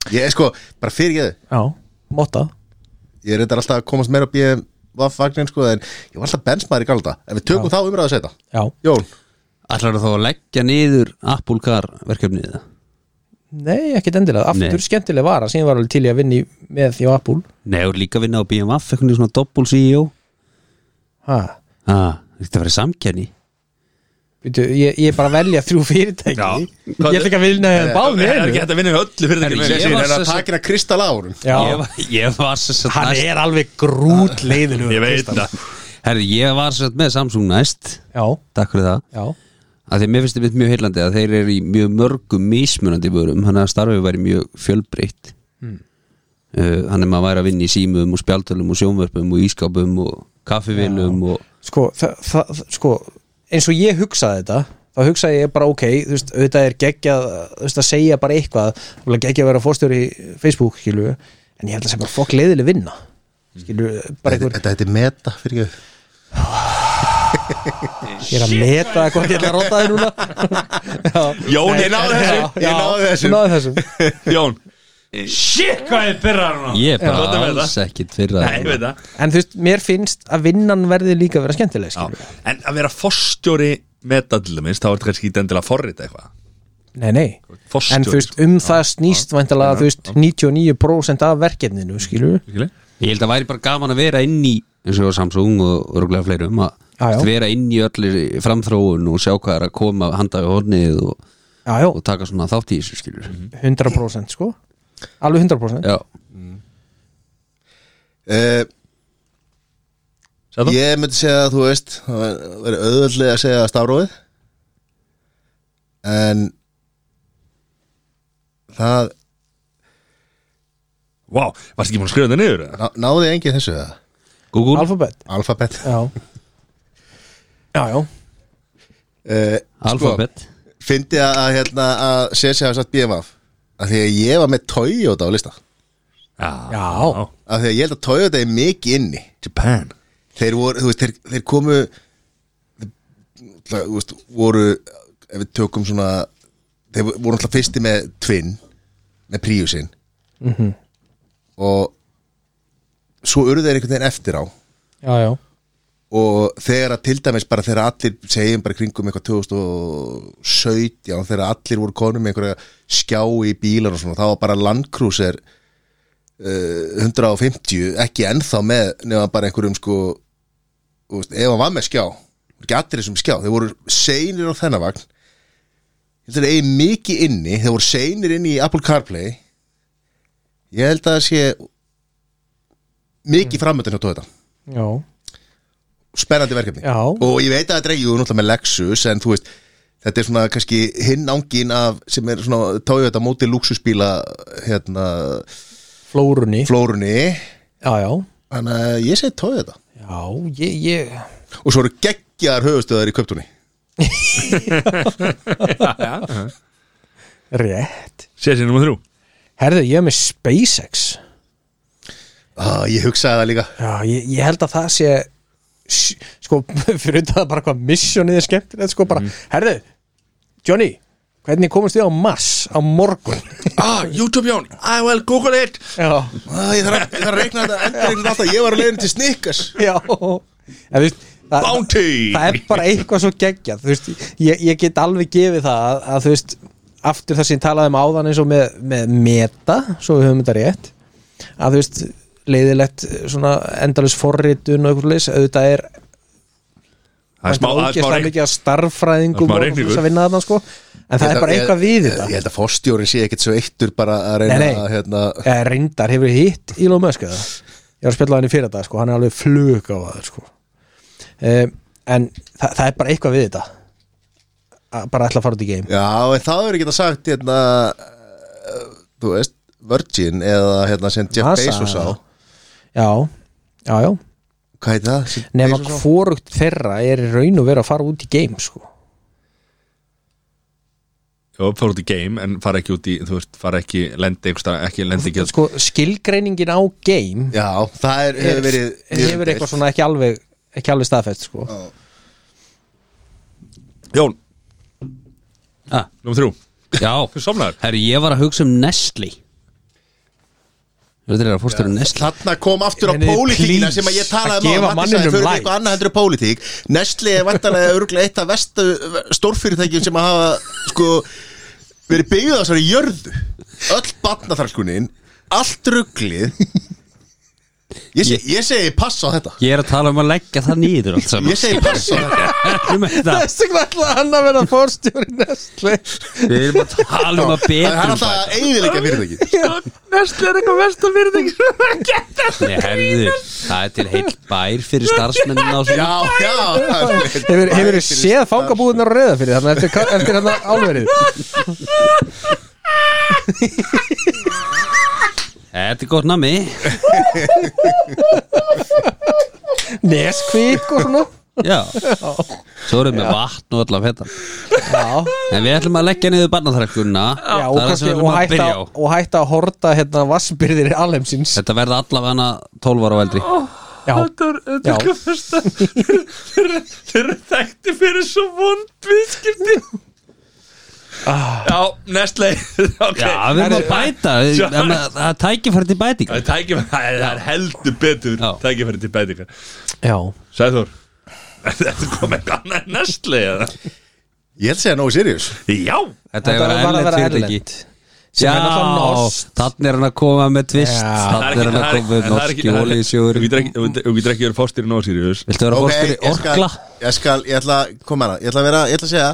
Speaker 3: Ég er sko, bara fyrir ég
Speaker 4: Já, motta
Speaker 3: Ég er reyndar alltaf að komast meira á BMF vagnin sko En ég var alltaf bensmaður í galda En við tökum þá umræðu að setja
Speaker 4: Já,
Speaker 3: Jón
Speaker 1: Ætlarðu þá að leggja niður Apple Car verkefnið það?
Speaker 4: nei, ekkit endilega aftur
Speaker 1: Nei.
Speaker 4: skemmtileg vara, sem ég var alveg til í að vinni með því á Apple
Speaker 1: Nei, og líka vinna á BMF, eitthvað svona E doppul CEO
Speaker 4: ha.
Speaker 1: Ha, þetta verið samkenni
Speaker 4: Býtu, ég, ég er bara að velja þrjú fyrirtæki
Speaker 2: Já.
Speaker 4: Ég ætla ekki að vinna báðum
Speaker 2: Það er ekki hægt að vinna við öllu fyrir
Speaker 1: Herri,
Speaker 2: þetta
Speaker 1: ég var
Speaker 3: Það er
Speaker 1: sem
Speaker 3: hérna að
Speaker 1: sagt-
Speaker 3: takina Kristal Árun
Speaker 1: Ég
Speaker 4: Já,
Speaker 1: var- Ég var sem sagt
Speaker 4: hann
Speaker 1: næst-
Speaker 4: er alveg grút leiðinu
Speaker 2: Ég veit það
Speaker 1: Herri, ég var sem sagt með Samsung næst
Speaker 4: Já,
Speaker 1: Takk fyrir það
Speaker 4: já
Speaker 1: að því að mér finnst þetta mjög heillandi að þeir eru í mjög mörgum mismunandi vörum þannig að starfið væri mjög fjölbreytt uh, hann er maður væri að vinna í símum og spjaldölum og sjónvörpum og ískápum og kaffivilum og
Speaker 4: sko, þa, þa, þa- sko eins og ég hugsaði þetta þá hugsaði ég bara ok, þú veist, auðvitað er geggjað þú veist, að segja bara eitthvað þú veist, geggjað að vera fórstjóri í Facebook, skilu en ég held að sem bara fokk leiðileg vinna skilu,
Speaker 3: Þetta
Speaker 4: bara einhver,
Speaker 3: þetta heitir meta fyrir ég
Speaker 4: ég er að meta hvað ég ætla að róta þér núna já,
Speaker 2: Jón,
Speaker 4: Nei,
Speaker 2: ég náði
Speaker 4: já,
Speaker 2: þessu.
Speaker 4: já,
Speaker 3: Ég náði þessu.
Speaker 4: þú náði þessum
Speaker 2: Jón Shit, hvað ég byrjar núna
Speaker 1: ég er
Speaker 2: Þú ert að
Speaker 1: bara
Speaker 2: með
Speaker 1: alls
Speaker 2: það?
Speaker 1: ekkit fyrir
Speaker 2: Nei, ég
Speaker 1: að
Speaker 2: veit það
Speaker 4: en þú veist, mér finnst að vinnan verði líka að vera skemmtileg,
Speaker 2: Já,
Speaker 4: skilu
Speaker 2: En að vera fórstjóri með allir minnst þá er þetta kannski ekki endilega að forrita eitthvað
Speaker 4: nei, nei en
Speaker 2: Forstjóri,
Speaker 4: þú veist,
Speaker 2: sko.
Speaker 4: um það snýst væntalega, þú veist, 99% af verkefninu, skilur við
Speaker 2: Skilji?
Speaker 1: Ég held að væri bara gaman að vera inn í eins og Samsung og örgulega fleirum að
Speaker 4: Já, já.
Speaker 1: að vera inn í öllir framþróun og sjá hvað er að koma handa við hornið og,
Speaker 4: já, já,
Speaker 1: og taka svona þátt í þessu skilur
Speaker 4: 100% sko alveg 100%
Speaker 1: Já,
Speaker 3: uh,
Speaker 2: Sæðan?
Speaker 3: Ég myndi segja að þú veist Það verður auðvöldlega að segja stafróið En Það
Speaker 2: Vá, varstu ekki búin að skrifa þetta niður? eða?
Speaker 3: ná, náði engin þessu það
Speaker 1: Google
Speaker 4: alfabet,
Speaker 3: Alfabet
Speaker 4: já já, já,
Speaker 3: uh,
Speaker 1: Alphabet
Speaker 3: Fyndi að, að, hérna, að Sessi hafa satt BMF Af því að ég var með Toyota á lista
Speaker 2: Já,
Speaker 4: já.
Speaker 3: Af því að ég held að Toyota er mikið inni
Speaker 2: Japan
Speaker 3: þeir voru, þú veist, þeir, þeir komu þeir, þú veist, voru ef við tökum svona þeir voru alltaf fyrsti með Twin með Priusin og svo urðu þeir einhvern veginn eftir á
Speaker 4: já, já.
Speaker 3: og þegar að til dæmis bara þegar allir segjum bara kringum eitthvað 2017 þegar allir voru konum með einhverja skjá í bílar og svona þá var bara Land Cruiser uh, 150 ekki ennþá með nefna bara einhverjum sko þú veist, ef hann var með skjá voru ekki allir þessum skjá, þeir voru seinir á þennan vagn ég held að þeir eigi mikið inni þeir voru seinir inni í Apple CarPlay ég held að það sé mikið mm. framöndin hjá Toyota
Speaker 4: já.
Speaker 3: spennandi verkefni
Speaker 4: Já.
Speaker 3: og ég veit að þetta er jú náttúrulega með Lexus en þú veist, þetta er svona kannski hinn ángin af sem er svona Toyota móti luxusbíla hérna
Speaker 4: flórunni
Speaker 3: flórunni
Speaker 4: já, já,
Speaker 3: þannig að ég segi Toyota
Speaker 4: já, ég, ég
Speaker 3: og svo eru geggjar höfustöðar í köptunni
Speaker 4: rétt,
Speaker 2: Sér sér nummer þrjú
Speaker 4: herðu, ég er með SpaceX
Speaker 3: ah, ég hugsaði það líka
Speaker 4: já, ég, ég held að það sé s- sko, fyrir þetta bara hvað missionið er skemmtilegt, sko, bara herðu, Johnny hvernig komast þið á Mars á morgun
Speaker 2: Ah, YouTube Jón, I will Google it
Speaker 4: já,
Speaker 3: ah, ég, þarf að, ég þarf að reikna þetta endur einhvern alltaf ég var að leiðin til Snickers
Speaker 4: já en, veist, það,
Speaker 2: Bounty
Speaker 4: það er bara eitthvað svo geggjað þú veist, ég, ég get alveg gefið það að, að þú veist, aftur það sem ég talaði um áðan eins og með, með meta svo við höfum þetta rétt að þú veist, leiðilegt svona endalus forritun og eitthvað leis auðvitað er
Speaker 2: Það er smá, það er smá
Speaker 4: ógeðslega
Speaker 2: reik
Speaker 4: mikið að starffræðingum
Speaker 2: Það er smá
Speaker 4: og
Speaker 2: reikningur.
Speaker 4: þess að vinna þarna sko en það er bara eitthvað við þetta
Speaker 3: ég held að fórstjórin sé ekkit svo eittur bara að reyna
Speaker 4: Nei, nei.
Speaker 3: að hérna
Speaker 4: Eða reyndar hefur hitt Elon Musk eða Ég var að spjalla hann í fyrir þetta sko, hann er alveg flug á það sko um, En þa það er bara eitthvað við þetta að bara ætla að fara út í game
Speaker 3: já, en það verður ekki að sagt hérna eh, þú veist, Virgin eða hérna sem Jeff
Speaker 4: NASA,
Speaker 3: Bezos á
Speaker 4: eða? Já, já, já
Speaker 3: hvað heitir það? Sem
Speaker 4: Nefna
Speaker 3: Bezos á?
Speaker 4: hvorugt þeirra er í raun og vera að fara út í game sko
Speaker 2: Jó, fara út í game en fara ekki út í, þú veist, fara ekki lendi einhversta, ekki lendi ekki
Speaker 4: Sko, skilgreiningin á game
Speaker 3: Já, það er,
Speaker 4: er,
Speaker 3: hefur verið
Speaker 4: hefur eitthvað svona ekki alveg ekki alveg staðfætt sko
Speaker 2: Jón,
Speaker 1: ah,
Speaker 2: nummer þrjú
Speaker 1: Já,
Speaker 2: Þú somnar
Speaker 1: herri ég var að hugsa um Nestle Þetta er að fórstæra Nestle
Speaker 3: Þarna kom aftur á
Speaker 4: Nei, nei,
Speaker 3: pólitíkina
Speaker 4: please,
Speaker 3: sem að ég
Speaker 4: að
Speaker 3: talaði um
Speaker 4: gefa
Speaker 3: áðan. Matti sagði,
Speaker 4: manninum
Speaker 3: förum við
Speaker 4: life.
Speaker 3: eitthvað annað heldur á pólitík Nestle er vantanlega örgulega eitt af vestu stórfyrirtækjum sem að hafa sko verið byggð á þessari jörðu öll batnaþrælkunin allt rugglið ég, seg, ég segi pass á þetta
Speaker 1: Ég er að tala um að leggja það nýður allt saman
Speaker 3: ég segi pass á þetta
Speaker 1: Um þetta.
Speaker 4: Þessi hvað ætla hann að vera fórstjóri Nestle
Speaker 1: Við erum að tala um að
Speaker 3: Það er
Speaker 1: betur
Speaker 3: alltaf að eiginleika fyrirtæki
Speaker 4: Nestle er eitthvað versta virðing sem það geta
Speaker 1: Nei, herðu, það er til heill bær fyrir starfsmennin á sig
Speaker 3: Já, já það er-
Speaker 4: Hefur, hefur þið séð fangabúðunar á reyða fyrir þannig eftir, eftir hann álverið
Speaker 1: Þetta er gott nami
Speaker 4: Neskvík og svona
Speaker 1: Já Svo erum við með vatn og allar fettan
Speaker 4: Já,
Speaker 1: En við ætlum að leggja niður barnaþrækkunna
Speaker 4: já og,
Speaker 1: Það er það sem
Speaker 4: kannski,
Speaker 1: við
Speaker 4: og,
Speaker 1: ætlum að
Speaker 4: hætta,
Speaker 1: byrja á
Speaker 4: og hætta að horta hérna vassbyrðir alheimsins
Speaker 1: Þetta verða allavega 12 ára og eldri
Speaker 4: Já, já,
Speaker 2: Þeir eru þekkti fyrir svo vond viðskipti
Speaker 3: Ah.
Speaker 2: Já, Nestle Ok
Speaker 1: Já, við erum að bæta
Speaker 2: Sjá.
Speaker 1: en að- Það er tækifæri til bæting
Speaker 2: Það er tækifæri, það er- það er heldur betur
Speaker 1: Já.
Speaker 2: tækifæri til bætingar
Speaker 4: já
Speaker 2: Sæður Þetta kom eitthvað annað en Nestle eða?
Speaker 3: Ég held að segja nógu serious
Speaker 2: Já
Speaker 1: Þetta hefur
Speaker 4: var
Speaker 1: verið
Speaker 4: að
Speaker 1: erlend
Speaker 4: vera
Speaker 1: fyrirtæki
Speaker 4: erlend. Sem
Speaker 1: Já,
Speaker 4: er náttúrulega norskt.
Speaker 1: þannig er hann að koma með tvist
Speaker 4: Já.
Speaker 2: Það
Speaker 1: Þannig
Speaker 2: er
Speaker 1: er hann að
Speaker 2: ekki-
Speaker 1: koma með
Speaker 2: það er
Speaker 1: norski
Speaker 2: ekki- það er-
Speaker 1: olísjóður
Speaker 2: Þú getur ekki- þú- þú getur ekki verið fórstýri nóg sírjus
Speaker 1: Viltu vera
Speaker 3: Ok,
Speaker 1: fórstjóri
Speaker 3: ég skal,
Speaker 1: orkla?
Speaker 3: ég skal, ég ætla að koma hana Ég ætla að vera, ég ætla að segja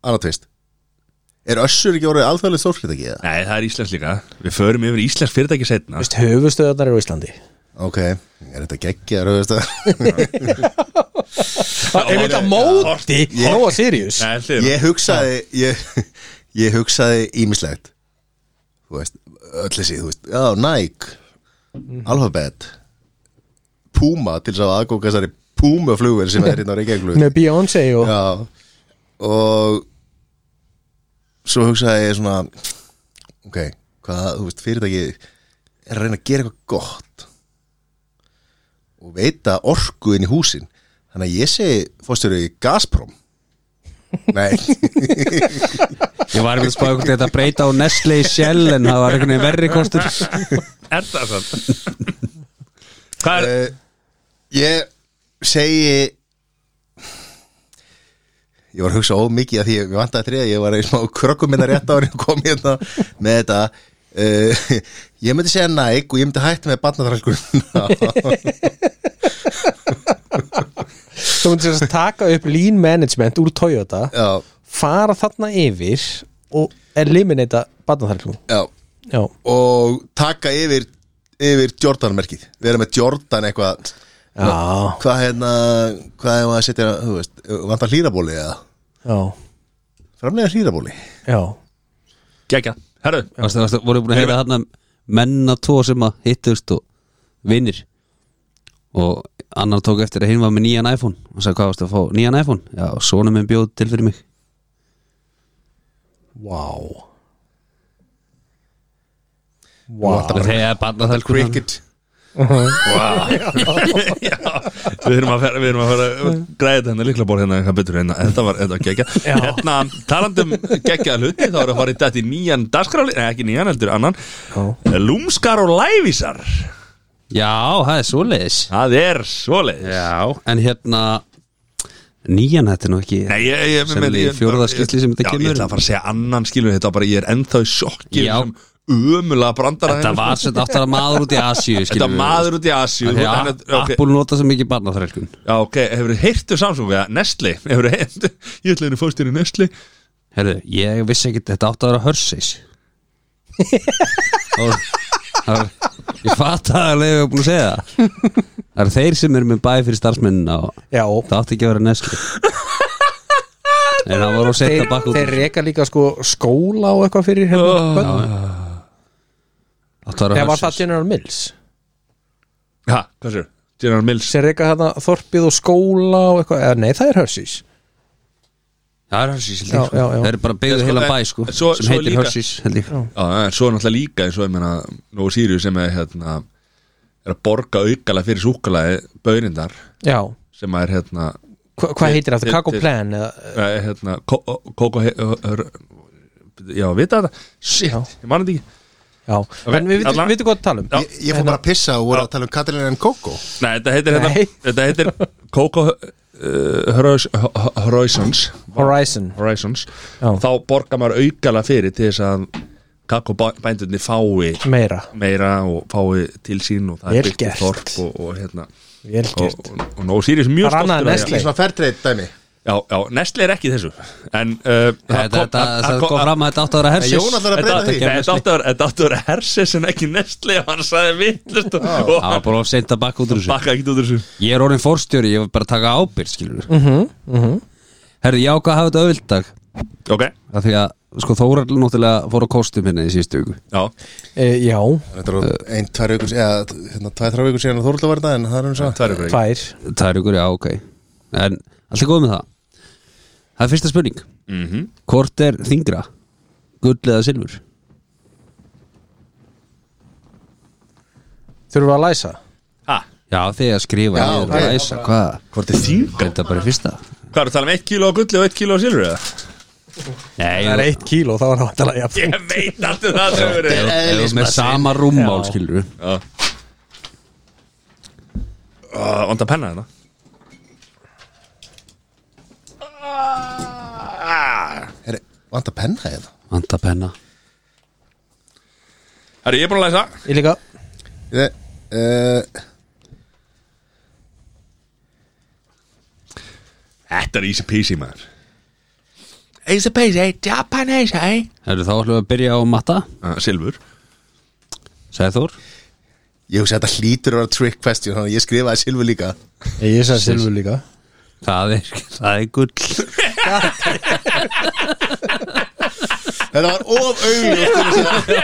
Speaker 3: Anna tvist Er Össur ekki orðið alþjóðlega stórfrétt ekki?
Speaker 2: Nei, það er Íslands líka Við förum yfir Íslands fyrirtæki setna
Speaker 4: Vist, höfustöðarnar eru á Íslandi
Speaker 3: Ok, er þetta geggja, rauðist að
Speaker 4: Er þetta móti? Nóa Sirius
Speaker 2: Nei, hlið
Speaker 3: Ég hugsaði Ég, ég hugsaði ímislegt Þú veist, öll þessi, þú veist Já, Nike Alphabet Puma til þess að aðgóka þessari Puma flugvél sem er hérna á Reykjavík
Speaker 4: Með Beyoncé og
Speaker 3: Já Og Svo hugsaði ég svona Ok, hvað, þú veist, fyrirtæki Er að reyna að gera eitthvað gott Og veita orku inn í húsin Þannig að ég segi Fórstjóri Gazprom Nei,
Speaker 1: Ég var með spáð ykkur þetta að breyta á Nestle Shell en það var einhvern veginn verri kostur
Speaker 2: Er það það? Hvað
Speaker 1: Eh,
Speaker 2: er
Speaker 3: uh, ég segi Ég var að hugsa ómikið að því ég vantaði þrið Ég var í smá krökkum minna rétt ári og kom hérna með þetta uh, Ég myndi segja næg og ég myndi hætti með barnaþrælkur
Speaker 4: Þú myndir þess að taka upp lean management úr Toyota
Speaker 3: Já,
Speaker 4: fara þarna yfir og eliminata batnaþarklum
Speaker 3: já
Speaker 4: Já,
Speaker 3: Og taka yfir, yfir Jordan-merkið Vera með Jordan eitthvað
Speaker 4: já,
Speaker 3: Hvað hérna, hvað hefur að setja, þú veist, vantar hlýrabóli eða?
Speaker 4: já,
Speaker 3: Framlega hlýrabóli
Speaker 4: já.
Speaker 2: Gækja Herru
Speaker 1: Varstu, varstu, voru búin að heyra þarna menna tvo sem að hittust og vinnir og annar tók eftir að hinn var með nýjan iPhone og sagði hvað varstu að fá nýjan iPhone já, svona minn bjóð til fyrir mig
Speaker 4: Wow.
Speaker 1: og þegar barna það
Speaker 3: Cricket
Speaker 2: Já, við erum að fara, við erum að fara að græða þetta hérna líkla bór hérna eitthvað betur hérna, þetta var, þetta var geggja hérna, talandum geggja hluti þá erum við að fara í þetta í nýjan dagskráli, nei ekki nýjan heldur, annan lúmskar og lævísar
Speaker 1: já, það er svoleiðis
Speaker 2: það er svoleiðis
Speaker 1: já, en hérna nýjan þetta er nú ekki
Speaker 2: Nei, ég, ég,
Speaker 1: Sem
Speaker 2: ég-
Speaker 1: í
Speaker 2: ég-
Speaker 1: fjórða skýrslu sem þetta
Speaker 2: Já,
Speaker 1: kemur.
Speaker 2: Ég ætla að fara að segja annan skilur þetta bara, ég er ennþá í sjokki
Speaker 1: Já.
Speaker 2: Umulega brandara
Speaker 1: þetta
Speaker 2: hérna, sko.
Speaker 1: var sem þetta aftur að maður út í Asíu
Speaker 2: Þetta maður út í Asíu þú-
Speaker 1: Þegar
Speaker 2: en- ok.
Speaker 1: Apple nota svo mikið barna það
Speaker 2: Já, ok, hefur þið heyrtu Samsung eða Nestle, hefur þið heyrtu Ég ætla henni fórstýri Nestle
Speaker 1: Herðu, ég vissi ekki þetta átt að vera hörseis Ég fatt að það leiði búin að segja það Það eru þeir sem eru með bæ fyrir starfsmennina og
Speaker 4: Já,
Speaker 1: það átti ekki að vera nesli En það voru að setja
Speaker 4: þeir,
Speaker 1: bakk út
Speaker 4: þeir reka líka sko skóla og eitthvað fyrir hérna börn.
Speaker 1: Átt að
Speaker 4: Þegar
Speaker 1: vera
Speaker 4: var það
Speaker 1: hörseis
Speaker 4: General Mills
Speaker 2: Ha, hvað sér? General Mills
Speaker 4: sem reka hérna þorpið og skóla og eitthvað, eða nei það er Hershey's
Speaker 1: Það er hörseis, held
Speaker 4: Já,
Speaker 1: ég sko.
Speaker 4: já, já.
Speaker 1: Þeir eru bara byggðu
Speaker 2: En
Speaker 1: heila
Speaker 2: sko,
Speaker 1: bæ
Speaker 2: en-
Speaker 1: sko
Speaker 2: en svo-
Speaker 1: sem
Speaker 2: svo
Speaker 1: heitir
Speaker 2: líka-
Speaker 1: hörseis, held ég
Speaker 2: Já, en svo er náttúrulega líka eins og ég meina Nói Sirius sem er hérna er að borga aukala fyrir súkalaði börindar
Speaker 4: Já,
Speaker 2: sem að er hérna
Speaker 4: Hva, hvað heitir
Speaker 2: til-
Speaker 4: aftur? Kakó
Speaker 2: til-
Speaker 4: Plan eða,
Speaker 2: eh, hérna Ko- Kókó he- ö- ö- Já, vita þetta? Shit,
Speaker 4: Já.
Speaker 2: ég mani þetta ekki
Speaker 4: Já, en við vitum
Speaker 2: allan-
Speaker 4: vitum hvað að tala um
Speaker 2: Já.
Speaker 3: Ég, ég fór bara að pissa og voru að tala um Katalina en Kókó
Speaker 2: Nei, þetta heitir,
Speaker 4: Nei.
Speaker 2: Hérna, þetta heitir Kókó uh, Horizons
Speaker 4: Horizon
Speaker 2: Horizons
Speaker 4: Já.
Speaker 2: þá borgar maður aukala fyrir til þess að kakobændunni fái
Speaker 4: meira,
Speaker 2: meira og fái til sín og það
Speaker 4: Vel
Speaker 2: er byggt
Speaker 4: gert.
Speaker 2: í þorp og, og hérna
Speaker 4: vel
Speaker 2: og,
Speaker 4: gert
Speaker 2: og, og Nói Sirius er mjög
Speaker 4: Það er annað
Speaker 2: stoltur af því
Speaker 3: Í
Speaker 4: en Nestle.
Speaker 2: að-
Speaker 3: svona fertreit dæmi
Speaker 2: Já, já, Nestle er ekki í þessu en uh, það
Speaker 1: Þetta þetta-
Speaker 2: það
Speaker 1: það kom fram að þetta átt að vera hörseis
Speaker 3: Jón ætlar að breyta því.
Speaker 2: Þetta þetta átti að vera- þetta átti að vera hersis en ekki Nestle og hann sagði vittlust og, og
Speaker 1: Það var
Speaker 2: hann
Speaker 1: bara að setja bakk út úr þessu
Speaker 2: bakkaði ekki út úr þessu
Speaker 1: Ég er orðin fórstjóri, ég var bara að taka ábyrð, skilur mm -hmm, mm -hmm. Herðu, ég ákvað að hafa þetta auðvildag
Speaker 2: Ok,
Speaker 1: af því að, sko, Þórar náttúrulega fór á kostum hérna í síðustu viku
Speaker 2: já,
Speaker 4: e, Já,
Speaker 3: Þetta er orðið ein, tvær vikur eða hérna, tvær, þrjá vikur síðan að Þórhulda var þetta en það er hún svo
Speaker 2: það er ykkur ekki
Speaker 4: tvær
Speaker 1: Það er ykkur, já, ok En allt er góð með það Það er fyrsta spurning
Speaker 2: Mhm.
Speaker 1: Hvort er þingra? Gull eða silfur?
Speaker 4: Þurfum við að læsa?
Speaker 2: Ha,
Speaker 1: Já, þegar skrifa
Speaker 3: Já,
Speaker 1: niður
Speaker 3: ok.
Speaker 1: og læsa, hvað?
Speaker 2: Hvort er þingra?
Speaker 1: Þetta er bara í fyrsta
Speaker 2: Hvað er að tala um 1 kíló á gulli og 1 kíló á silfur eða?
Speaker 1: Nei,
Speaker 4: Það er eitt kíl og það var náttúrulega jafn
Speaker 2: Ég veit allt um það sem við erum
Speaker 1: Eða með sama rúmmál,
Speaker 4: Já.
Speaker 1: skilur
Speaker 2: Vanda penna þetta
Speaker 3: Vanda penna hérna
Speaker 1: Vanda penna
Speaker 2: Herri, ég er búin að læsa
Speaker 4: Ég líka
Speaker 3: Ég, uh,
Speaker 2: Þetta er easy peasy maður
Speaker 5: Easy peasy, Japanese, eh?
Speaker 1: Herru, þá ætlum við að byrja á matta
Speaker 2: uh, Silfur
Speaker 1: Sæði Þór
Speaker 3: Ég hugsa að þetta hlýtur að vera trick question Þannig að ég skrifaði Silvi líka
Speaker 4: Ég sagði Silvur líka
Speaker 1: Það er, það er gull
Speaker 3: Þetta var of augljótt
Speaker 2: Ég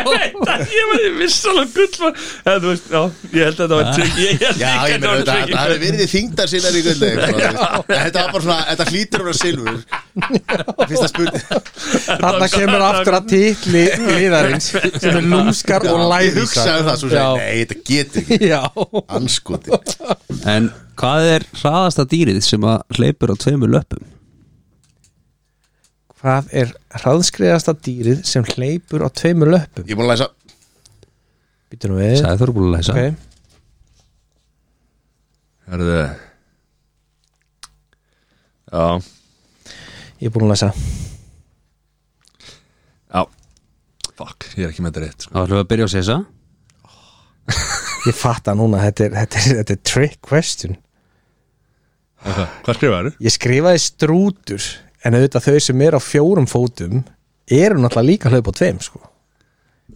Speaker 2: veit að ég var ég vissi alveg gull var- eða, þú veist, já, Ég held að þetta var trygg Ég held
Speaker 3: Já,
Speaker 2: líka
Speaker 3: ég meina þetta Það hefði verið í þingdar sinnar í gulli Þetta var bara svona, þetta hlýtur að vera Silvi Fyrsta spurning
Speaker 4: Þarna kemur aftur að titli liðarins sem er lúmskar og
Speaker 3: Ég
Speaker 4: læðisar
Speaker 3: hugsaði um það svo
Speaker 4: Já.
Speaker 3: sem Nei, þetta getur ekki
Speaker 4: Já,
Speaker 3: Anskoti
Speaker 1: En hvað er hraðasta dýrið sem að hleypur á tveimur löpum?
Speaker 4: hvað er hraðskriðasta dýrið sem hleypur á tveimur löpum?
Speaker 3: Ég er búin að læsa
Speaker 4: Býtum við
Speaker 1: Sæði Þór er búin að læsa
Speaker 4: Ok,
Speaker 2: Herðu Já,
Speaker 4: ég er búin að læsa
Speaker 2: já Fuck, ég er ekki með þetta rétt sko.
Speaker 1: Þá ætlum við að byrja á Sessa
Speaker 4: Ég fatta núna, þetta er, þetta, er, þetta er trick question
Speaker 2: okay. Hvað skrifaðu?
Speaker 4: Ég skrifaði strútur en auðvitað þau sem er á fjórum fótum eru náttúrulega líka að hlaupa á tveim sko.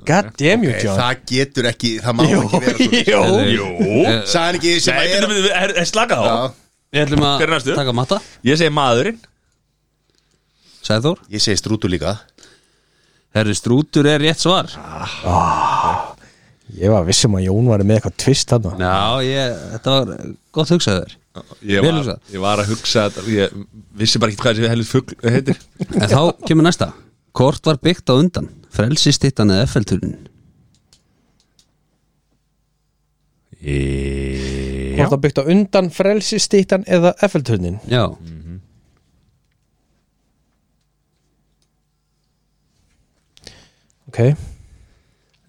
Speaker 4: God damn you, John
Speaker 3: Það getur ekki, það má ekki vera
Speaker 4: Jú,
Speaker 3: svo
Speaker 4: jú
Speaker 2: Jú
Speaker 3: Sæðan ekki sem
Speaker 2: Nei,
Speaker 3: að er
Speaker 2: byrju, byrju, er, er slaka
Speaker 3: Já,
Speaker 2: þá
Speaker 1: Við ætlum
Speaker 2: Hver er
Speaker 1: að
Speaker 2: næstu?
Speaker 1: taka matta
Speaker 2: Ég segi maðurinn
Speaker 1: Sæði Þór
Speaker 3: Ég segi strútu líka
Speaker 1: Herru, strútur er rétt svar
Speaker 4: Ég var vissum að Jón var með eitthvað tvist þarna
Speaker 1: Já, ég, þetta var gott hugsaður
Speaker 2: Ég
Speaker 1: Vel
Speaker 2: var,
Speaker 1: hugsað.
Speaker 2: ég var að hugsa þetta Ég vissi bara ekki hvað þessi helið fugl heitir
Speaker 1: En þá kemur næsta Hvort var byggt á undan? Frelsistittan eða Eiffelturnin?
Speaker 2: Ég
Speaker 4: Hvort það byggt á undan frelsistýttan eða effelturnin
Speaker 1: Já
Speaker 4: Ok,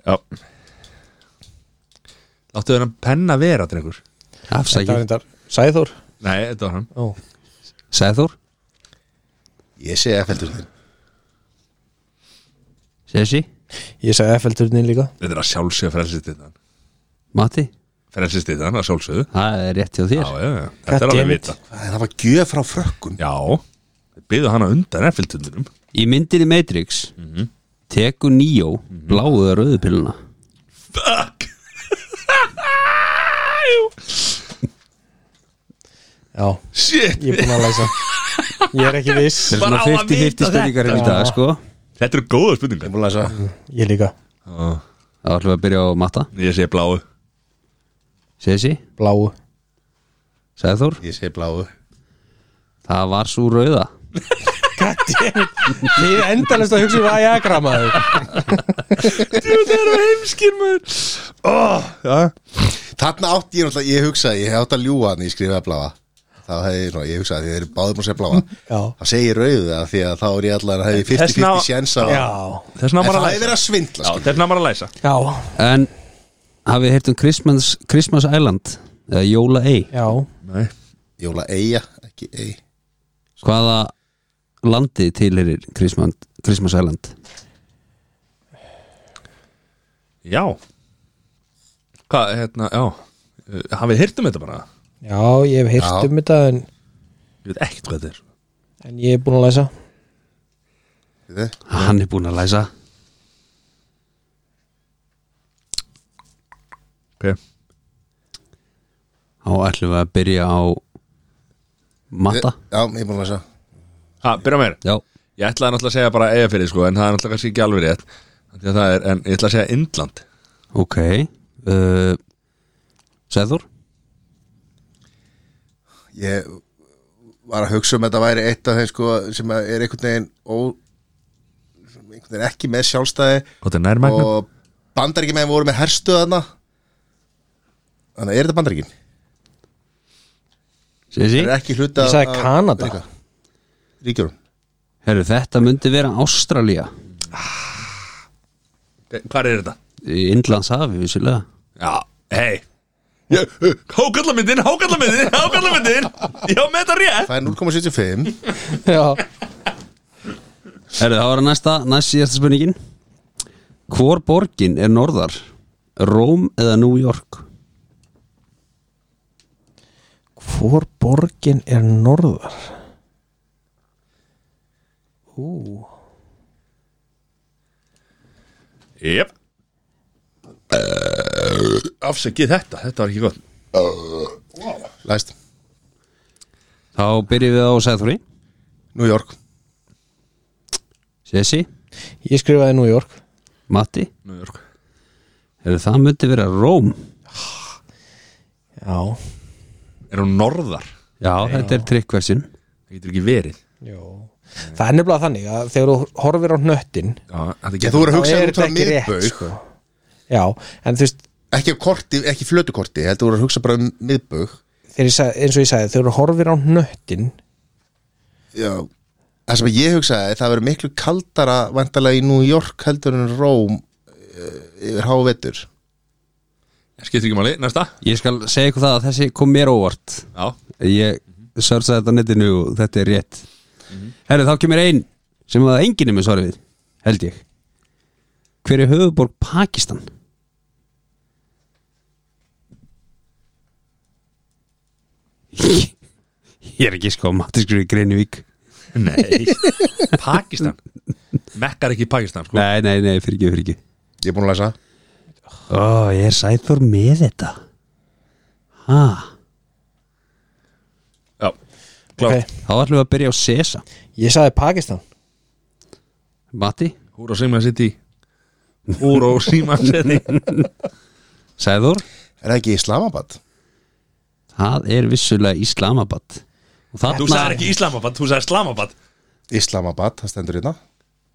Speaker 2: Já Láttu þennan penna vera, drengur
Speaker 4: þetta var
Speaker 1: Afsæki
Speaker 4: reyndar Sæður
Speaker 2: Nei, þetta var hann
Speaker 4: Ó,
Speaker 1: Sæði Þór
Speaker 3: Ég segi Eiffeltur
Speaker 1: Sessi
Speaker 4: Ég sagði effelturnin líka
Speaker 2: Þetta er að sjálfsögja frelsistittan
Speaker 1: Mati
Speaker 2: Frelsistittan að sjálfsögðu
Speaker 1: Það er rétt hjá þér
Speaker 2: Já, já, já, þetta er alveg
Speaker 4: damn it.
Speaker 2: vita
Speaker 3: Það var gjöf frá frökkum
Speaker 2: Já, byggðu hana undan effiltundunum
Speaker 1: Í myndinni Matrix
Speaker 2: Mhm.
Speaker 1: Tekur Neo Bláuða rauðu pilluna
Speaker 2: Fuck
Speaker 4: Já,
Speaker 2: Shit
Speaker 4: ég er búin að læsa Ég er ekki viss
Speaker 1: Þetta er svona
Speaker 2: Bara á að
Speaker 1: 50-50
Speaker 2: vita
Speaker 1: spurningar hérna í dag sko
Speaker 2: Þetta eru góða spurningar
Speaker 3: Búin að læsa
Speaker 4: Ég líka
Speaker 2: Já.
Speaker 1: Þá ætlum við að byrja á matta
Speaker 2: Ég segi bláu
Speaker 1: Sessi
Speaker 4: Bláu
Speaker 1: Sæði Þór
Speaker 3: Ég segi bláu
Speaker 1: Það var svo rauða
Speaker 4: God damn it Ég er endalist að hugsa um að ég agramaði
Speaker 2: Þetta er heimskir maður oh, Já
Speaker 3: Þarna átti ég náttúrulega, ég hugsaði, ég átti að ljúga hann, ég skrifaði bláa Þá hefði, ég nú, ég hugsaði, því þeir eru báðum að segja bláa
Speaker 4: Já.
Speaker 3: Þá segi ég rauðu það, því að þá er ég allan að hefði
Speaker 2: Þessna-
Speaker 3: 50-50 sjens á En
Speaker 4: Já,
Speaker 2: Þess vegna
Speaker 3: það
Speaker 2: var að
Speaker 3: hefði
Speaker 2: læsa
Speaker 3: verið að svindla,
Speaker 2: Já,
Speaker 3: skil
Speaker 2: þess vegna var að læsa
Speaker 4: já
Speaker 1: En hafið heyrt um Christmas, Christmas Island eða Jóla Ey
Speaker 4: Já,
Speaker 2: Nei
Speaker 3: Jóla eiga, ekki ei
Speaker 1: Hvaða landi tilherir Christmas, Christmas Island?
Speaker 2: Já Hvað, hérna, já Uh, Hafið hirt um þetta bara?
Speaker 4: já, ég hef heyrt
Speaker 3: Já.
Speaker 4: um þetta en,
Speaker 2: Ég veit ekkert hvað þetta er
Speaker 4: en ég er búin að læsa
Speaker 1: Hann er búinn að læsa
Speaker 2: Ok
Speaker 1: Þá ætlum við að byrja á matta
Speaker 3: Já, ég er búin að læsa
Speaker 2: Ha, byrja mér
Speaker 1: Já,
Speaker 2: Ég ætlaði náttúrulega að segja bara eiga fyrir sko En það er náttúrulega kannski ekki alveg rétt Af því að það er, En ég ætlaði að segja Indland
Speaker 1: ok uh, Sæður?
Speaker 3: Ég var að hugsa um að þetta væri eitt af þeim sko sem að er einhvern veginn ó, sem einhvern veginn ekki með sjálfstæði
Speaker 2: Hvað er nærmægnum?
Speaker 3: og bandaríkjum voru með herstuðana Þannig að er þetta bandaríkin?
Speaker 1: Sessi?
Speaker 3: Það er ekki hluta
Speaker 4: Ég sagði Kanada.
Speaker 3: Ríkjur
Speaker 1: Herru, þetta myndi vera Ástralía
Speaker 2: Hvað er þetta?
Speaker 1: í Indlands hafi, vissulega
Speaker 2: Já, hei Hákallamyndin, hákallamyndin, hákallamyndin Já, með þetta rétt
Speaker 3: Það er 0,75
Speaker 4: Já,
Speaker 1: Herru, það var næsta, næst síðasta spurningin Hvor borgin er norðar? Róm eða New York?
Speaker 4: Hvor borgin er norðar? Ú,
Speaker 2: Jep uh, Afsakið þetta, þetta var ekki gott
Speaker 3: Læst
Speaker 1: Þá byrjum við á Sæðþóri
Speaker 3: New York
Speaker 1: Sessi,
Speaker 4: ég skrifaði New York
Speaker 1: Matti
Speaker 2: New York
Speaker 1: Herru, það myndi vera Róm
Speaker 4: Já,
Speaker 2: Er hún norðar?
Speaker 1: Já, þetta er trikkversin
Speaker 2: Það getur ekki verið
Speaker 4: já Það er nefnilega þannig að þegar þú horfir á hnöttin
Speaker 2: Já, þetta
Speaker 3: Ég, Þú
Speaker 2: getur
Speaker 3: voru að hugsa um
Speaker 4: þá er
Speaker 3: út frá
Speaker 4: þetta ekki rétt,
Speaker 3: miðbaug
Speaker 4: sko. Já, en þú veist
Speaker 3: Ekki, á korti, ekki flötukorti, ég held þú voru að hugsa bara um miðbaug
Speaker 4: þegar ég sagði, eins og ég sagði, þegar þú horfir á hnöttin
Speaker 3: Já Það sem ég hugsaði, það verður miklu kaldara vantarlega í New York heldur en Róm eh, yfir hávetur
Speaker 2: Skiptir ekki máli, næsta
Speaker 1: Ég skal segja ykkur það að þessi kom mér óvart
Speaker 2: Já,
Speaker 1: Ég sörsaði þetta á netinu og þetta er rétt Herru, þá kemur ein sem að enginn er með svarið við, held ég Hver er höfuborg Pakistan? Ég er ekki sko matiskur í Greinivík
Speaker 2: nei Pakistan Mekkar ekki Pakistan, sko
Speaker 1: Nei, nei, nei, fyrir ekki, fyrir ekki
Speaker 3: Ég er búin að læsa
Speaker 1: Ó, ég er sæður með þetta Ha,
Speaker 2: Já, klart
Speaker 4: okay.
Speaker 2: okay.
Speaker 1: þá ætlum við að byrja á Sesa
Speaker 4: Ég sagði Pakistan
Speaker 1: Matti,
Speaker 2: Húra Sima City Húra Sima City
Speaker 1: Sæður
Speaker 3: Er það ekki Islamabad?
Speaker 1: Það er vissulega Islamabad Og þarna-
Speaker 2: Þú sagði ekki Islamabad, þú sagði Islamabad
Speaker 3: Islamabad, það stendur hérna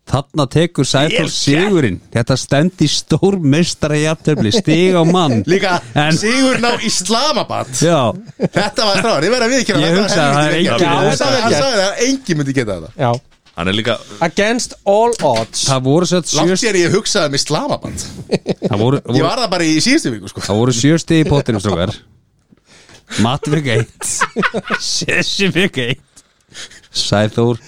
Speaker 1: Þarna tekur
Speaker 2: Vel
Speaker 1: Sæþór
Speaker 2: gert.
Speaker 1: Sigurinn Þetta stendi stór mestara jafntöfli Stig á mann
Speaker 3: Líka
Speaker 1: En-
Speaker 3: Sigurinn á Islamabad
Speaker 1: Já,
Speaker 3: Þetta var stráður, ég verði að viðkjöna
Speaker 1: Ég hugsa að það er enginn
Speaker 4: að
Speaker 3: Hann
Speaker 4: þetta-
Speaker 3: sagði hann sagði það, enginn myndi geta þetta
Speaker 4: Já
Speaker 2: Hann er líka
Speaker 4: Against all odds
Speaker 1: það voru svo sjö,
Speaker 3: Látt sér ég hugsaði um Islamabad
Speaker 1: það voru,
Speaker 3: Ég
Speaker 1: voru,
Speaker 3: var það bara í síðustu viku sko
Speaker 1: það voru sjö stig í pottinum strókar Matvik 1 Sessi vik 1 Sæþór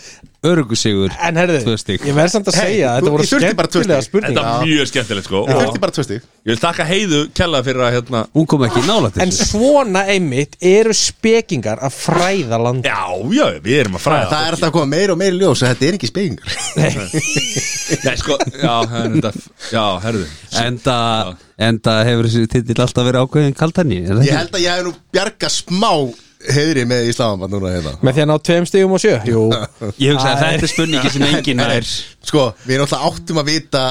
Speaker 1: Örgusigur
Speaker 4: En herðu,
Speaker 1: Tvö stig.
Speaker 4: ég verð samt að
Speaker 3: Hey,
Speaker 4: segja að
Speaker 3: þú-
Speaker 4: Þetta voru
Speaker 3: ég þurfti bara tvö stig.
Speaker 4: skemmtilega
Speaker 2: Þetta
Speaker 4: spurning
Speaker 2: er mjög skemmtilegt, sko
Speaker 3: Ég
Speaker 2: Og
Speaker 3: þurfti bara tvö stig
Speaker 2: Ég vil þakka heiðu kella fyrir að hérna
Speaker 1: Hún kom ekki nálægt
Speaker 4: En
Speaker 1: þessu
Speaker 4: svona einmitt eru spekingar að fræða land
Speaker 2: Já, já, við erum að fræða
Speaker 3: Það er alltaf að koma meira og meira í ljós og þetta er ekki spekingar
Speaker 2: Nei, sko, já, það er þetta Já, herðu
Speaker 1: Enda, enda hefur þessi titill alltaf verið ákveðin kaltani
Speaker 3: Ég held að ég hef nú bjarga smá heiðri með Islamabad núna hérna
Speaker 4: Með því að ná tveim stigum og sjö Jú,
Speaker 1: Ég hugsa að
Speaker 4: Æ.
Speaker 1: þetta er spurningi sem enginn er
Speaker 3: Sko, við erum alltaf áttum að vita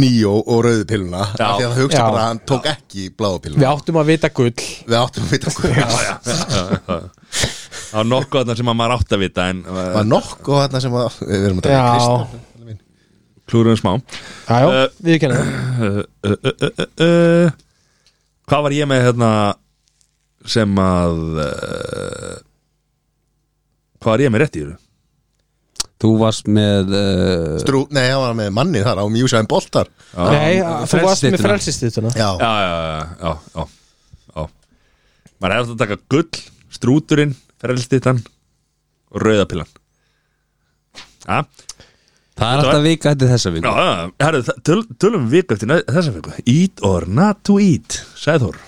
Speaker 3: Níó og rauðu pilluna af Því að það hugsa
Speaker 4: Já.
Speaker 3: bara að hann tók ekki bláðu
Speaker 4: við
Speaker 3: pilluna
Speaker 4: áttum að vita gull
Speaker 3: Við áttum að vita hvað
Speaker 2: Já, já, já, já, já. Það var nokkuð þarna sem að maður átt að vita En uh,
Speaker 3: Það var nokk og þarna sem að Við erum að taka
Speaker 4: Já,
Speaker 3: Kristján
Speaker 2: klúruðum smá uh,
Speaker 4: já,
Speaker 2: Eh,
Speaker 4: við kennum það
Speaker 2: uh, uh, uh, uh, uh. Hvað var ég með hérna Sem að uh, Hvað var ég með rétt í þér?
Speaker 1: Þú varst með uh,
Speaker 3: Strú, nei, það var með manni þar á mjúsæðin boltar
Speaker 4: Nei, þú varst með
Speaker 1: frelsisstyttuna.
Speaker 4: frelsistutuna
Speaker 3: Já,
Speaker 2: Já, já, já, já, já, já. Maður hefði átt að taka gull Strúturinn, ferðlstittan Og rauðapillan Já,
Speaker 1: Það er alltaf vika eftir þessa
Speaker 2: já,
Speaker 1: vika
Speaker 2: já herru, það- töl, Tölum við viku eftir næ- þessa viku Eat or not to eat, sagði Þór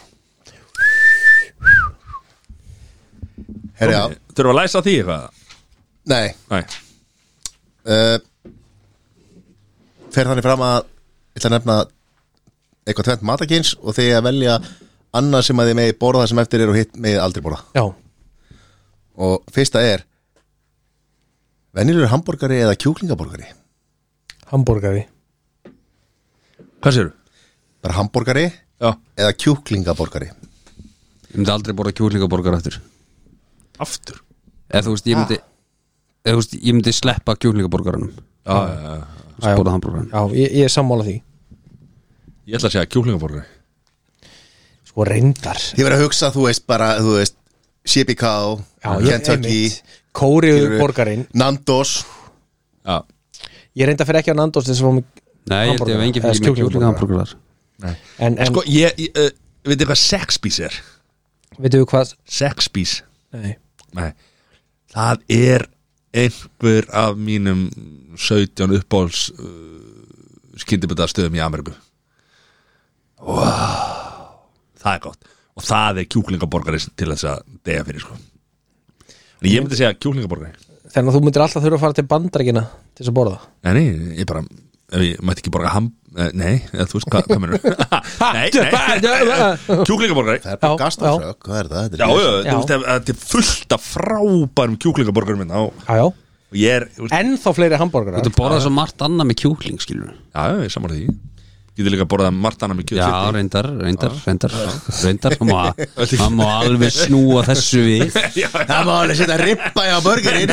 Speaker 3: herri, já,
Speaker 2: Þurfum að læsa á því eitthvað?
Speaker 3: nei
Speaker 2: Nei,
Speaker 3: uh, fer þannig fram að ég ætla að nefna eitthvað tvent matakins og þegar að velja annað sem að þið megi borða sem eftir er og hitt megi aldrei borða
Speaker 4: Já,
Speaker 3: og fyrsta er venjulegur hambúrgari eða kjúklingaborgari
Speaker 4: hambúrgari
Speaker 2: hvað séru?
Speaker 3: bara hambúrgari
Speaker 2: Já,
Speaker 3: eða kjúklingaborgari
Speaker 1: Ég myndi aldrei borða kjúklingaborgar aftur
Speaker 2: aftur
Speaker 1: eða þú veist, ég myndi eða þú veist, ég myndi sleppa kjúklingaborgaranum
Speaker 2: Já, já, já, já.
Speaker 4: Já.
Speaker 1: spóða hambúrgaran
Speaker 4: Já, ég, ég er sammála því
Speaker 2: Ég ætla að segja kjúklingaborgari
Speaker 4: Sko reyndar Já,
Speaker 3: ég verið að hugsa, þú veist bara þú veist, CPK,
Speaker 4: ég
Speaker 3: Kentucky
Speaker 4: einmitt Kóriðu
Speaker 3: skilurðu,
Speaker 4: borgarinn
Speaker 3: Nandos
Speaker 2: Já,
Speaker 4: Ég reynda fyrir ekki á Nandos til þess að fá mig
Speaker 1: Nei, ég held ég hef engin
Speaker 4: Eða
Speaker 1: fyrir með
Speaker 4: kjúklingahamborgara.
Speaker 1: kjúklingaborgarar
Speaker 4: En, en
Speaker 2: sko, ég, ég uh, veit þið hvað sexpís er?
Speaker 4: veitum við hvað
Speaker 2: Sexpís
Speaker 4: Nei
Speaker 2: Nei, það er einhver af mínum 17 uppbóls uh, skyndibita stöðum í Ameríku wow. það er gott og það er kjúklingaborgari til þess að degja fyrir sko en ég myndi segja kjúklingaborgari
Speaker 4: Þannig að þú myndir alltaf þurfa að fara til bandarækina til þess að borða
Speaker 2: nei, nei, ég bara ef ég mætti ekki borga ham eh, nei, eða þú veist hvað hva mennur nei, nei, kjúklingaborgari
Speaker 3: Það er
Speaker 4: Já,
Speaker 3: bara
Speaker 4: já.
Speaker 3: gastatrökk, hvað er það?
Speaker 2: já,
Speaker 3: Þetta er
Speaker 2: já,
Speaker 3: ris-
Speaker 2: þú veist, ef- þetta er fullt af frábærum kjúklingaborgarum minna og
Speaker 4: Já, já
Speaker 2: og ég er, þú veist,
Speaker 4: En þá fleiri hambúrgarar
Speaker 1: Þú borðað svo margt annað með kjúkling, skilur
Speaker 2: já, ég samar því getur líka borðað margt annað
Speaker 1: Já,
Speaker 2: með kjötsviti
Speaker 1: reyndar, reyndar, reyndar Reyndar, það má-
Speaker 2: Öll í-
Speaker 1: það má alveg snúa þessu við
Speaker 3: Það má alveg setja rippa hjá burgerinn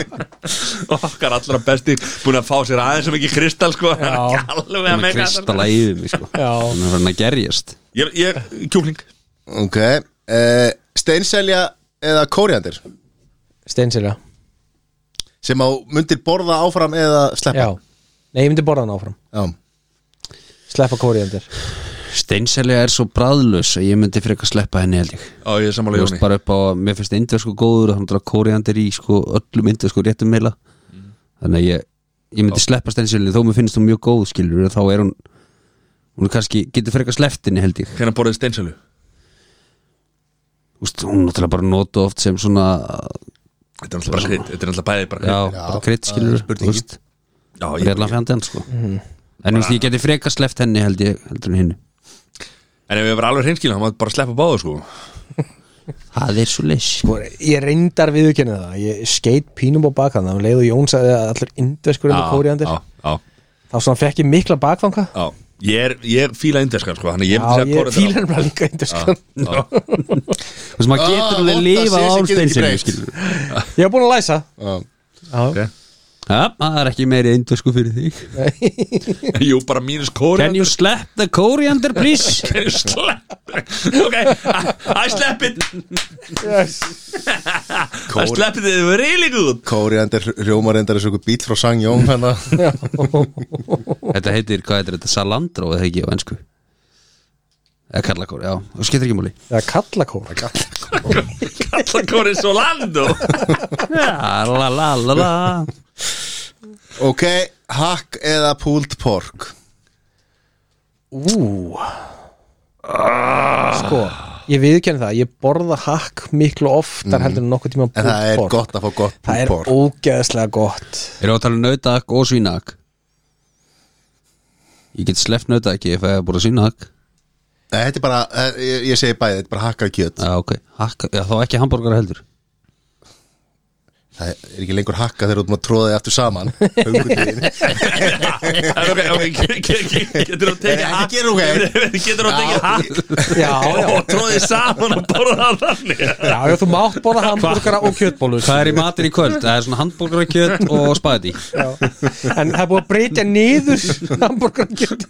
Speaker 2: okkar allra besti búin að fá sér aðeins sem ekki kristall sko hann er ekki alveg að
Speaker 1: Þannig að
Speaker 2: meika
Speaker 1: kristalla yfir mig, sko
Speaker 4: Já.
Speaker 1: Þannig að hann að gerjast
Speaker 2: ég, ég, kjúkling
Speaker 3: Ok, uh, steinselja eða kóriandir
Speaker 4: Steinsilja,
Speaker 3: sem á myndir borða áfram eða
Speaker 4: já
Speaker 3: sleppa
Speaker 4: Nei, ég myndi borða hann áfram
Speaker 3: Já,
Speaker 4: Sleppa kóriandir
Speaker 1: Steinselja er svo bræðlös að ég myndi frekar sleppa henni held ég
Speaker 2: á ég er sammála
Speaker 1: Þú veist
Speaker 2: Jóni
Speaker 1: bara upp á að mér finnst indversku góður og þannig að kóriandir í sko öllum indversku réttum meila þannig að ég, ég myndi sleppa steinselju þó mér finnst hún mjög góð skilur þá er hún hún er kannski, getur frekar sleftinni held ég
Speaker 2: hérna borðið steinsölu
Speaker 1: Þú veist, hún er náttúrulega bara notu oft sem svona
Speaker 2: þetta er alltaf bara krydd þetta er alltaf bæði bara
Speaker 1: já,
Speaker 2: krydd
Speaker 1: bara krydd skilur þú
Speaker 3: spurningin.
Speaker 1: veist,
Speaker 2: já, ég,
Speaker 1: reyðla fjandi hann sko
Speaker 3: Mhm.
Speaker 1: en þú veist, ég geti frekar sleft henni held ég heldur en hinn
Speaker 2: en ef ég verið alveg hreinskilin þá maður bara sleppa báðu sko
Speaker 1: það er svo leys
Speaker 4: Sko, Ég reyndar viðurkenni það Ég skeit pínum á Um bakan Það leiðu Jóns að allir indveskur
Speaker 2: Já,
Speaker 4: með kóriandir
Speaker 2: já, já,
Speaker 4: Þá svona fekk ég mikla bakfanga
Speaker 2: já ég er, ég er fíla indeskar sko þannig að ég
Speaker 4: Já,
Speaker 2: myndi segja
Speaker 4: ég
Speaker 2: kóriander
Speaker 4: fílar bara líka sko. indveskan
Speaker 2: á- á.
Speaker 1: þú veist, maður
Speaker 3: Ah,
Speaker 1: getur
Speaker 3: vont
Speaker 1: alveg
Speaker 3: að sé
Speaker 1: lifað á
Speaker 3: sem getur ekki
Speaker 1: steinselju
Speaker 3: breytt.
Speaker 1: skilur
Speaker 4: Ég var búin að læsa
Speaker 3: já.
Speaker 4: Já,
Speaker 2: Ok.
Speaker 1: já, það er ekki meiri indversku fyrir þig
Speaker 2: jú, bara mínus
Speaker 1: Can
Speaker 2: kóriander
Speaker 1: you slap the coriander please?
Speaker 2: Can you slap ok, I, I slap it I slap it really good
Speaker 3: Kóriandir rjómarindar er svo einhver bíl frá Sangjón Þannig að
Speaker 1: þetta heitir, hvað heitir þetta? Salandro eða ekki á ennsku Eða kallakór, já, þú skiptir ekki múli
Speaker 4: það er kallakór
Speaker 2: kalla kóri Solando
Speaker 1: La la la la
Speaker 3: Ok, hack eða pulled pork
Speaker 4: Ú Sko, ég viðurkenni það Ég borða hakk miklu oftar heldur en nokkuð tíma
Speaker 3: En það er gott að fá gott
Speaker 4: Það
Speaker 3: pulled
Speaker 4: er
Speaker 3: pork
Speaker 4: ógeðslega gott
Speaker 1: Eru að tala um nautak og svínak? Ég get sleppt nautaki ef ég hef búið svínak
Speaker 3: Nei, þetta er bara, eh, ég, ég segi bæði, þetta er bara hakkað kjöt
Speaker 1: Já, ok, Hakka, já, þá ekki hambúrgar heldur
Speaker 3: Það er ekki lengur hakka þegar þú ert maður tróðið aftur saman Höngutíðin
Speaker 2: ok, ok, ge- ge- ge- getur þú tekið
Speaker 3: Nei,
Speaker 2: hatt
Speaker 3: ekki gera, Eh, ok.
Speaker 2: getur þú tekið hatt
Speaker 4: Já, já,
Speaker 2: og tróðið saman og borðað þannig
Speaker 4: já, já þú mátt borða hambúrgara og kjötbólur
Speaker 1: Hvað er í matir í kvöld? Það er svona hambúrgarakjöt og spæði
Speaker 4: Já. En það er búið að breyta niður hambúrgara og kjöt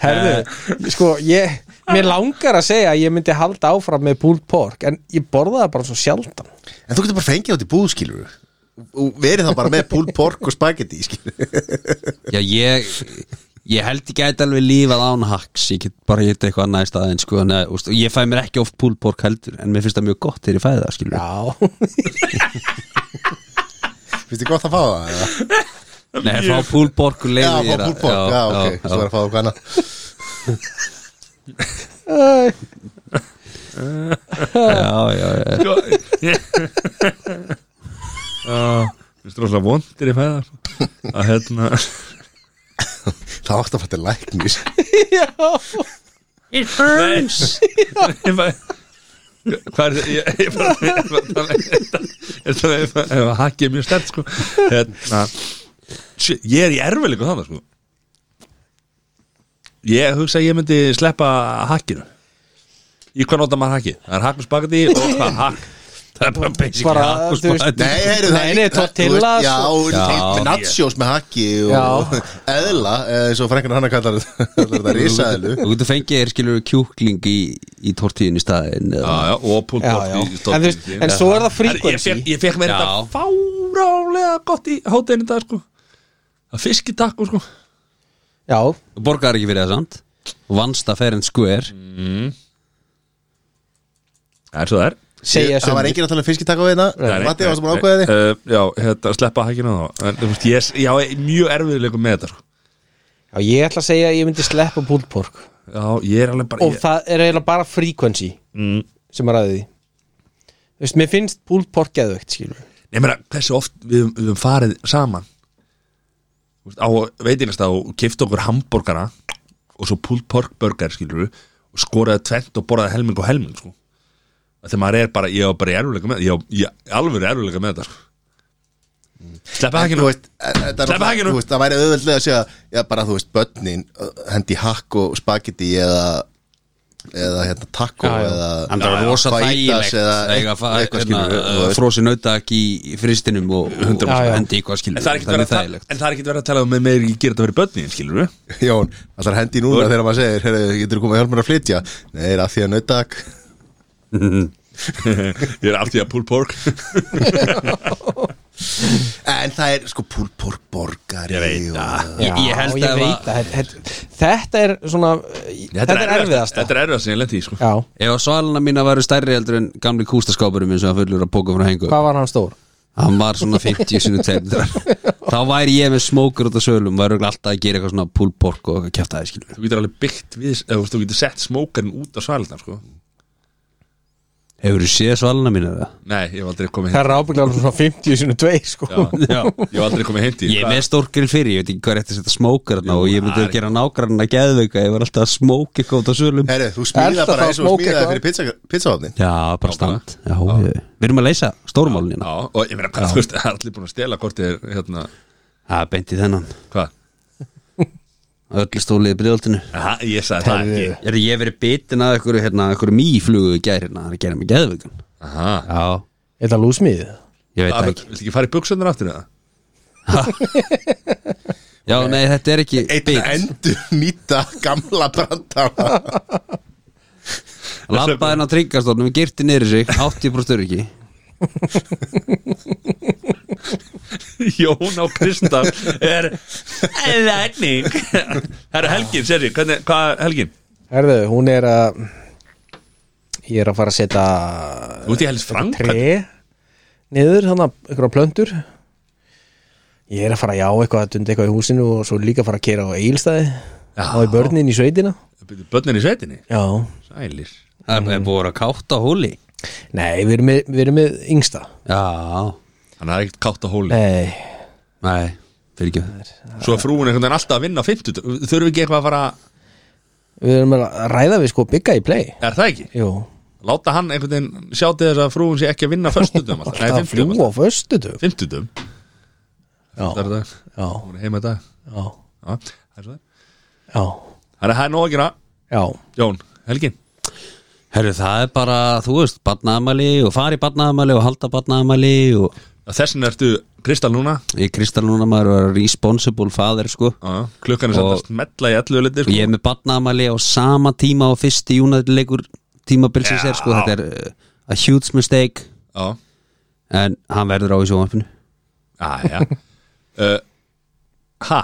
Speaker 4: Herðu, sko, ég Mér langar að segja að ég myndi halda áfram með pulled pork En ég borða það bara svo sjaldan
Speaker 3: En þú getur bara fengið átt í búð, skilur og verið þá bara með pulled pork og spagetti skilur.
Speaker 1: Já, ég Ég held ég gæti alveg lífað án haks Ég get bara geta eitthvað annað í staðin sko, en, úst, og Ég fæ mér ekki oft púlborg heldur En mér finnst það mjög gott þegar ég fæði það skilur
Speaker 4: Já,
Speaker 3: finnst þið gott að fá það? eða?
Speaker 1: Nei, fá púlborg og
Speaker 3: Já,
Speaker 1: leiði
Speaker 3: fá pulled pork, já, ok, þú verður að fá það hana
Speaker 1: já, já, já.
Speaker 2: sko Mér finnst rosalega vondir í fæða sko. að hérna
Speaker 3: Það átt að fætti læknis
Speaker 4: já
Speaker 2: ég bara- hvað er þetta ég, ég bara ég bara- ég bara- ég bara- ef að hakið er mjög stert sko hérna shit, ég er í erfileikum þannig sko ég hugsa að ég myndi sleppa hakkinu í hvað nota maður hakið það er hakk með spagetti og hvað hakk það er bara basic
Speaker 4: Bara,
Speaker 2: hakk og
Speaker 4: þú veist,
Speaker 2: spagetti
Speaker 3: Nei, heyrðu, það
Speaker 4: Nei, nei,
Speaker 3: það- þú
Speaker 4: tortillas
Speaker 3: veist,
Speaker 4: og-
Speaker 3: Já,
Speaker 1: Já.
Speaker 3: já nachos með haki og
Speaker 4: Já.
Speaker 3: eðla eh, eins og frækkar hana kallar kallar þetta risaðlu
Speaker 1: Þú getur fengið þér skilur kjúkling í, í tortíðin í staðin
Speaker 2: Já, já, og púl
Speaker 4: Já, já. En, þú veist, en svo er það frequency
Speaker 2: Ég fekk mér
Speaker 1: Já.
Speaker 2: þetta fárálega gott í hátæðinu dag sko að fiski takk sko
Speaker 4: Já,
Speaker 1: Þú borgar ekki fyrir það samt Þú Vannst að fer en skver
Speaker 2: Það er svo það er
Speaker 4: segja
Speaker 3: Það var
Speaker 4: sömu.
Speaker 3: enginn að tala um fiskitaka við hérna Matti, varstu búin að ákveða þig?
Speaker 2: Uh, já, hérna, sleppa hækina þá en, þú veist, ég, já, ég er mjög erfiðleikum með þetta sko.
Speaker 4: Já, ég ætla að segja að ég myndi sleppa búlpork
Speaker 2: Já, ég er alveg bara
Speaker 4: og
Speaker 2: ég,
Speaker 4: það er eiginlega bara frequency
Speaker 2: mm,
Speaker 4: sem er aðið því Þú veist, mér finnst búlpork geðveikt, skilur
Speaker 2: Ég meina, hversu oft við, höfum- við höfum farið saman Þú veist, á veitingast og kifta okkur hambúrgara og svo pulled pork burger skilur við og skoraði tvent og borðaði helming og helming sko. þegar maður er bara, ég er bara erfiðleikum með ég, ég, ég alveg erfiðleikum með þetta sko. sleppa
Speaker 3: En,
Speaker 2: hækina
Speaker 3: þú veist, en, en, það er
Speaker 2: Sleppa
Speaker 3: náttúrulega-
Speaker 2: hakinu.
Speaker 3: þú veist, það væri auðveldlega að segja já, bara þú veist, börnin uh, hendi hakk og spagetti eða eða hérna taco
Speaker 4: Já, já.
Speaker 3: eða
Speaker 1: Hann er rosa
Speaker 3: fajitas
Speaker 1: þægilegt
Speaker 3: eða
Speaker 1: að eiga að fara-
Speaker 3: eitthvað skilur
Speaker 1: hérna, uh, frosin nautak í í fristinum og, og
Speaker 4: Já, já.
Speaker 1: hendi eitthvað skilur
Speaker 2: en það er ekkert verið að tala- en það er ekkert verið að tala um með meir ekki gera þetta fyrir börnin skilur við
Speaker 3: Jón, það er hendi núna þegar maður segir "Heyrðu, getur þú komið að hjálpa mér að flytja Nei, er að því að nautak
Speaker 1: Mhm.
Speaker 2: ég er allt í að pulled pork
Speaker 3: En það er sko púlpór borgari
Speaker 2: Ég veit,
Speaker 3: og,
Speaker 1: Ég- ég held
Speaker 4: Já,
Speaker 1: að það-
Speaker 4: ég veit að þetta, þetta er svona Þetta er erfiðasta
Speaker 2: þetta er erfiðast sem ég lendi í sko.
Speaker 4: Já,
Speaker 1: Ef að svalina mína væru stærri heldur en gamli kústaskápurum eins og að fullur að póka frá hengu
Speaker 4: hvað var hann stór?
Speaker 1: Hann var svona 50 sinni tegndar Þá væri ég með smókur út af sölum væri örugglega alltaf að gera eitthvað svona pulled pork og kjæfta það skilur
Speaker 2: þú getur alveg byggt við eða þú veist, þú getur sett smókarinn út á svalirnar sko.
Speaker 1: Hefur þú séð svalina mína það?
Speaker 2: nei, ég hef aldrei komið
Speaker 4: Það er ábygglega alveg svona 50 sinu 2 sko
Speaker 2: heim já, ég hef aldrei komið heim til
Speaker 1: Ég er með stórkir fyrir, ég veit ekki hvað er eftir að setja smókur þarna og ég myndi
Speaker 2: það
Speaker 1: að gera nágrann að geðveika ég var alltaf að smók eitthvað út af sölum
Speaker 3: Herru, þú smíða
Speaker 4: Ertu
Speaker 3: bara
Speaker 4: þá
Speaker 3: eins og
Speaker 4: smoke
Speaker 3: smíðaði
Speaker 4: eitthvað?
Speaker 3: fyrir pizza- pizzahofnin
Speaker 1: Já, bara stand Já, ég- Við erum að leysa hérna. stórmálunina
Speaker 2: Já, og ég meina, hvað, þú veist, það er allir búin að stela hvort er, hérna,
Speaker 1: Það er beint í þennan
Speaker 2: hvað?
Speaker 1: Öllu stólið bríðoltinu
Speaker 2: Aha, ég sagði það ekki
Speaker 1: Er ég hef verið bitin að einhverju hérna, einhverju mýflugu í gær hérna, það er að gera mig geðveikan
Speaker 2: Aha,
Speaker 1: Já,
Speaker 4: Er þetta lúsmiðið?
Speaker 1: ég veit
Speaker 2: það
Speaker 1: það
Speaker 2: er,
Speaker 1: ekki
Speaker 2: viltu ekki fara í buksunar aftur eða?
Speaker 1: Já, nei, þetta er ekki
Speaker 3: Einn
Speaker 1: bit
Speaker 3: endur nýta gamla brandara
Speaker 1: Labbaði hann á tryggastofnum, girti niður í sig 80% öryggi
Speaker 2: Jón á Kristaf er lækning Það eru helgin, sér ég, hvernig, hvað er helgin?
Speaker 4: Herðu, hún er að Ég er að fara að setja
Speaker 2: Þú ert í helst frang,
Speaker 4: Tre Niður, þannig að ykkur á plöntur Ég er að fara að já eitthvað að dunda eitthvað í húsinu og svo líka að fara að kera á eilstæði
Speaker 2: Já.
Speaker 4: Já. og í börnin í sveitina
Speaker 2: hvernig, börnin í sveitinni?
Speaker 4: Já,
Speaker 2: Sælir
Speaker 1: Það er búið að vera kátt á hóli
Speaker 4: nei, við erum með, við erum með yngsta
Speaker 1: Já,
Speaker 2: Hann er ekkert kátt á hóli
Speaker 4: Nei,
Speaker 1: nei, fyrir ekki
Speaker 2: Svo er frúin einhvern veginn alltaf að vinna á 50 Þurfum við ekki eitthvað að fara,
Speaker 4: við erum að ræða við sko bygga í play
Speaker 2: er það ekki?
Speaker 4: Jú,
Speaker 2: Láta hann einhvern veginn sjá til þess að frúin sé ekki að vinna á föstudum alltaf
Speaker 4: alltaf að fljúa á föstudum
Speaker 2: 50 Það
Speaker 4: Já,
Speaker 2: er það,
Speaker 4: já,
Speaker 2: hún er heima í dag
Speaker 4: já,
Speaker 2: Já, það er svo það
Speaker 4: já,
Speaker 2: Þannig að það er nóg að gera
Speaker 4: já
Speaker 2: Jón, helgin
Speaker 1: Herru, það er bara, þú veist, barnaðamæli og fari barnaðamæli og halda barnaðamæli og
Speaker 2: Þessin ertu Kristal núna
Speaker 1: ég kristal núna maður er responsible father, sko
Speaker 2: Já, Klukkan er samt
Speaker 1: Og-
Speaker 2: að smetla í allu
Speaker 1: og
Speaker 2: liti
Speaker 1: ég
Speaker 2: sko.
Speaker 1: er með barnaðamæli á sama tíma og fyrsti júnaðleikur tímabilsins
Speaker 2: Já.
Speaker 1: er, sko, þetta er uh, a huge mistake
Speaker 2: Já,
Speaker 1: en hann verður á í sjónvarpinu
Speaker 2: já, já uh, Ha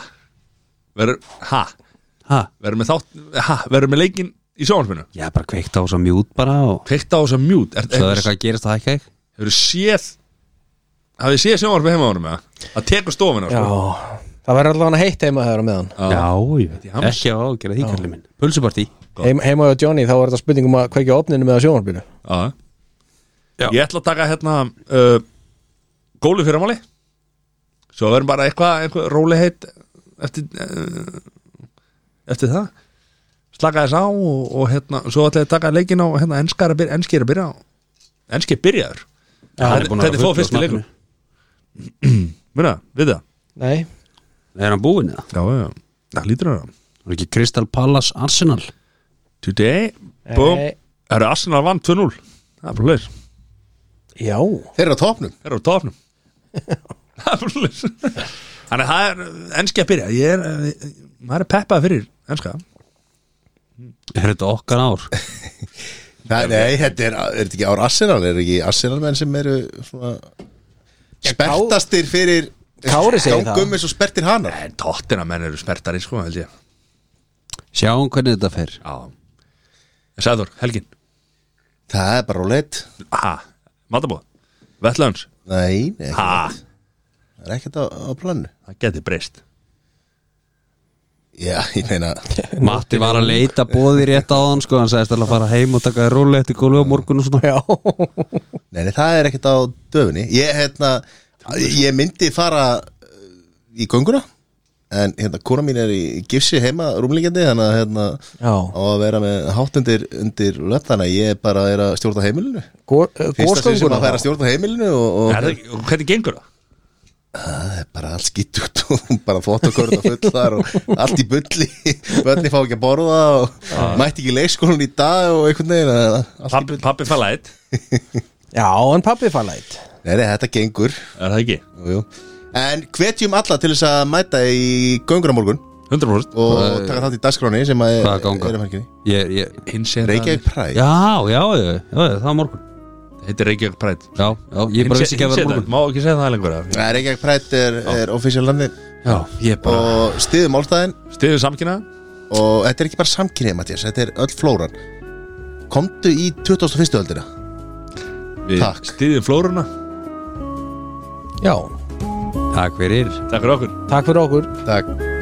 Speaker 2: Verður, ha
Speaker 1: ha,
Speaker 2: Verður með þátt, ha, verður með leikin í sjónvarpinu
Speaker 1: ég er bara kveikt á svo mjút bara og
Speaker 2: Kveikta á þess að mjút er,
Speaker 1: svo er
Speaker 2: er,
Speaker 1: eitthvað að gerast að hækka ekki
Speaker 2: Hefur séð Hafið séð sjónvarpi heima á honum eða? Það tekur stofuna
Speaker 4: Já,
Speaker 2: sko.
Speaker 4: það verður allavega heitt heima þegar á meðan
Speaker 1: Já,
Speaker 2: Í
Speaker 1: já,
Speaker 2: hams.
Speaker 1: ekki á að gera því kallið minn Pulsupartí
Speaker 4: Heim, Heima hjá Johnny þá er þetta spurning um að kveikja opninu með á sjónarbyrnu
Speaker 2: Já.
Speaker 1: Já.
Speaker 2: Ég ætla að taka hérna uh, Gólu fyrir máli Svo verðum bara eitthvað eitthva, Róli heitt eftir, uh, eftir það Slaka þess á og, og hérna Svo ætla ég að taka leikin á hérna, enskar að byrja, Enskir að byrja á Enskir byrjaður Þetta þetta er þó fyrsti leikur Muna, við það
Speaker 4: Nei,
Speaker 1: Er hann búinn eða?
Speaker 2: Já, já, já. það lítur hann
Speaker 1: Það er ekki Crystal Palace Arsenal
Speaker 2: Today, boom
Speaker 4: Nei.
Speaker 2: Það eru Arsenal vann 2-0 Það er bara leis
Speaker 4: já,
Speaker 3: Þeir eru á topnum
Speaker 2: Það eru á tofnum Það er bara svoleiðis. Þannig að það er enski að byrja Ég er, maður er peppað fyrir enska
Speaker 1: Er þetta okkar ár?
Speaker 3: Nei, nei þetta er, er þetta ekki ár Arsenal Er ekki Arsenal menn sem eru svona Spertastir fyrir
Speaker 4: Kári segir það.
Speaker 3: Gangum eins og spertir hanar
Speaker 2: En tóttina menn eru smertari sko held ég
Speaker 1: Sjáum hvernig þetta fer
Speaker 2: Já Sæður, helgin
Speaker 3: Það er bara róleitt
Speaker 2: Ha, matabóð Vettlöns,
Speaker 3: Nei, nei, ekki,
Speaker 2: ha,
Speaker 3: það er ekkert á, á planu
Speaker 2: það geti breyst
Speaker 3: Já, ég meina
Speaker 1: Matti var að leita bóði rétt á hann sko, hann sagðist alveg að fara heim og taka þér rólega eftir gólu á morgun og svona
Speaker 4: Já,
Speaker 3: Nei, nei, það er ekkert á döfunni Ég, hérna, ég myndi fara uh, í gönguna En hérna, kona mín er í gifsi heima rúmlíkjandi Þannig að hérna
Speaker 4: Já.
Speaker 3: á að vera með hátt undir, undir löp Þannig að ég bara er að stjórna heimilinu
Speaker 4: eh,
Speaker 3: Fyrsta sinn sem
Speaker 4: góðskönguna
Speaker 3: að færa að stjórna heimilinu Og, og
Speaker 2: Er það ekki- og Hvernig gengur það?
Speaker 3: það er bara allt skýtugt og hún bara þvóttakörða full þar og allt í bulli bönni fá ekki að borða og mætti ekki í leikskólan í dag og einhvern veginn að- allt í
Speaker 2: Pappi, pappi fælæðið,
Speaker 4: Já, en pappi fara læt
Speaker 3: bulli. Nei, nei, þetta gengur
Speaker 2: er það ekki?
Speaker 3: jú, jú. En hvetjum alla til þess að mæta í göngur á morgun
Speaker 2: 100%
Speaker 3: og
Speaker 1: Hvað-
Speaker 3: taka þátt í dagskráni sem að
Speaker 1: Hvaða ganga?
Speaker 3: er að fengið
Speaker 1: ég, ég,
Speaker 2: Hinsegin
Speaker 3: Reykjavík Præ
Speaker 1: Já, já, já, já, það var morgun
Speaker 2: Heitir Reykjavík Prætt
Speaker 1: Já, já, ég bara vissi ekki að vera morgun
Speaker 2: Má ekki segja það lengur eða?
Speaker 3: Nei, Reykjavík Præ er, er official landi
Speaker 1: Já, ég bara
Speaker 3: og stiðum málstæðin
Speaker 2: Stiðu samkynna
Speaker 3: og þetta er ekki bara samkynið Mattias, þetta er öll flóran komdu í 2001. öldina
Speaker 2: Við
Speaker 3: Takk.
Speaker 2: stiðum flóruna
Speaker 4: Já,
Speaker 1: Takk fyrir
Speaker 2: Takk fyrir okkur
Speaker 4: takk fyrir okkur
Speaker 3: Takk